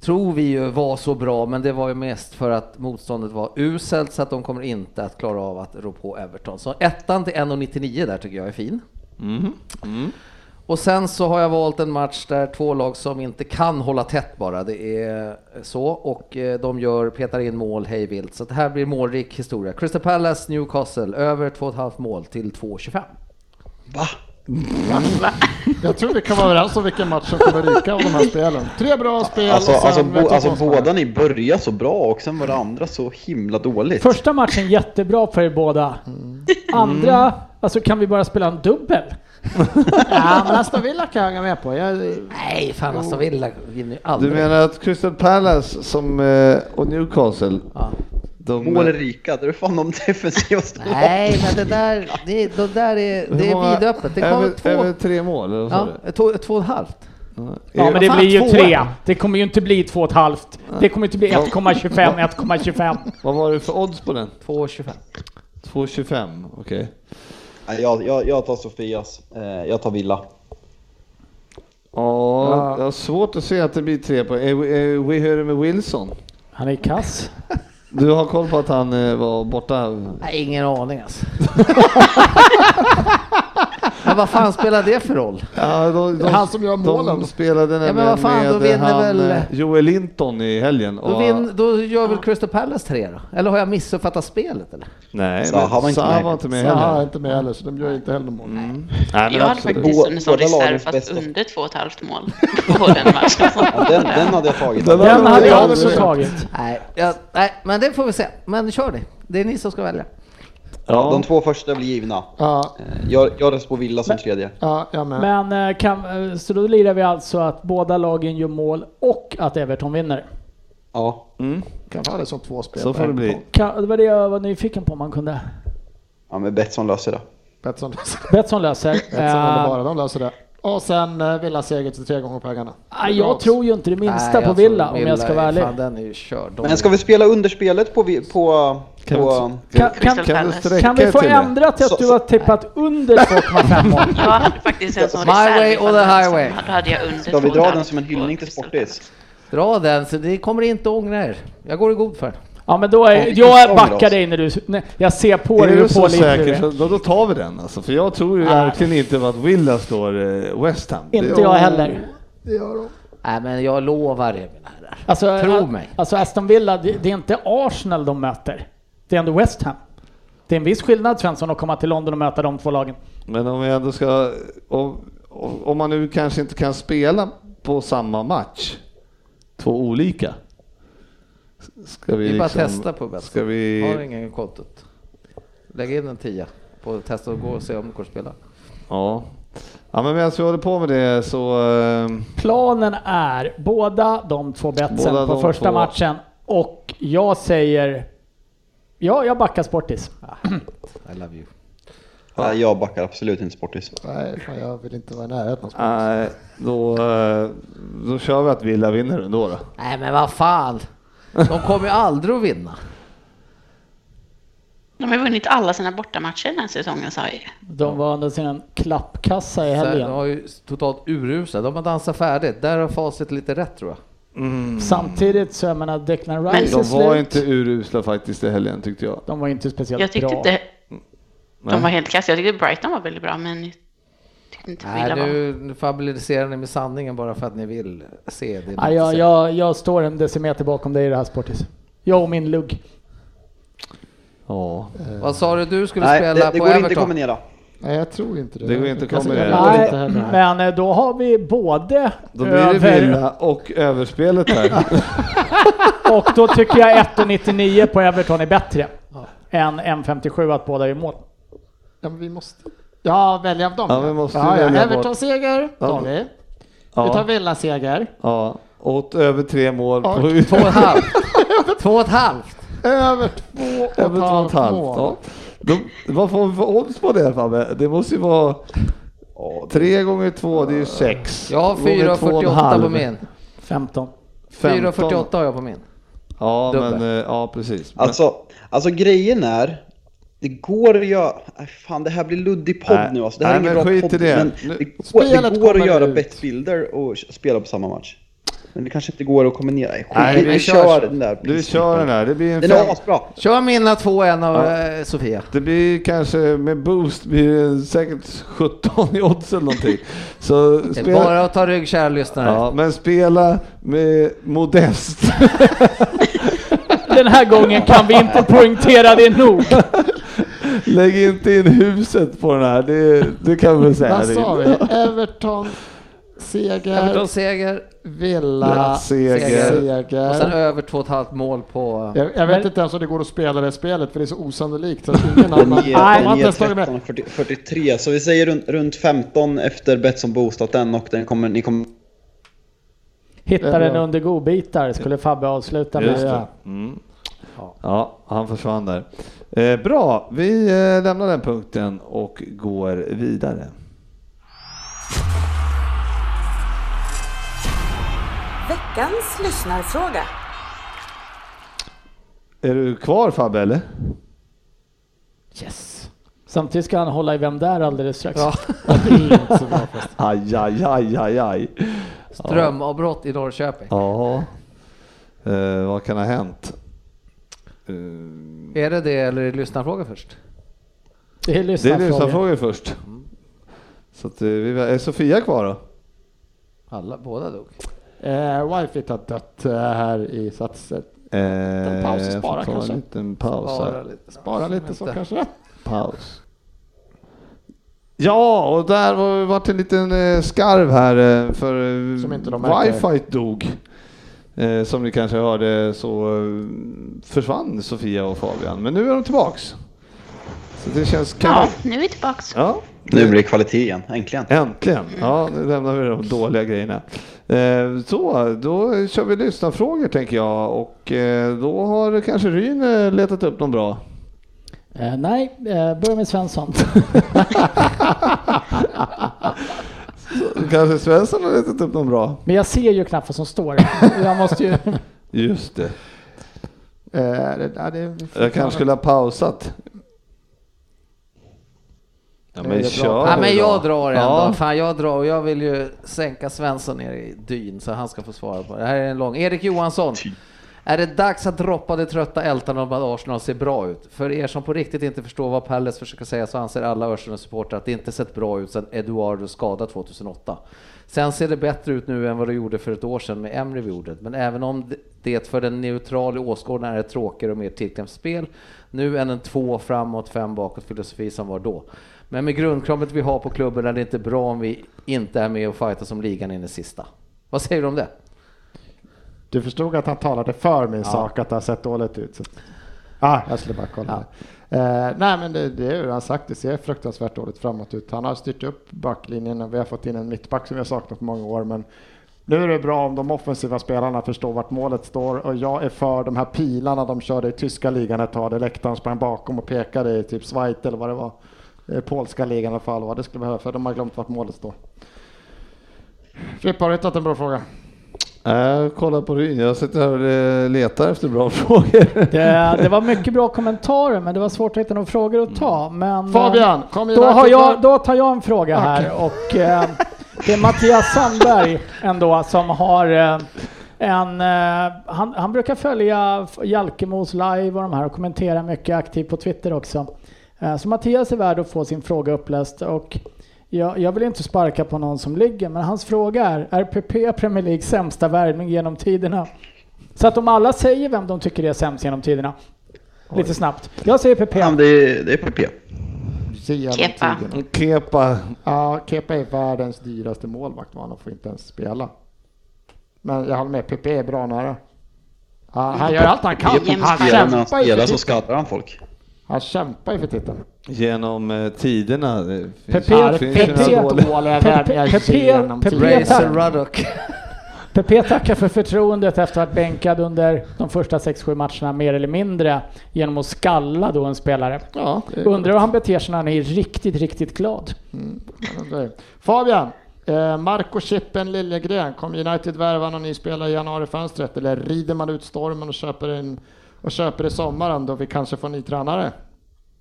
tror vi ju var så bra, men det var ju mest för att motståndet var uselt så att de kommer inte att klara av att rå på Everton. Så ettan till 1,99 där tycker jag är fin. Och sen så har jag valt en match där två lag som inte kan hålla tätt bara, det är så. Och eh, de gör, petar in mål hej vilt. Så det här blir målrik historia. Crystal Palace, Newcastle, över 2,5 mål till 2,25. Va? Jag tror vi kan vara överens om vilken match som kommer ryka av de här spelen. Tre bra spel Alltså, och sen alltså, vet jag bo, vad alltså som båda är. ni började så bra och sen var det andra så himla dåligt. Första matchen jättebra för er båda. Andra, alltså kan vi bara spela en dubbel? Ja, men Aston Villa kan jag hänga med på. Jag, Nej, fan Aston Villa vinner ju Du aldrig. menar att Crystal Palace som, eh, och Newcastle, Ja. de... Mål är rika, det är fan de (laughs) defensivaste Nej, men det där, det, det där är, Hur det är många- vidöppet. Det kommer över, över två, tre mål, eller vad sa ja, du? två, två och ett halvt. Ja men det fan, blir ju två. tre. Det kommer ju inte bli två och ett halvt. Det kommer inte bli 1,25, 1,25. Vad var det för odds på den? 2,25. 2,25, okej. Nej, Jag, jag, jag tar Sofias, eh, jag tar Villa. Ja, jag har svårt att se att det blir tre poäng. Eh, eh, Vi hörde med Wilson. Han är kass. Du har koll på att han eh, var borta? Nej, ingen aning alltså. (laughs) men vad fan spelar det för roll? Ja, de, de, Han som gör målen. De spelade men nämligen vad fan, då med vinner han, väl- eh, Joel Linton i helgen. Då, Och, vin, då gör väl Crystal Palace tre då? Eller har jag missuppfattat spelet eller? Nej, Zaha men var inte Zaha med. var inte med Mm. Zaha är heller. inte med heller, så de gör inte heller något mål. Nej, men Jag hade absolut. faktiskt Bå- en sån båda reserv lagens fast bästa. under två och ett halvt mål (laughs) på den matchen. Ja, den, den hade jag tagit. Den Den hade jag aldrig också sett. tagit. Nej, jag, nej, men det får vi se. Men kör ni. Det är ni som ska välja. Ja. De två första blir givna. Ja, Eh, Jag, jag röstar på Villa som tredje. ja, jag med. Men eh, kan, eh, så då lirar vi alltså att båda lagen gör mål och att Everton vinner. Ja. Mm, Kan ha det som två spel. så får det bli. Kan, det var det jag var nyfiken på om man kunde. ja, men Betsson löser det. Betsson löser det. (laughs) Betsson löser. Betsson eller Eh, bara de löser det. Och sen eh, Villa seger till tre gånger pengarna. Ah, Jag tror ju inte det minsta Nej, på jag Villa tror om jag ska Villa vara är- ärlig. Fan, den är ju körd. Men ska vi spela underspelet på... vi- på, Kan vi på eh, Kan, kan, Kan Crystal du Palace. sträcka kan vi få till det? ändra till att Så- du har tippat under 2,5 mål? (laughs) Jag hade faktiskt en sån My reserv way ifall or the det var highway. så. Då hade jag under ska vi dra 200 den som en hyllning till på Crystal Sportis? Dra den, så det kommer inte ångra er. Jag går i god för den. Ja men då är, vi jag kan ångra backar oss. dig när du... Nej, jag ser på Är dig du hur så pålitlig du säker, är. så då, då tar vi den alltså. För jag tror ju Nej. verkligen inte på att Villa slår eh, West Ham. Det- Inte jag heller. Det gör de. Nej, men jag lovar er mina herrar. Alltså, Tro eh, mig. Alltså Aston Villa, det, det är inte Arsenal de möter. Det är ändå West Ham. Det är en viss skillnad Svensson att komma till London och möta de två lagen. Men om vi ändå ska... Om, om- om man nu kanske inte kan spela på samma match, två olika. Ska vi, Vi bara liksom- testa på bäst. Ska vi... Har ingen kontot. Lägg in en tia på att testa och gå och se om det går att spela. Ja. ja, men medan vi håller på med det så... eh, Planen är båda de två betsen Båda på de första två. matchen och jag säger... Ja, jag backar Sportis. I love you. Nej, jag backar absolut inte Sportis. Nej, fan, jag vill inte vara i närheten av Sportis. Nej, då, eh, då kör vi att Villa vinner ändå då. Nej, men vad fan. De kommer ju aldrig att vinna. De har vunnit alla sina bortamatcher den här säsongen sa jag ju. (clears throat) De var å andra sidan klappkassa i Så här, helgen. de har ju totalt urusla. De har dansat färdigt. Där har facit lite rätt tror jag. Samtidigt så, jag menar, Declan Men- Rice är De var slut. inte urusla faktiskt i helgen tyckte jag. De var inte speciellt Jag tyckte bra. inte Nej. de var helt kass. Jag tyckte Brighton var väldigt bra men jag tyckte inte Villa Nej, var. nu, nu fabuliserar ni med sanningen bara för att ni vill se det. ni Ja, inte jag, ser. jag, jag står en decimeter bakom dig i det här Sportis. Jag och min lugg. Ja. Vad sa du? Du skulle Nej, spela det, det på går inte att Everton? kombinera. Nej, jag tror inte det. Det går inte att Alltså, kombinera. jag går Nej, inte heller. men eh, då har vi både eh, Då blir det över Villa och överspelet (laughs) här. och då tycker jag 1,99 på Everton är bättre än 1,57 att båda gör mål. Ja, men vi måste... Ja, välja av dem. Ja, vi måste ja, välja ja. bort. Everton-seger tar Ja. vi. Vi tar Ja, Villa-seger. ja. Åt över tre mål (laughs) på Två och (laughs) ett halvt. Två och ett halvt. Över två och över två och ett halvt. mål. Ja. De, vad får vi för odds på det Fabbe? Det måste ju vara tre gånger två, det är ju sex. Jag har Gånger två och en 4,48 på halv. min. 15. 15. 4,48 har jag på min. Ja, men, Dubbel. eh, ja precis. Men- Alltså, alltså grejen är, det går att göra... Aj, Fan, det här blir luddig podd Nej. nu alltså. Det här Nej, är men ingen bra skit i podd. det. Men Nu- det går, Spelet det går kommer att göra ut. bettbilder och spela på samma match. Men det kanske inte går att kombinera. Skit, Nej, vi, vi kör så. den där. Du kör den där. Det blir en Den fem, är asbra. Kör mina två en av eh, Sofia. Det blir kanske med boost blir det säkert 17 i odds eller någonting. Så Det är spela, bara att ta rygg kära lyssnare. ja, men spela med modest. Den här gången kan vi inte poängtera det (laughs) nog. Lägg inte in huset på den här. Det, det kan vi väl säga. Vad sa vi? Everton Everton-seger. seger Villa. Seger. och sen Seger. över 2,5 mål på... Jag, jag vet inte ens om det går att spela det spelet för det är så osannolikt. Så att ingen annan... Den Nej, ger, man har den inte ger ens tagit med. 13, 40, 43, så vi säger runt, runt 15 efter Betsson boostat den och den kommer, ni kommer... Hitta den under godbitar skulle Fabbe avsluta med. Just det. Mm. Ja, han försvann där. Eh, bra, vi eh, lämnar den punkten och går vidare. Veckans lyssnarfråga. Är du kvar Fabbe eller? Yes. Samtidigt ska han hålla i Vem där alldeles strax. (laughs) Ja. Det är inte så bra fast. Aj, aj, aj, aj, aj. Strömavbrott i Norrköping. Ja, eh, vad kan ha hänt? Eh, Är det det eller är det lyssnarfråga först? Det är det är lyssnarfrågor. lyssnarfrågor först. Så att, eh, vi, är Sofia kvar då? Alla, båda dog. Eh, Wifit har dött eh, här i satset. En paus och spara kanske. En liten paus Bara här. lite. Spara lite så Vänta. kanske. Paus. Ja, och där var det varit en liten eh, skarv här eh, för eh, Som inte de märker. wifi dog. Eh, Som ni kanske hörde så eh, försvann Sofia och Fabian, men nu är de tillbaks. Så det känns kanon. Ja, nu är vi tillbaks. Ja. Nu blir det kvalitet igen, äntligen. Äntligen! Ja, nu lämnar vi de dåliga grejerna. Eh, Så, då kör vi lyssnarfrågor tänker jag och eh, då har kanske Ryn eh, letat upp någon bra. Eh, nej, eh, börja med Svensson. kanske Svensson har letat upp någon bra. (laughs) Men jag ser ju knappt vad som står. Jag måste ju... Just det. Eh, det, ja, det, vi får Jag ta- kanske skulle ha pausat. Ja, Det är men bra. kör Ja, men jag då. drar ändå. Ja. Fan, jag drar och jag vill ju sänka Svensson ner i dyn så han ska få svara på det. Det här är en lång. Erik Johansson. Är det dags att droppa det trötta ältan om att Arsenal ser bra ut? För er som på riktigt inte förstår vad Palles försöker säga så anser alla Arsenal-supportrar att det inte sett bra ut sedan Eduardo skada 2008. Sen ser det bättre ut nu än vad det gjorde för ett år sedan med Emre vid ordet. Men även om det för den neutrala åskådaren är ett tråkigare och mer tillknäppt spel nu än en två framåt, fem bakåt filosofi som var då. Men med grundkravet vi har på klubben är det inte bra om vi inte är med och fightar som ligan in i sista. Vad säger du om det? Du förstod att han talade för min sak, att det har sett dåligt ut. Så. Ah, jag skulle bara kolla. Eh, nej, men det, det är ju det han sagt, det ser fruktansvärt dåligt framåt ut. Han har styrt upp backlinjen och vi har fått in en mittback som vi har saknat på många år. Men nu är det bra om de offensiva spelarna förstår vart målet står och jag är för de här pilarna de körde i tyska ligan ett tag, där läktaren sprang bakom och pekade i typ Schweiz eller vad det var. Eh, Polska ligan i alla fall, vad det skulle behöva för de har glömt vart målet står. Frippe, har du hittat en bra fråga? Jag kollar Eh, på ryn. Jag sitter här och eh, letar efter bra (laughs) frågor. Eh, det, det var mycket bra kommentarer, men det var svårt att hitta några frågor att ta. Men, eh, Fabian, kom Då, igen. har jag, då tar jag en fråga här och eh, det är Mattias Sandberg ändå som har eh, en... Eh, han, han brukar följa F- Jalkemos live och de här och kommentera mycket aktivt på Twitter också. Eh, så Mattias är värd att få sin fråga uppläst och jag, jag vill inte sparka på någon som ligger men hans fråga är Är PP Premier League sämsta värvning genom tiderna? Så att om alla säger vem de tycker är sämst genom tiderna. Lite snabbt. Jag säger PP. Ja, men det, är, det är PP. Genom Kepa. tiderna. Kepa. Ja, Kepa är världens dyraste målvakt, man får inte ens spela. Men jag håller med, PP är bra nära. Ja, han gör allt han kan. Pepe Han Spelar när han kämpar, ju för spelar så titeln. skadar han folk. han kämpar ju för titeln. Genom eh, tiderna. Det finns, Pepe- ju- Ja, finns ju Pepe- några dåliga- dåliga Pepe- värvningar Pepe- genom Pepe- tiden. Racer Razor tack. Ruddock. Pepe tackar för förtroendet efter att ha varit bänkad under de första 6-7 matcherna mer eller mindre genom att skalla då en spelare. Ja, det är- Undrar hur han beter sig när han är riktigt, riktigt glad. Ja, det är- Fabian, eh, Marco Chippen Liljegren, kommer United värva någon ny spelare i januarifönstret eller rider man ut stormen och köper, en, och köper i sommaren då vi kanske får en ny tränare?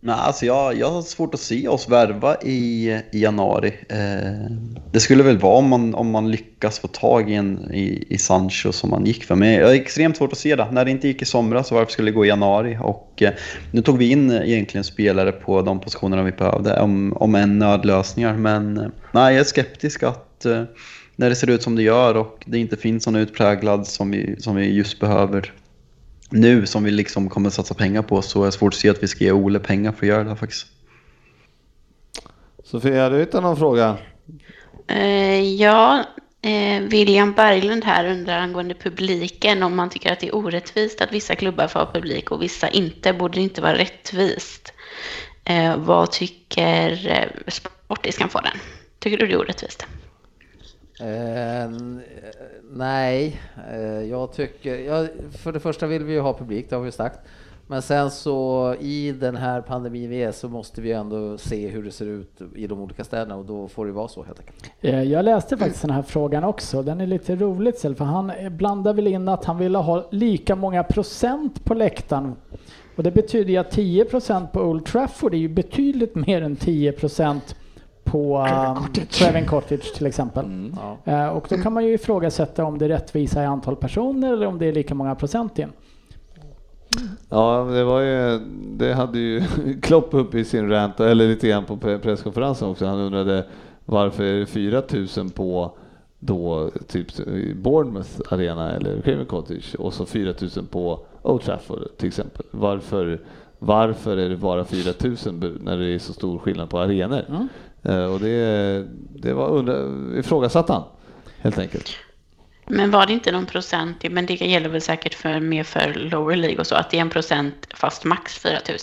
Nej, alltså jag, jag har svårt att se oss värva i, i januari. Eh, det skulle väl vara om man, om man lyckas få tag i, en, i, i Sancho som man gick för. Men jag har extremt svårt att se det. När det inte gick i somras, så varför skulle det gå i januari? Och eh, nu tog vi in eh, egentligen spelare på de positionerna vi behövde, om, om än nödlösningar. Men eh, nej, jag är skeptisk att eh, när det ser ut som det gör och det inte finns någon utpräglad som vi, som vi just behöver nu som vi liksom kommer satsa pengar på så är det svårt att se att vi ska ge Ole pengar för att göra det här faktiskt. Sofia, har du hittat någon fråga? Eh, ja, eh, William Berglund här undrar angående publiken om man tycker att det är orättvist att vissa klubbar får ha publik och vissa inte. Borde det inte vara rättvist? Eh, vad tycker eh, Sportis kan få den? Tycker du det är orättvist? Eh, n- eh, nej, eh, jag tycker... Jag, för det första vill vi ju ha publik, det har vi ju sagt. Men sen så i den här pandemin vi är så måste vi ändå se hur det ser ut i de olika städerna och då får det vara så helt enkelt. Eh, Jag läste faktiskt den här frågan också. Den är lite roligt Sel, för han eh, blandar väl in att han ville ha lika många procent på läktaren. Och det betyder ju att 10 procent på Old Trafford är ju betydligt mer än 10 procent på um, Craven Cottage till exempel. Ja. Eh, Och då kan man ju ifrågasätta om det är rättvisa i antal personer eller om det är lika många procent in. Ja, det var ju, det hade ju (laughs) Klopp upp i sin rant, eller lite grann på pre- presskonferensen också. Han undrade varför är det 4000 på då typ i Bournemouth arena eller Craven Cottage och så 4000 på Old Trafford till exempel. Varför, varför är det bara 4000 bu- när det är så stor skillnad på arenor? Eh, Och det, det var undra, ifrågasatt han helt enkelt. Men var det inte någon procent, men det gäller väl säkert för, mer för lower League och så, att det är en procent fast max 4 000.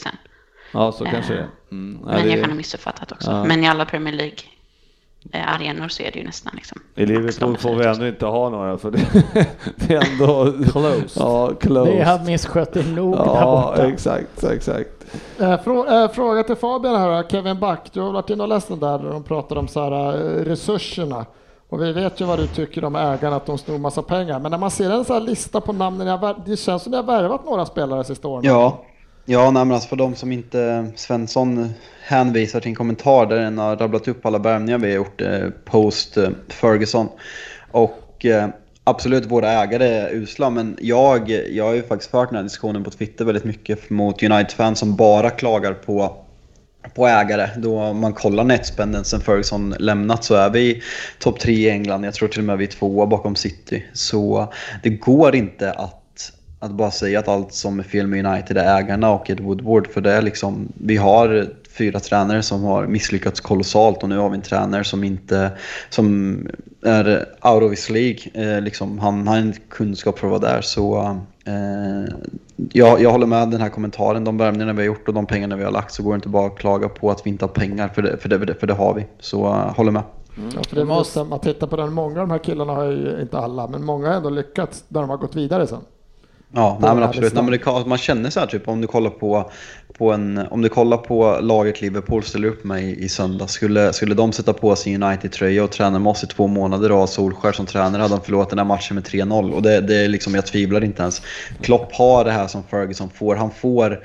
Ja, så Eh, kanske det är. Mm, ja, men det- jag kan ha missuppfattat också. Ja. Men i alla Premier League-arenor så är det ju nästan liksom... I max de Liverpool får vi 4 000. ännu inte ha några för det, (laughs) det är ändå... Closed. Ja, closed. Det har misskött det nog där ja, borta. exakt, exakt. Eh, frå- eh, fråga till Fabian här, Kevin Back. Du har varit inne och läst den där, där de pratar om så här, eh, resurserna. Och vi vet ju vad du tycker om ägarna, att de snor massa pengar. Men när man ser en sån här lista på namnen, ni har vär- det känns som ni har värvat några spelare sista åren. Ja, ja nej, men alltså för de som inte Svensson hänvisar till en kommentar där den har rabblat upp alla värvningar vi har gjort eh, post eh, Ferguson. Och eh, absolut, våra ägare är usla, men jag, jag har ju faktiskt fört den här diskussionen på Twitter väldigt mycket mot United-fans som bara klagar på på ägare. Då om man kollar netspenden sen Ferguson lämnat så är vi topp tre i England. Jag tror till och med vi är tvåa bakom City. Så det går inte att, att bara säga att allt som är fel med United är ägarna och ett Woodward. För det är liksom, vi har fyra tränare som har misslyckats kolossalt och nu har vi en tränare som inte som är out of his League. Eh, liksom, han har inte kunskap för att vara där. Så eh, jag, jag håller med den här kommentaren. De värvningarna vi har gjort och de pengarna vi har lagt så går det inte bara att klaga på att vi inte har pengar för det, för det, för det, för det har vi. Så eh, håller med. Ja, Mm. för det är väl just när man tittar på den, många av de här killarna har ju, inte alla, men många har ändå lyckats när de har gått vidare sen. Ja, Det nej, men är absolut. Nej, men det, kan- man känner så här typ om du kollar på, på, en, om du kollar på laget Liverpool ställer upp mig i söndag. Skulle, skulle de sätta på sig United-tröja och träna med oss i två månader och ha Solskär som tränare hade de förlorat den här matchen med 3-0. Och det, det är liksom, jag tvivlar inte ens. Klopp har det här som Ferguson får. Han får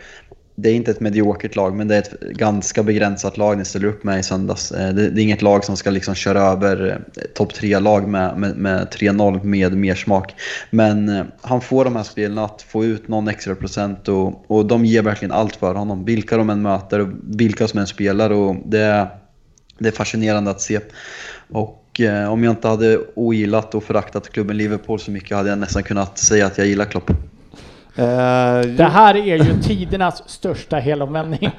det är inte ett mediokert lag, men det är ett ganska begränsat lag ni ställer upp med i söndags. Eh, Det, det är inget lag som ska liksom köra över eh, topp tre lag med, med, med 3-0 med mer smak. Men eh, han får de här spelen att få ut någon extra procent och, och de ger verkligen allt för honom. Vilka de än möter och vilka som än spelar. Och det, är- det är fascinerande att se. Och eh, om jag inte hade ogillat och föraktat klubben Liverpool så mycket hade jag nästan kunnat säga att jag gillar Klopp. Eh, Det här är ju tidernas största helomvändning.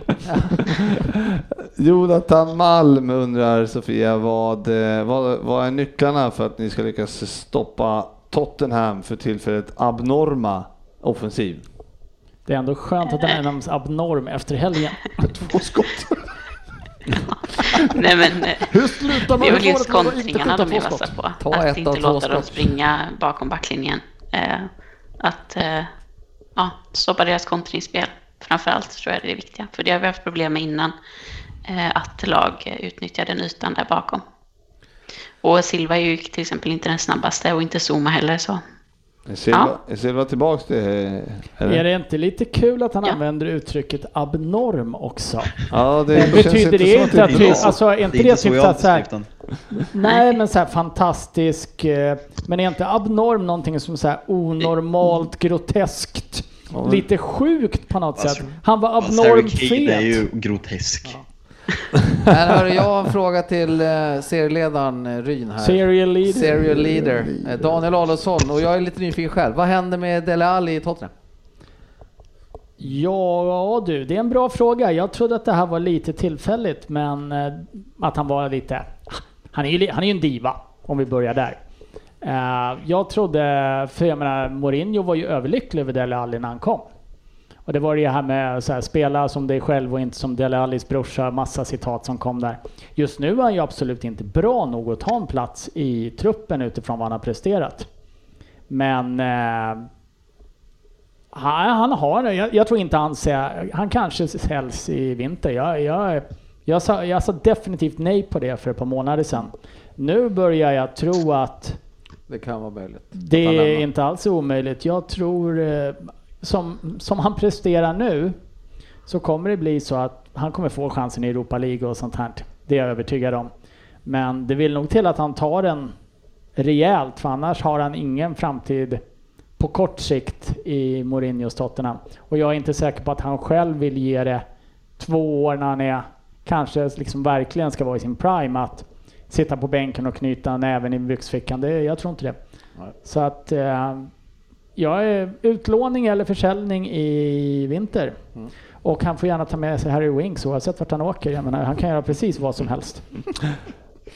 Jonathan Malm undrar Sofia, vad, eh, vad, vad är nycklarna för att ni ska lyckas stoppa Tottenham för tillfället abnorma offensiv? Det är ändå skönt att den är nämns abnorm efter helgen. Två skott. (laughs) Nej, men, eh, Hur slutar man det är väl med just året med att inte kontringarna skjuta de är två vassa skott? på. Ta ett att av inte två låta dem skott. springa bakom backlinjen. Eh, att eh, ja, stoppa deras kontringsspel framförallt tror jag det är det viktiga. För det har vi haft problem med innan. Eh, att lag eh, utnyttjar den ytan där bakom. Och Silva är ju till exempel inte den snabbaste och inte Zuma (laughs) heller så. Är Silva, är Silva tillbaks till... Är Eller? det inte lite kul att han Ja. använder uttrycket abnorm också? Ja, det Men känns betyder inte det som inte att är vi- bra. alltså, är inte det typ så att så här- den. Nej, men så här fantastisk. eh, Men är inte abnorm någonting som så här onormalt, groteskt? Lite sjukt på något Alltså, sätt. Han var Fast Harry abnormt Kane är fet. ju grotesk. Men hörru, jag har en fråga till eh, serieledaren eh, Ryn här. Serial leader. Serial leader. Eh, Daniel Adolfsson och jag är lite nyfiken själv. Vad händer med Dele Alli i Tottenham? Ja du, det är en bra fråga. Jag trodde att det här var lite tillfälligt, men eh, att han var lite... Han är ju, li- han är ju en diva, om vi börjar där. Eh, Jag trodde, för jag menar Mourinho var ju överlycklig över Dele Alli när han kom. Och det var det här med så här, spela som dig själv och inte som Dele Allis brorsa, massa citat som kom där. Just nu är han ju absolut inte bra nog att ta en plats i truppen utifrån vad han har presterat. Men eh, han, han har jag, jag tror inte han sä- Han kanske säljs i vinter. Jag, jag, jag, sa, jag sa definitivt nej på det för ett par månader sedan. Nu börjar jag tro att Det kan vara möjligt. det Att han är lämnar. inte alls omöjligt. Jag tror, eh, som, som han presterar nu, så kommer det bli så att han kommer få chansen i Europa League och sånt här. Det är jag övertygad om. Men det vill nog till att han tar den rejält, för annars har han ingen framtid på kort sikt i Mourinhos Tottenham. Och jag är inte säker på att han själv vill ge det två år när han är, kanske liksom verkligen ska vara i sin prime, att sitta på bänken och knyta näven i byxfickan. Det, jag tror inte det. Så att eh, jag är utlåning eller försäljning i vinter. Mm. Och han får gärna ta med sig Harry Winks oavsett vart han åker. Jag menar, han kan göra precis vad som helst.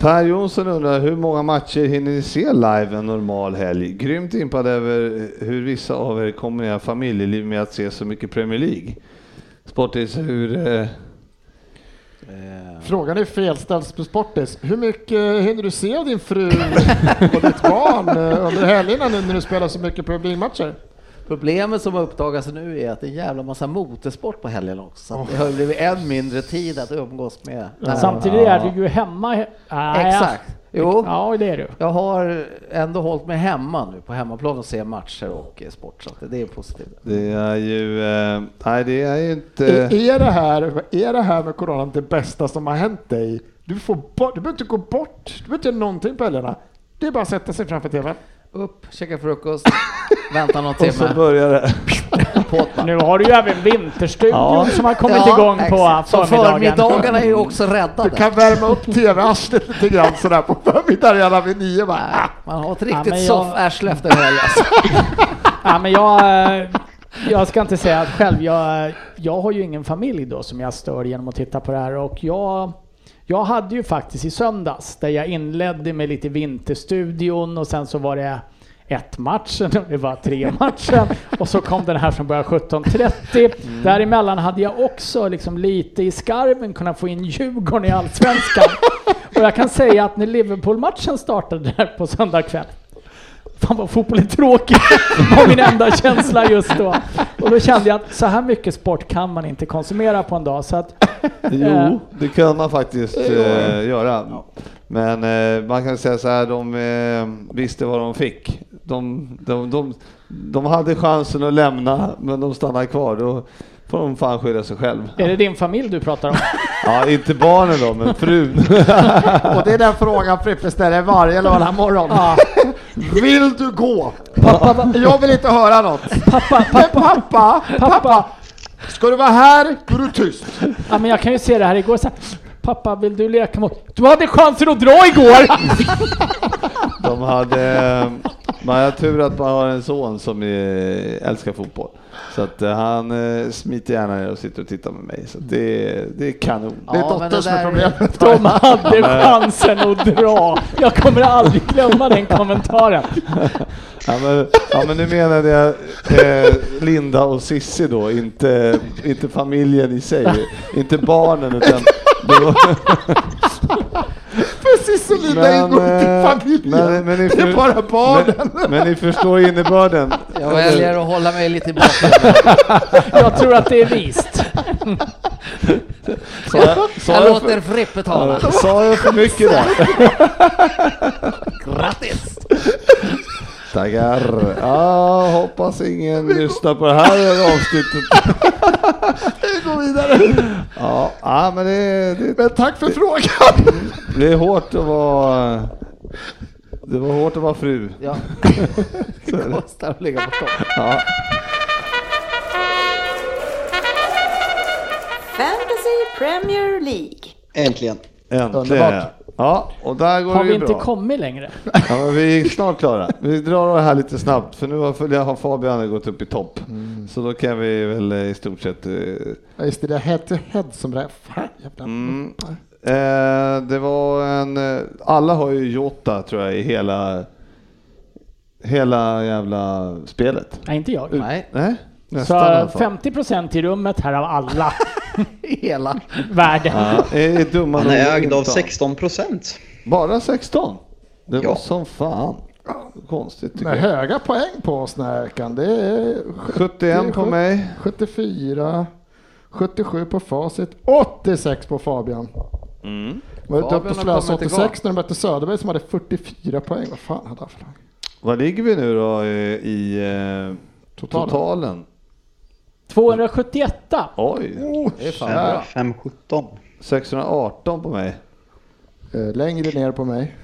Per Jonsson undrar hur många matcher hinner ni se live en normal helg? Grymt impad över hur vissa av er kombinerar familjeliv med att se så mycket Premier League. Sportis, hur... Eh, Frågan är felställd på Sportis. Hur mycket hinner du se av eh, din fru och ditt barn eh, under helgerna nu när du spelar så mycket publikmatcher? Problemet som har uppdagats nu är att det är en jävla massa motorsport på helgen också. Så att det har ju blivit än mindre tid att umgås med. Samtidigt är du ju hemma. he- Nej, Exakt. Jo. Ja, det är du. Jag har ändå hållit mig hemma nu på hemmaplan och ser matcher och eh, sport så att det är positivt. Det är ju... Eh, nej, det är ju inte... Är, är, det här, är det här med coronan det bästa som har hänt dig? Du, får bort, du behöver inte gå bort, du behöver inte göra någonting på helgerna. Det är bara att sätta sig framför TVn. Upp, käka frukost, (laughs) vänta någon Och så timme. börjar det. På't bara. Nu har du ju även Vinterstudion Ja. som har kommit Ja, igång på exakt. Så förmiddagarna är ju också Du räddade. kan värma upp TV-arslet lite grann sådär på förmiddagarna vid nio. Bara, ah. Man har ett Ja, riktigt men jag- soff-arsle efter helgen. alltså. Ja, men jag, eh, jag ska inte säga att själv, jag, jag har ju ingen familj då som jag stör genom att titta på det här och jag, jag hade ju faktiskt i söndags där jag inledde med lite Vinterstudion och sen så var det ett matchen (laughs) och det var tre matchen och så kom den här som började 17.30. Däremellan hade jag också liksom lite i skarven kunnat få in Djurgården i Allsvenskan. Och jag kan säga att när Liverpool-matchen startade där på söndag kväll, Fan vad fotboll är tråkigt, var min enda känsla just då. Och då kände jag att så här mycket sport kan man inte konsumera på en dag. Så att, Jo, det kan man faktiskt eh, göra. Men eh, man kan säga så här, de eh, visste vad de fick. De, de, de, de hade chansen att lämna, men de stannade kvar. Då får de fan skylla sig själv. är det din familj (laughs) du pratar om? Ja, inte barnen då, men frun. (laughs) (laughs) Och det är den frågan Frippe ställer varje lördagsmorgon. Vill du gå? Pappa, va- (laughs) Jag vill inte höra något. pappa, Men pappa, pappa, pappa. ska du vara här? Då är du tyst. Ja, men jag kan ju se det här igår så här, Pappa, vill du leka mot... Du hade chansen att (laughs) dra igår! De hade... eh, Man har tur att man har en son som eh, älskar fotboll. Så att eh, han eh, smiter gärna ner och sitter och tittar med mig. Så att det, det är kanon. Det är Ja, dottern men det som är där- problemet. (laughs) De hade chansen att dra. Jag kommer aldrig glömma den kommentaren. Ja men, ja, men nu menade jag eh, Linda och Sissi då, inte, inte familjen i sig, inte barnen utan det var, Precis som (laughs) Linda ingår inte i familjen. eh, men, men ni det är för- bara barnen. Men, men ni förstår innebörden. Jag väljer att hålla mig lite i bakgrunden. Jag tror att det är vist. Sa jag, sa Jag jag låter Frippe tala. för, sa jag för mycket där? Grattis! (laughs) Tackar. Ja, hoppas ingen lyssnar på det här avsnittet. Vi går vidare. Ja, ja men det, det, Men tack för frågan. det är hårt att vara... Det var hårt att vara fru. (laughs) Ja. Det kostar att ligga på topp. Ja. Fantasy Premier League. Äntligen. Äntligen. Underbart. Ja, och där går Har det vi ju inte bra. (laughs) kommit längre? Ja, men vi är snart klara. Vi drar det här lite snabbt för nu har, för har Fabian gått upp i topp. Så då kan vi väl eh, i stort sett... eh, Ja, just det, det är head to head som det är. Fan, jävlar. Mm. Eh, det var en... eh, Alla har ju Jota tror jag i hela... Hela jävla spelet. Nej, inte jag. Nej, Nej? Så Nästan i alla fall. 50% i rummet här av alla hela. världen. Ja, är, är dumma Han nog är ägd inte av 16 procent. Bara 16? Det Ja. var som fan. Konstigt tycker Med jag. höga poäng på oss den här veckan. Det är 71 på mig. 74, 77 på Facit, 86 på Fabian. Mm. Var Fabian Fabian uppe och har slösade kommit 86 när de mötte Söderberg som hade 44 poäng. Vad fan hade han för lag? Vad ligger vi nu då i, i eh, Totalen. totalen? 271 Oj, Det är fan bra. 5-17. 618 på mig. Eh, Längre ner (laughs) på mig.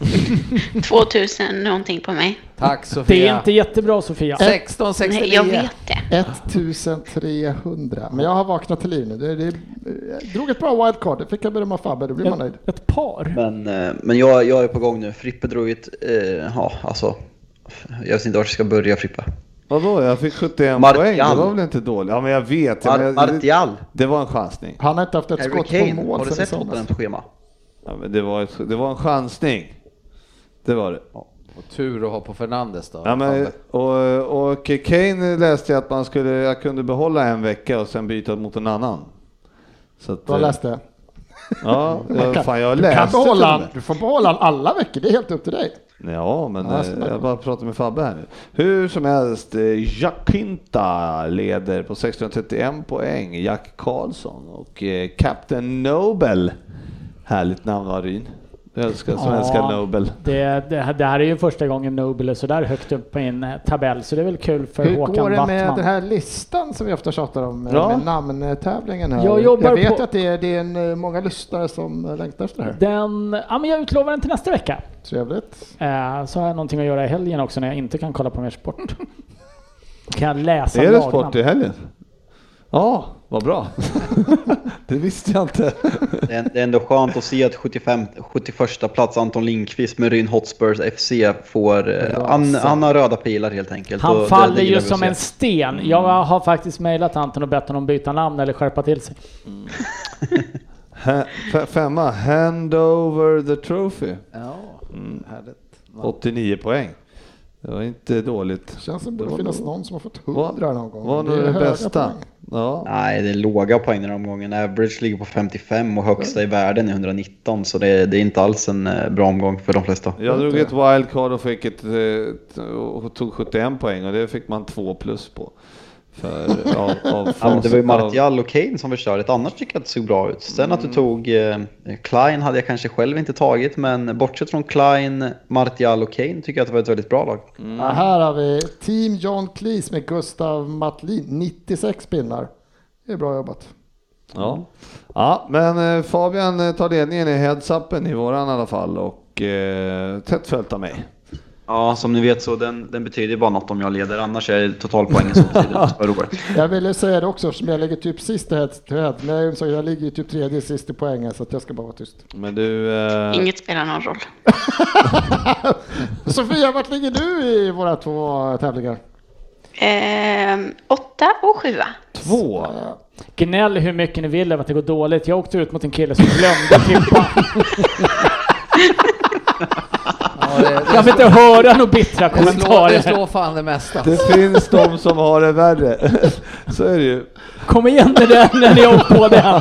2000 någonting på mig. Tack Det är Sofia. inte jättebra Sofia. 16, Nej, jag 69. vet det. 1300. Men jag har vaknat till liv nu. Det, det, jag drog ett bra wildcard. Det fick jag berömma Fabbe. Då blir man nöjd. Ett, ett par. Men, eh, men jag, jag är på gång nu. Frippe drog ett... Eh, ja, alltså. Jag vet inte vart jag ska börja Frippe. Vadå, jag fick 71 Martial. poäng. Det var väl inte dåligt? Ja, men jag vet. Mar- men jag, Martial. Det var en chansning. Han har inte haft ett Harry skott på Kane. mål Har du sen i sett somras. Tottenhams schema? Ja, men det, var ett, det var en chansning. Det var det. Och tur att ha på Fernandes då. Ja, men, och, och Kane läste jag att man skulle, jag kunde behålla en vecka och sen byta mot en annan. Så att, Jag eh, läste jag. Ja, jag, fan jag (laughs) Du kan Eh, läste. till behålla och han, med. Du får behålla han alla veckor. Det är helt upp till dig. Ja, men Ja, eh, så- jag bara pratar med Fabbe här nu. Hur som helst, eh, Jacinta leder på 631 poäng, Jack Karlsson och eh, Captain Nobel. Härligt namn va Ryn? Jag älskar svenska Ja. Nobel. Det, det, här- det här är ju första gången Nobel är sådär högt upp på en eh, tabell, så det är väl kul för Hur Håkan går det med Backman. den här listan som vi ofta tjatar om? eh, Ja. Med namntävlingen här. Jag jobbar vet på- att det är, det är en, eh, många lyssnare som eh, längtar efter det här. Den, ja, men jag utlovar den till nästa vecka. Trevligt. Eh, så har jag någonting att göra i helgen också när jag inte kan kolla på (laughs) mer sport. kan jag läsa Är det lagnamn? sport i helgen? Ja, vad bra. (laughs) det visste jag inte. Det är, det är ändå skönt att se att 75, 71 plats Anton Lindqvist med Ryn Hotspurs FC får... eh, Han, han har röda pilar helt enkelt. och Han det- faller det gillar ju vi att som se. en sten. Jag har faktiskt mejlat Anton och bett honom byta namn eller skärpa till sig. Ha- fe- Femma, hand over the trophy. Ja, Mm. härligt. Man- 89 poäng. Det var inte dåligt. Känns som det var borde finnas nog- någon som har fått Var, hundra någon gång. var nog är det höga bästa. poäng. Ja. Nej, det är låga poäng den här omgången. Average ligger på 55 och högsta i världen är 119. Så det, det är inte alls en eh, bra omgång för de flesta. Jag drog ett wildcard och, fick ett, eh, t- och tog 71 poäng och det fick man två plus på. För, av, av Ja, men det var ju facit av- Martial och Kane som förstörde ett annars tycker jag att det såg bra ut. Sen att du Mm. tog eh, Klein hade jag kanske själv inte tagit, men bortsett från Klein, Martial och Kane tycker jag att det var ett väldigt bra lag. Mm. Ja, här har vi Team John Cleese med Gustav Matlin. 96 pinnar. Det är bra jobbat. Ja. ja, men eh, Fabian eh, tar ledningen i heads-upen i våran i alla fall och eh, tätt följt av mig. Ja, som ni vet så den, den betyder ju bara något om jag leder, annars är det totalpoängen som betyder något för (laughs) året. Jag ville säga det också eftersom jag ligger typ sist i head to head. Men jag insåg att jag ligger ju typ tredje sist i poängen så att jag ska bara vara (laughs) tyst. Men du, eh, Inget spelar någon roll. Sofia, vart ligger du i våra två tävlingar? Ehm, åtta och sjua. två. Gnäll hur mycket ni vill över att det går dåligt. Jag åkte ut mot en kille som glömde (laughs) tippa. Ja, det, Jag vill inte höra några bittra det, slår, det kommentarer. slår fan det mesta. Det finns de som har det värre. (laughs) Så är det ju. Kom igen nu där när ni åkt på den.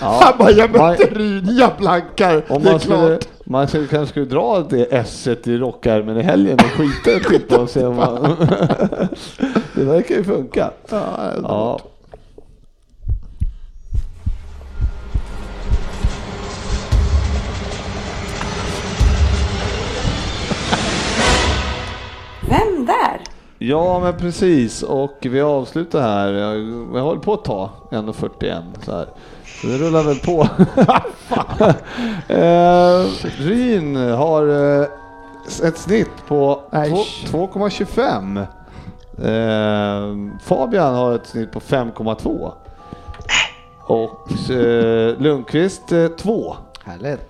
Han bara, jag mötte Man- Ryn, jag blankar. Om det är man, skulle, klart. man skulle, kanske skulle dra det esset i rockärmen i helgen och skita i skita och se om man... (laughs) Det verkar ju funka. Ja, Ja. Vem där? ja, men precis. Och vi avslutar här. Jag- Jag håller på att ta 1.41 så här. Så det rullar väl på. (laughs) eh, Ryn har eh, ett snitt på Äsch. två- 2,25. Eh, Fabian har ett snitt på 5,2. Och eh, Lundqvist 2. Härligt.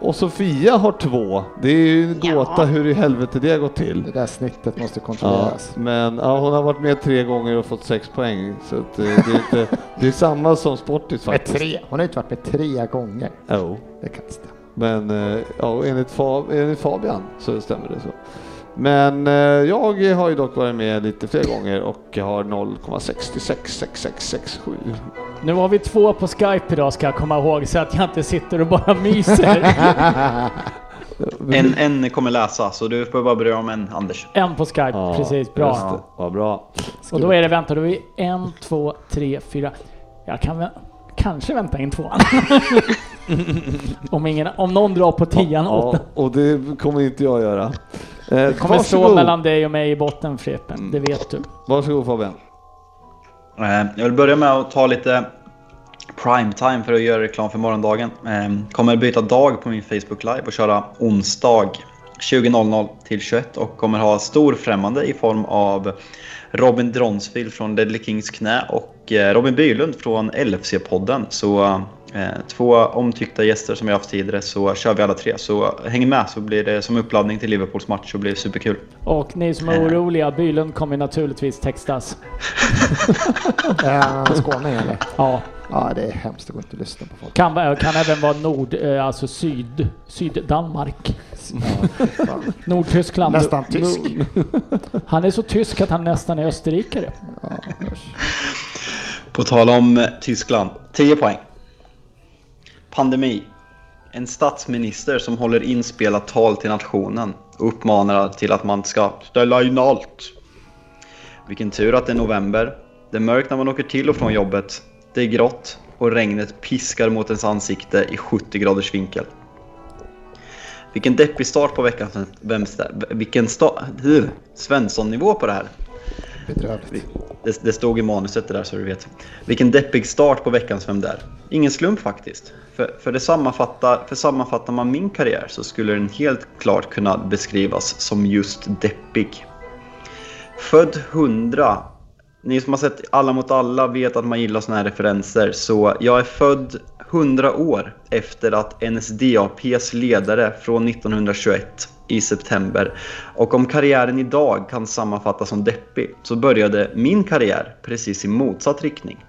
Och Sofia har två. Det är ju en Ja. gåta hur i helvete det har gått Det till. där snittet måste Ja, kontrolleras. men ja, hon har varit med tre gånger och fått sex poäng. Så att, eh, det, är inte, det är samma som Sportis Med faktiskt. tre. Hon har ju inte varit med tre gånger. Jo. Det kan inte stämma. Men eh, ja, enligt, Fa- enligt Fabian så stämmer det så. Men eh, jag har ju dock varit med lite fler gånger och har 0,666667. Nu har vi två på Skype idag ska jag komma ihåg så att jag inte sitter och bara myser. En, en kommer läsa, så du behöver bara bry dig om en, Anders. En på Skype, Ja, precis. just Bra. det. Vad bra. Och då är det, vänta, då är vi en, två, tre, fyra. Jag kan vä- kanske vänta (laughs) in tvåan. om, ingen, om någon drar på tian, åtta. Ja, och det kommer inte jag göra. Eh, det kommer stå mellan dig och mig i botten Mm. Frippen, det vet du. Varsågod Fabian. Eh, Jag vill börja med att ta lite primetime för att göra reklam för morgondagen. Eh, Kommer byta dag på min Facebook Live och köra onsdag 20.00 till 21 och kommer ha stor främmande i form av Robin Dronsfield från Deadly Kings knä och eh, Robin Bylund från LFC-podden. Så eh, två omtyckta gäster som jag haft tidigare så kör vi alla tre. Så häng med så blir det som uppladdning till Liverpools match så blir det superkul. Och ni som är oroliga, Bylund kommer naturligtvis textas. Eh, Är han skåning eller? Ja, Ja, det är hemskt. Det går inte att lyssna på folk. kan, va- kan även vara nord, eh, alltså syd, syd-Danmark. Nordtyskland. Nästan tysk. Han är så tysk att han nästan är österrikare. På tal om eh, Tyskland, 10 poäng. Pandemi. en statsminister som håller inspelat tal till nationen och uppmanar till att man ska ställa in allt. Vilken tur att det är november. Det är mörkt när man åker till och från jobbet. Det är grått och regnet piskar mot ens ansikte i 70 graders vinkel. Vilken deppig start på veckan. Vem, vilken sta, hur, Svensson-nivå på det här. Bedrövligt. Det, det stod i manuset det där så du vet. Vilken deppig start på veckans Vem där? Ingen slump faktiskt. För, för, det sammanfattar, för sammanfattar man min karriär så skulle den helt klart kunna beskrivas som just deppig. Född 100. Ni som har sett Alla mot alla vet att man gillar såna här referenser. Så jag är född 100 år efter att NSDAPs ledare från 1921 i september. Och om karriären idag kan sammanfattas som deppig så började min karriär precis i motsatt riktning.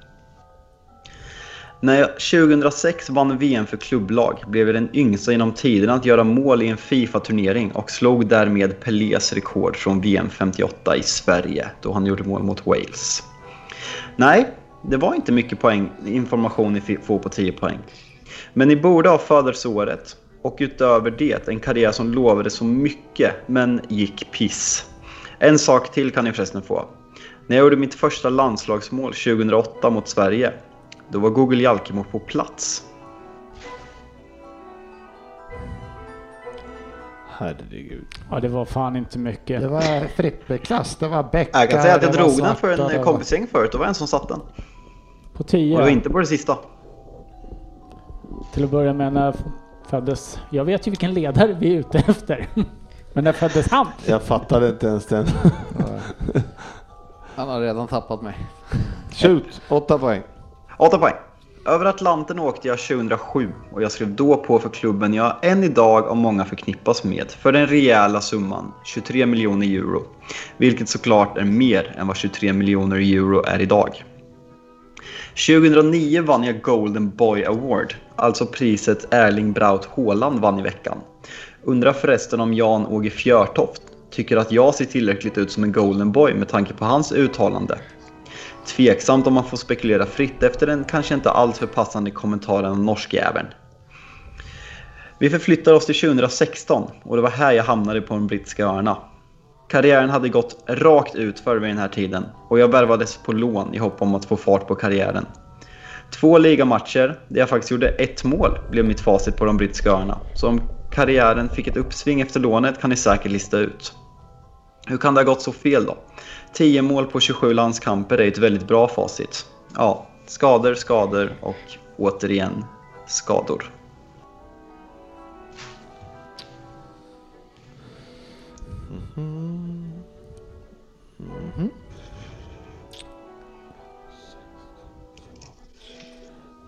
När jag 2006 vann VM för klubblag blev jag den yngsta genom tiderna att göra mål i en Fifa-turnering och slog därmed Pelés rekord från VM 58 i Sverige då han gjorde mål mot Wales. Nej, det var inte mycket poäng, information ni får på 10 poäng. Men ni borde ha födelseåret och utöver det en karriär som lovade så mycket men gick piss. En sak till kan ni förresten få. När jag gjorde mitt första landslagsmål 2008 mot Sverige, då var Google Jalkemo på plats. Herregud. Ja, det var fan inte mycket. Det var Frippe-klass, det var Bäckar. Jag kan säga att jag det drog var den för Svarta, det en var- kompisgäng förut, det var en som satt den. Och På det var 10, inte på det sista. till att börja med, när föddes... Jag vet ju vilken ledare vi är ute efter. Men när föddes han? Jag fattade inte ens den. Han har redan tappat mig. (laughs) Shoot, åtta poäng. 8 poäng. Över Atlanten åkte jag 2007 och jag skrev då på för klubben jag än idag av många förknippas med för den rejäla summan 23 miljoner euro. Vilket såklart är mer än vad 23 miljoner euro är idag. 2009 vann jag Golden Boy Award, alltså priset Erling Braut Haaland vann i veckan. Undrar förresten om Jan-Åge Fjörtoft tycker att jag ser tillräckligt ut som en Golden Boy med tanke på hans uttalande. Tveksamt om man får spekulera fritt efter den kanske inte alltför passande kommentaren om norskjäveln. Vi förflyttar oss till 2016 och det var här jag hamnade på de brittiska öarna. Karriären hade gått rakt utför vid den här tiden och jag värvades på lån i hopp om att få fart på karriären. Två ligamatcher där jag faktiskt gjorde ett mål blev mitt facit på de brittiska öarna. Så om karriären fick ett uppsving efter lånet kan ni säkert lista ut. Hur kan det ha gått så fel då? 10 mål på 27 landskamper är ett väldigt bra facit. Ja, skador, skador och återigen skador.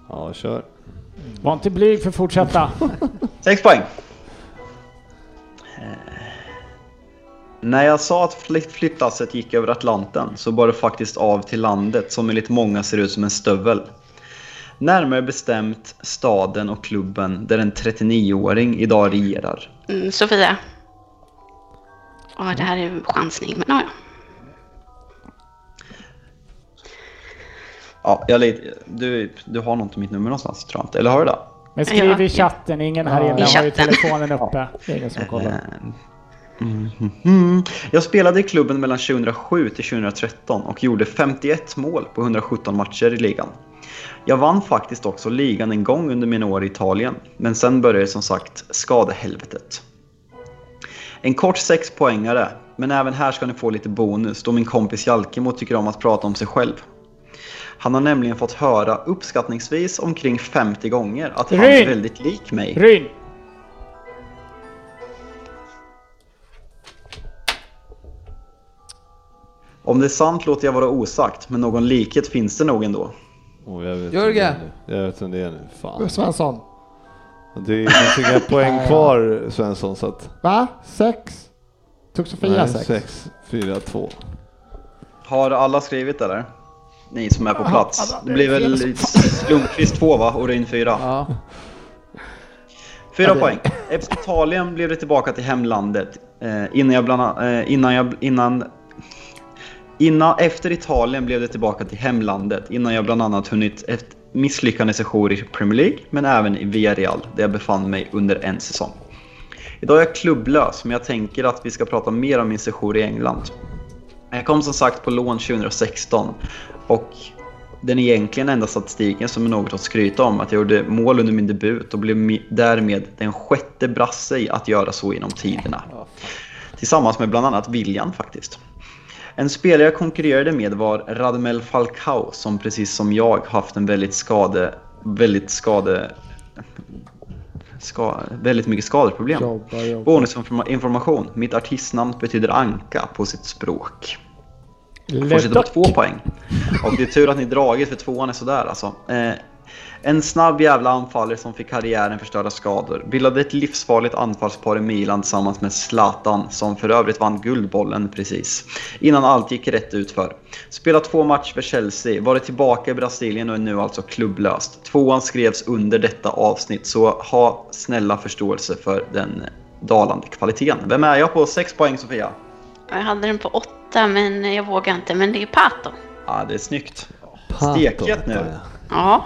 Ja, kör. Var inte blyg för att fortsätta. 6 poäng. Eh, När jag sa att fly- flyttlasset gick över Atlanten så bar det faktiskt av till landet som enligt många ser ut som en stövel. Närmare bestämt staden och klubben där en 39-åring idag regerar. Mm, Sofia. Ja, det här är en chansning, men ja, ja. Ja, jag, lit- du, du har nog inte mitt nummer någonstans tror jag inte. Eller har du det? Men skriv Ja. i chatten, ingen här Ja, inne i har ju chatten. telefonen uppe. Det är ingen som kollar. Mhm. Jag spelade i klubben mellan 2007 till 2013 och gjorde 51 mål på 117 matcher i ligan. Jag vann faktiskt också ligan en gång under mina år i Italien, men sen började som sagt skadehelvetet. En kort sexpoängare, men även här ska ni få lite bonus då min kompis Jalkemo tycker om att prata om sig själv. Han har nämligen fått höra uppskattningsvis omkring 50 gånger att han är Ryn! väldigt lik mig. Ryn! Om det är sant låter jag vara osagt, men någon likhet finns det nog ändå. Oh, jag vet Jörgen. vem det är nu. Jag vet vem det är nu. Fan. Svensson. Det är det finns inga (laughs) poäng kvar Svensson så att... Va? Sex? Tog Sofia Nej, sex? sex, fyra, två. Har alla skrivit eller? Ni som är på plats. Det blir väl (laughs) Lundqvist 2 va? Och Ryn 4. Ja. Fyra poäng. Efter Italien blev det tillbaka till hemlandet. Eh, innan jag bland an- eh, innan jag, innan, innan, efter Italien blev det tillbaka till hemlandet. Innan jag bland annat hunnit, efter, misslyckande sejour i Premier League, men även i Villarreal där jag befann mig under en säsong. Idag är jag klubblös, men jag tänker att vi ska prata mer om min sejour i England. Jag kom som sagt på lån 2016 och den egentligen enda statistiken som är något att skryta om att jag gjorde mål under min debut och blev mi- därmed den sjätte brasse i att göra så genom tiderna. Tillsammans med bland annat William faktiskt. En spelare jag konkurrerade med var Radamel Falcao som precis som jag haft en väldigt skade... Väldigt skade... Ska, väldigt mycket skadeproblem. Jobba, jobba. Bonusinformation. Mitt artistnamn betyder anka på sitt språk. Le Fortsätter på Doc. två poäng. Och det är tur att ni dragit för tvåan är sådär alltså. Eh, en snabb jävla anfallare som fick karriären förstörda skador. Bildade ett livsfarligt anfallspar i Milan tillsammans med Zlatan, som för övrigt vann Guldbollen precis. Innan allt gick rätt ut för. Spelat två matcher för Chelsea, varit tillbaka i Brasilien och är nu alltså klubblöst. Tvåan skrevs under detta avsnitt, så ha snälla förståelse för den dalande kvaliteten. Vem är jag på? Sex poäng Sofia. Jag hade den på åtta, men jag vågar inte. Men det är Pato. Ja, det är snyggt. Pato. Stekhet nu. Ja,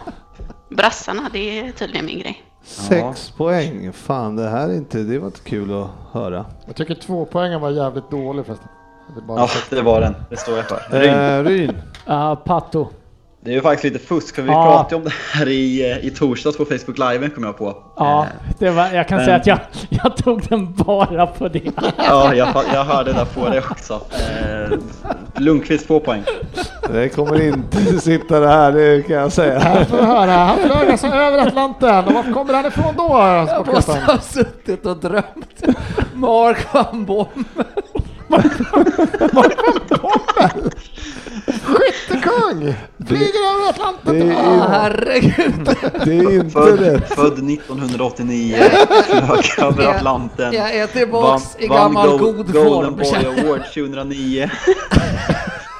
brassarna, det är tydligen min grej. Sex poäng. Fan, det här är inte, det var inte kul att höra. Jag tycker två poängen var jävligt dålig förresten. Det är bara Ja, det var den. Det står jag för. Ryn. Eh, Ryn. Ja, Ah, Pato. Det är ju faktiskt lite fusk för vi Ja. pratade om det här i, eh, i torsdags på Facebook liven kom jag på. Ja, Eh, det var, jag kan säga att jag, jag tog den bara på det. Ja, jag, fa- jag hörde det där på dig också. Eh, Lundqvist två poäng. Det kommer inte (laughs) sitta det här, det kan jag säga. (laughs) Här får du höra, han flög alltså över Atlanten och var kommer han ifrån då? (laughs) Jag måste sportchefen? ha suttit och drömt. Mark van Bommel. Skyttekung! Flyger över Atlanten! Det Åh, är, herregud. det är inte Född, rätt. född 1989, flög över Atlanten. Jag är tillbaks i gammal Gold- god Golden form. Boy Award (laughs) 2009.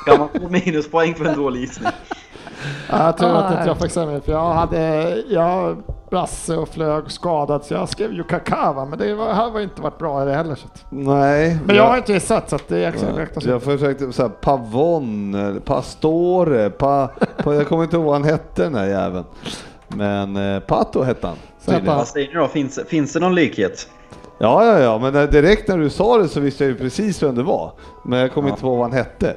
Kan man få minuspoäng för en dålig gissning? Ja, jag tror att Ah. inte jag fick säga mer, för jag hade, jag brasse och flög skadad så jag skrev ju Kakava, men det var, här var inte varit bra i det heller. Så. att- Nej. Men jag har inte gissat så att det Ja, räknas Jag inte. försökte såhär, Pavon, eller Pastore, pa, pa, jag kommer inte ihåg vad han hette den här jäveln. Men eh, Pato hette han. tydligen. Pato. Vad säger ni då? Finns, finns det någon likhet? Ja, ja, ja, men när- direkt när du sa det så visste jag ju precis vem det var. Men jag kom inte på vad han hette.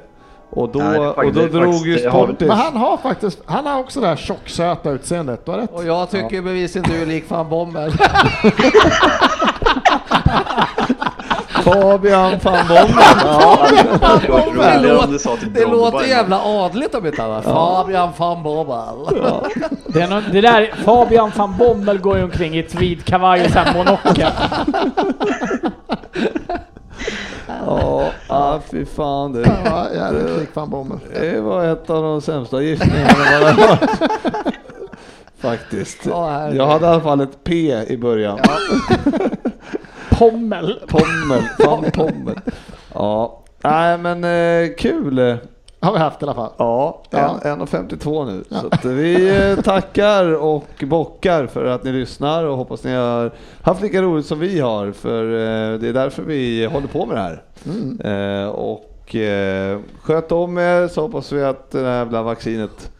Och då, Nej, det är faktiskt- och då det är drog faktiskt- ju det har- Sportis... Men han har faktiskt, han har också det här tjocksöta utseendet, du har rätt. Och jag tycker bevisligen du är lik van Bommel. Fabian van Bommel. Det (laughs) var roligare om du sa typ Det låter Goldberg. jävla adligt om inte annat. Fabian van Bommel. Det, är någon, det där, Fabian van Bommel går ju omkring i ett vid kavaj och så här monokel. Ja, ah, fy fan du. Ja, jävligt lik van Bommel. Det var ett av de sämsta gissningarna man har hört. Faktiskt. Ja, herregud. Jag hade i alla fall ett P i början. Pommel. Pommel, fan pommel. Ja, nej men eh, kul. Har vi haft i alla fall. Ja, Ja. en- 1.52 nu. Så att vi eh, tackar och bockar för att ni lyssnar och hoppas ni har haft lika roligt som vi har. För eh, det är därför vi håller på med det här. Eh, Och eh, sköt om er så hoppas vi att det här jävla vaccinet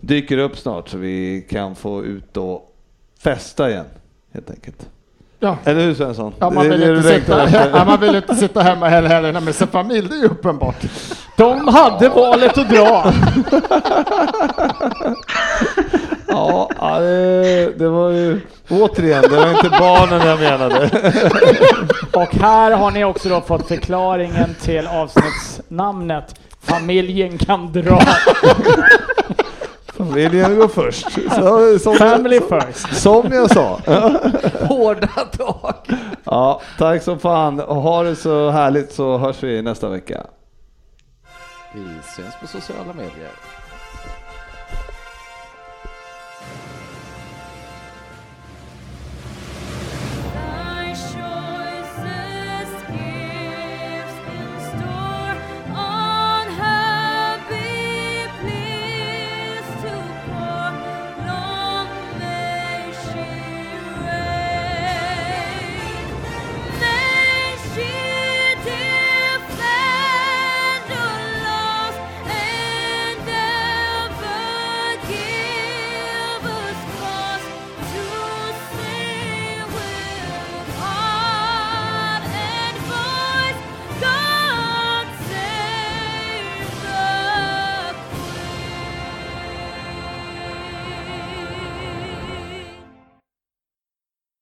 dyker upp snart så vi kan få ut och festa igen helt enkelt. Ja. Eller hur Svensson? Ja, man, Det är vill det inte du längtar sitta, (laughs) efter. ja, man vill inte sitta hemma hela helgen med sin familj, det är ju uppenbart. De hade valet att dra. Ja, ja, det, det var ju återigen, det var inte barnen jag menade. Och här har ni också då fått förklaringen till avsnittsnamnet. Familjen kan dra. Familjen går först. Så, som, Family first. som jag sa. (laughs) Hårda tag. Ja, tack så fan och ha det så härligt så hörs vi nästa vecka. Vi syns på sociala medier.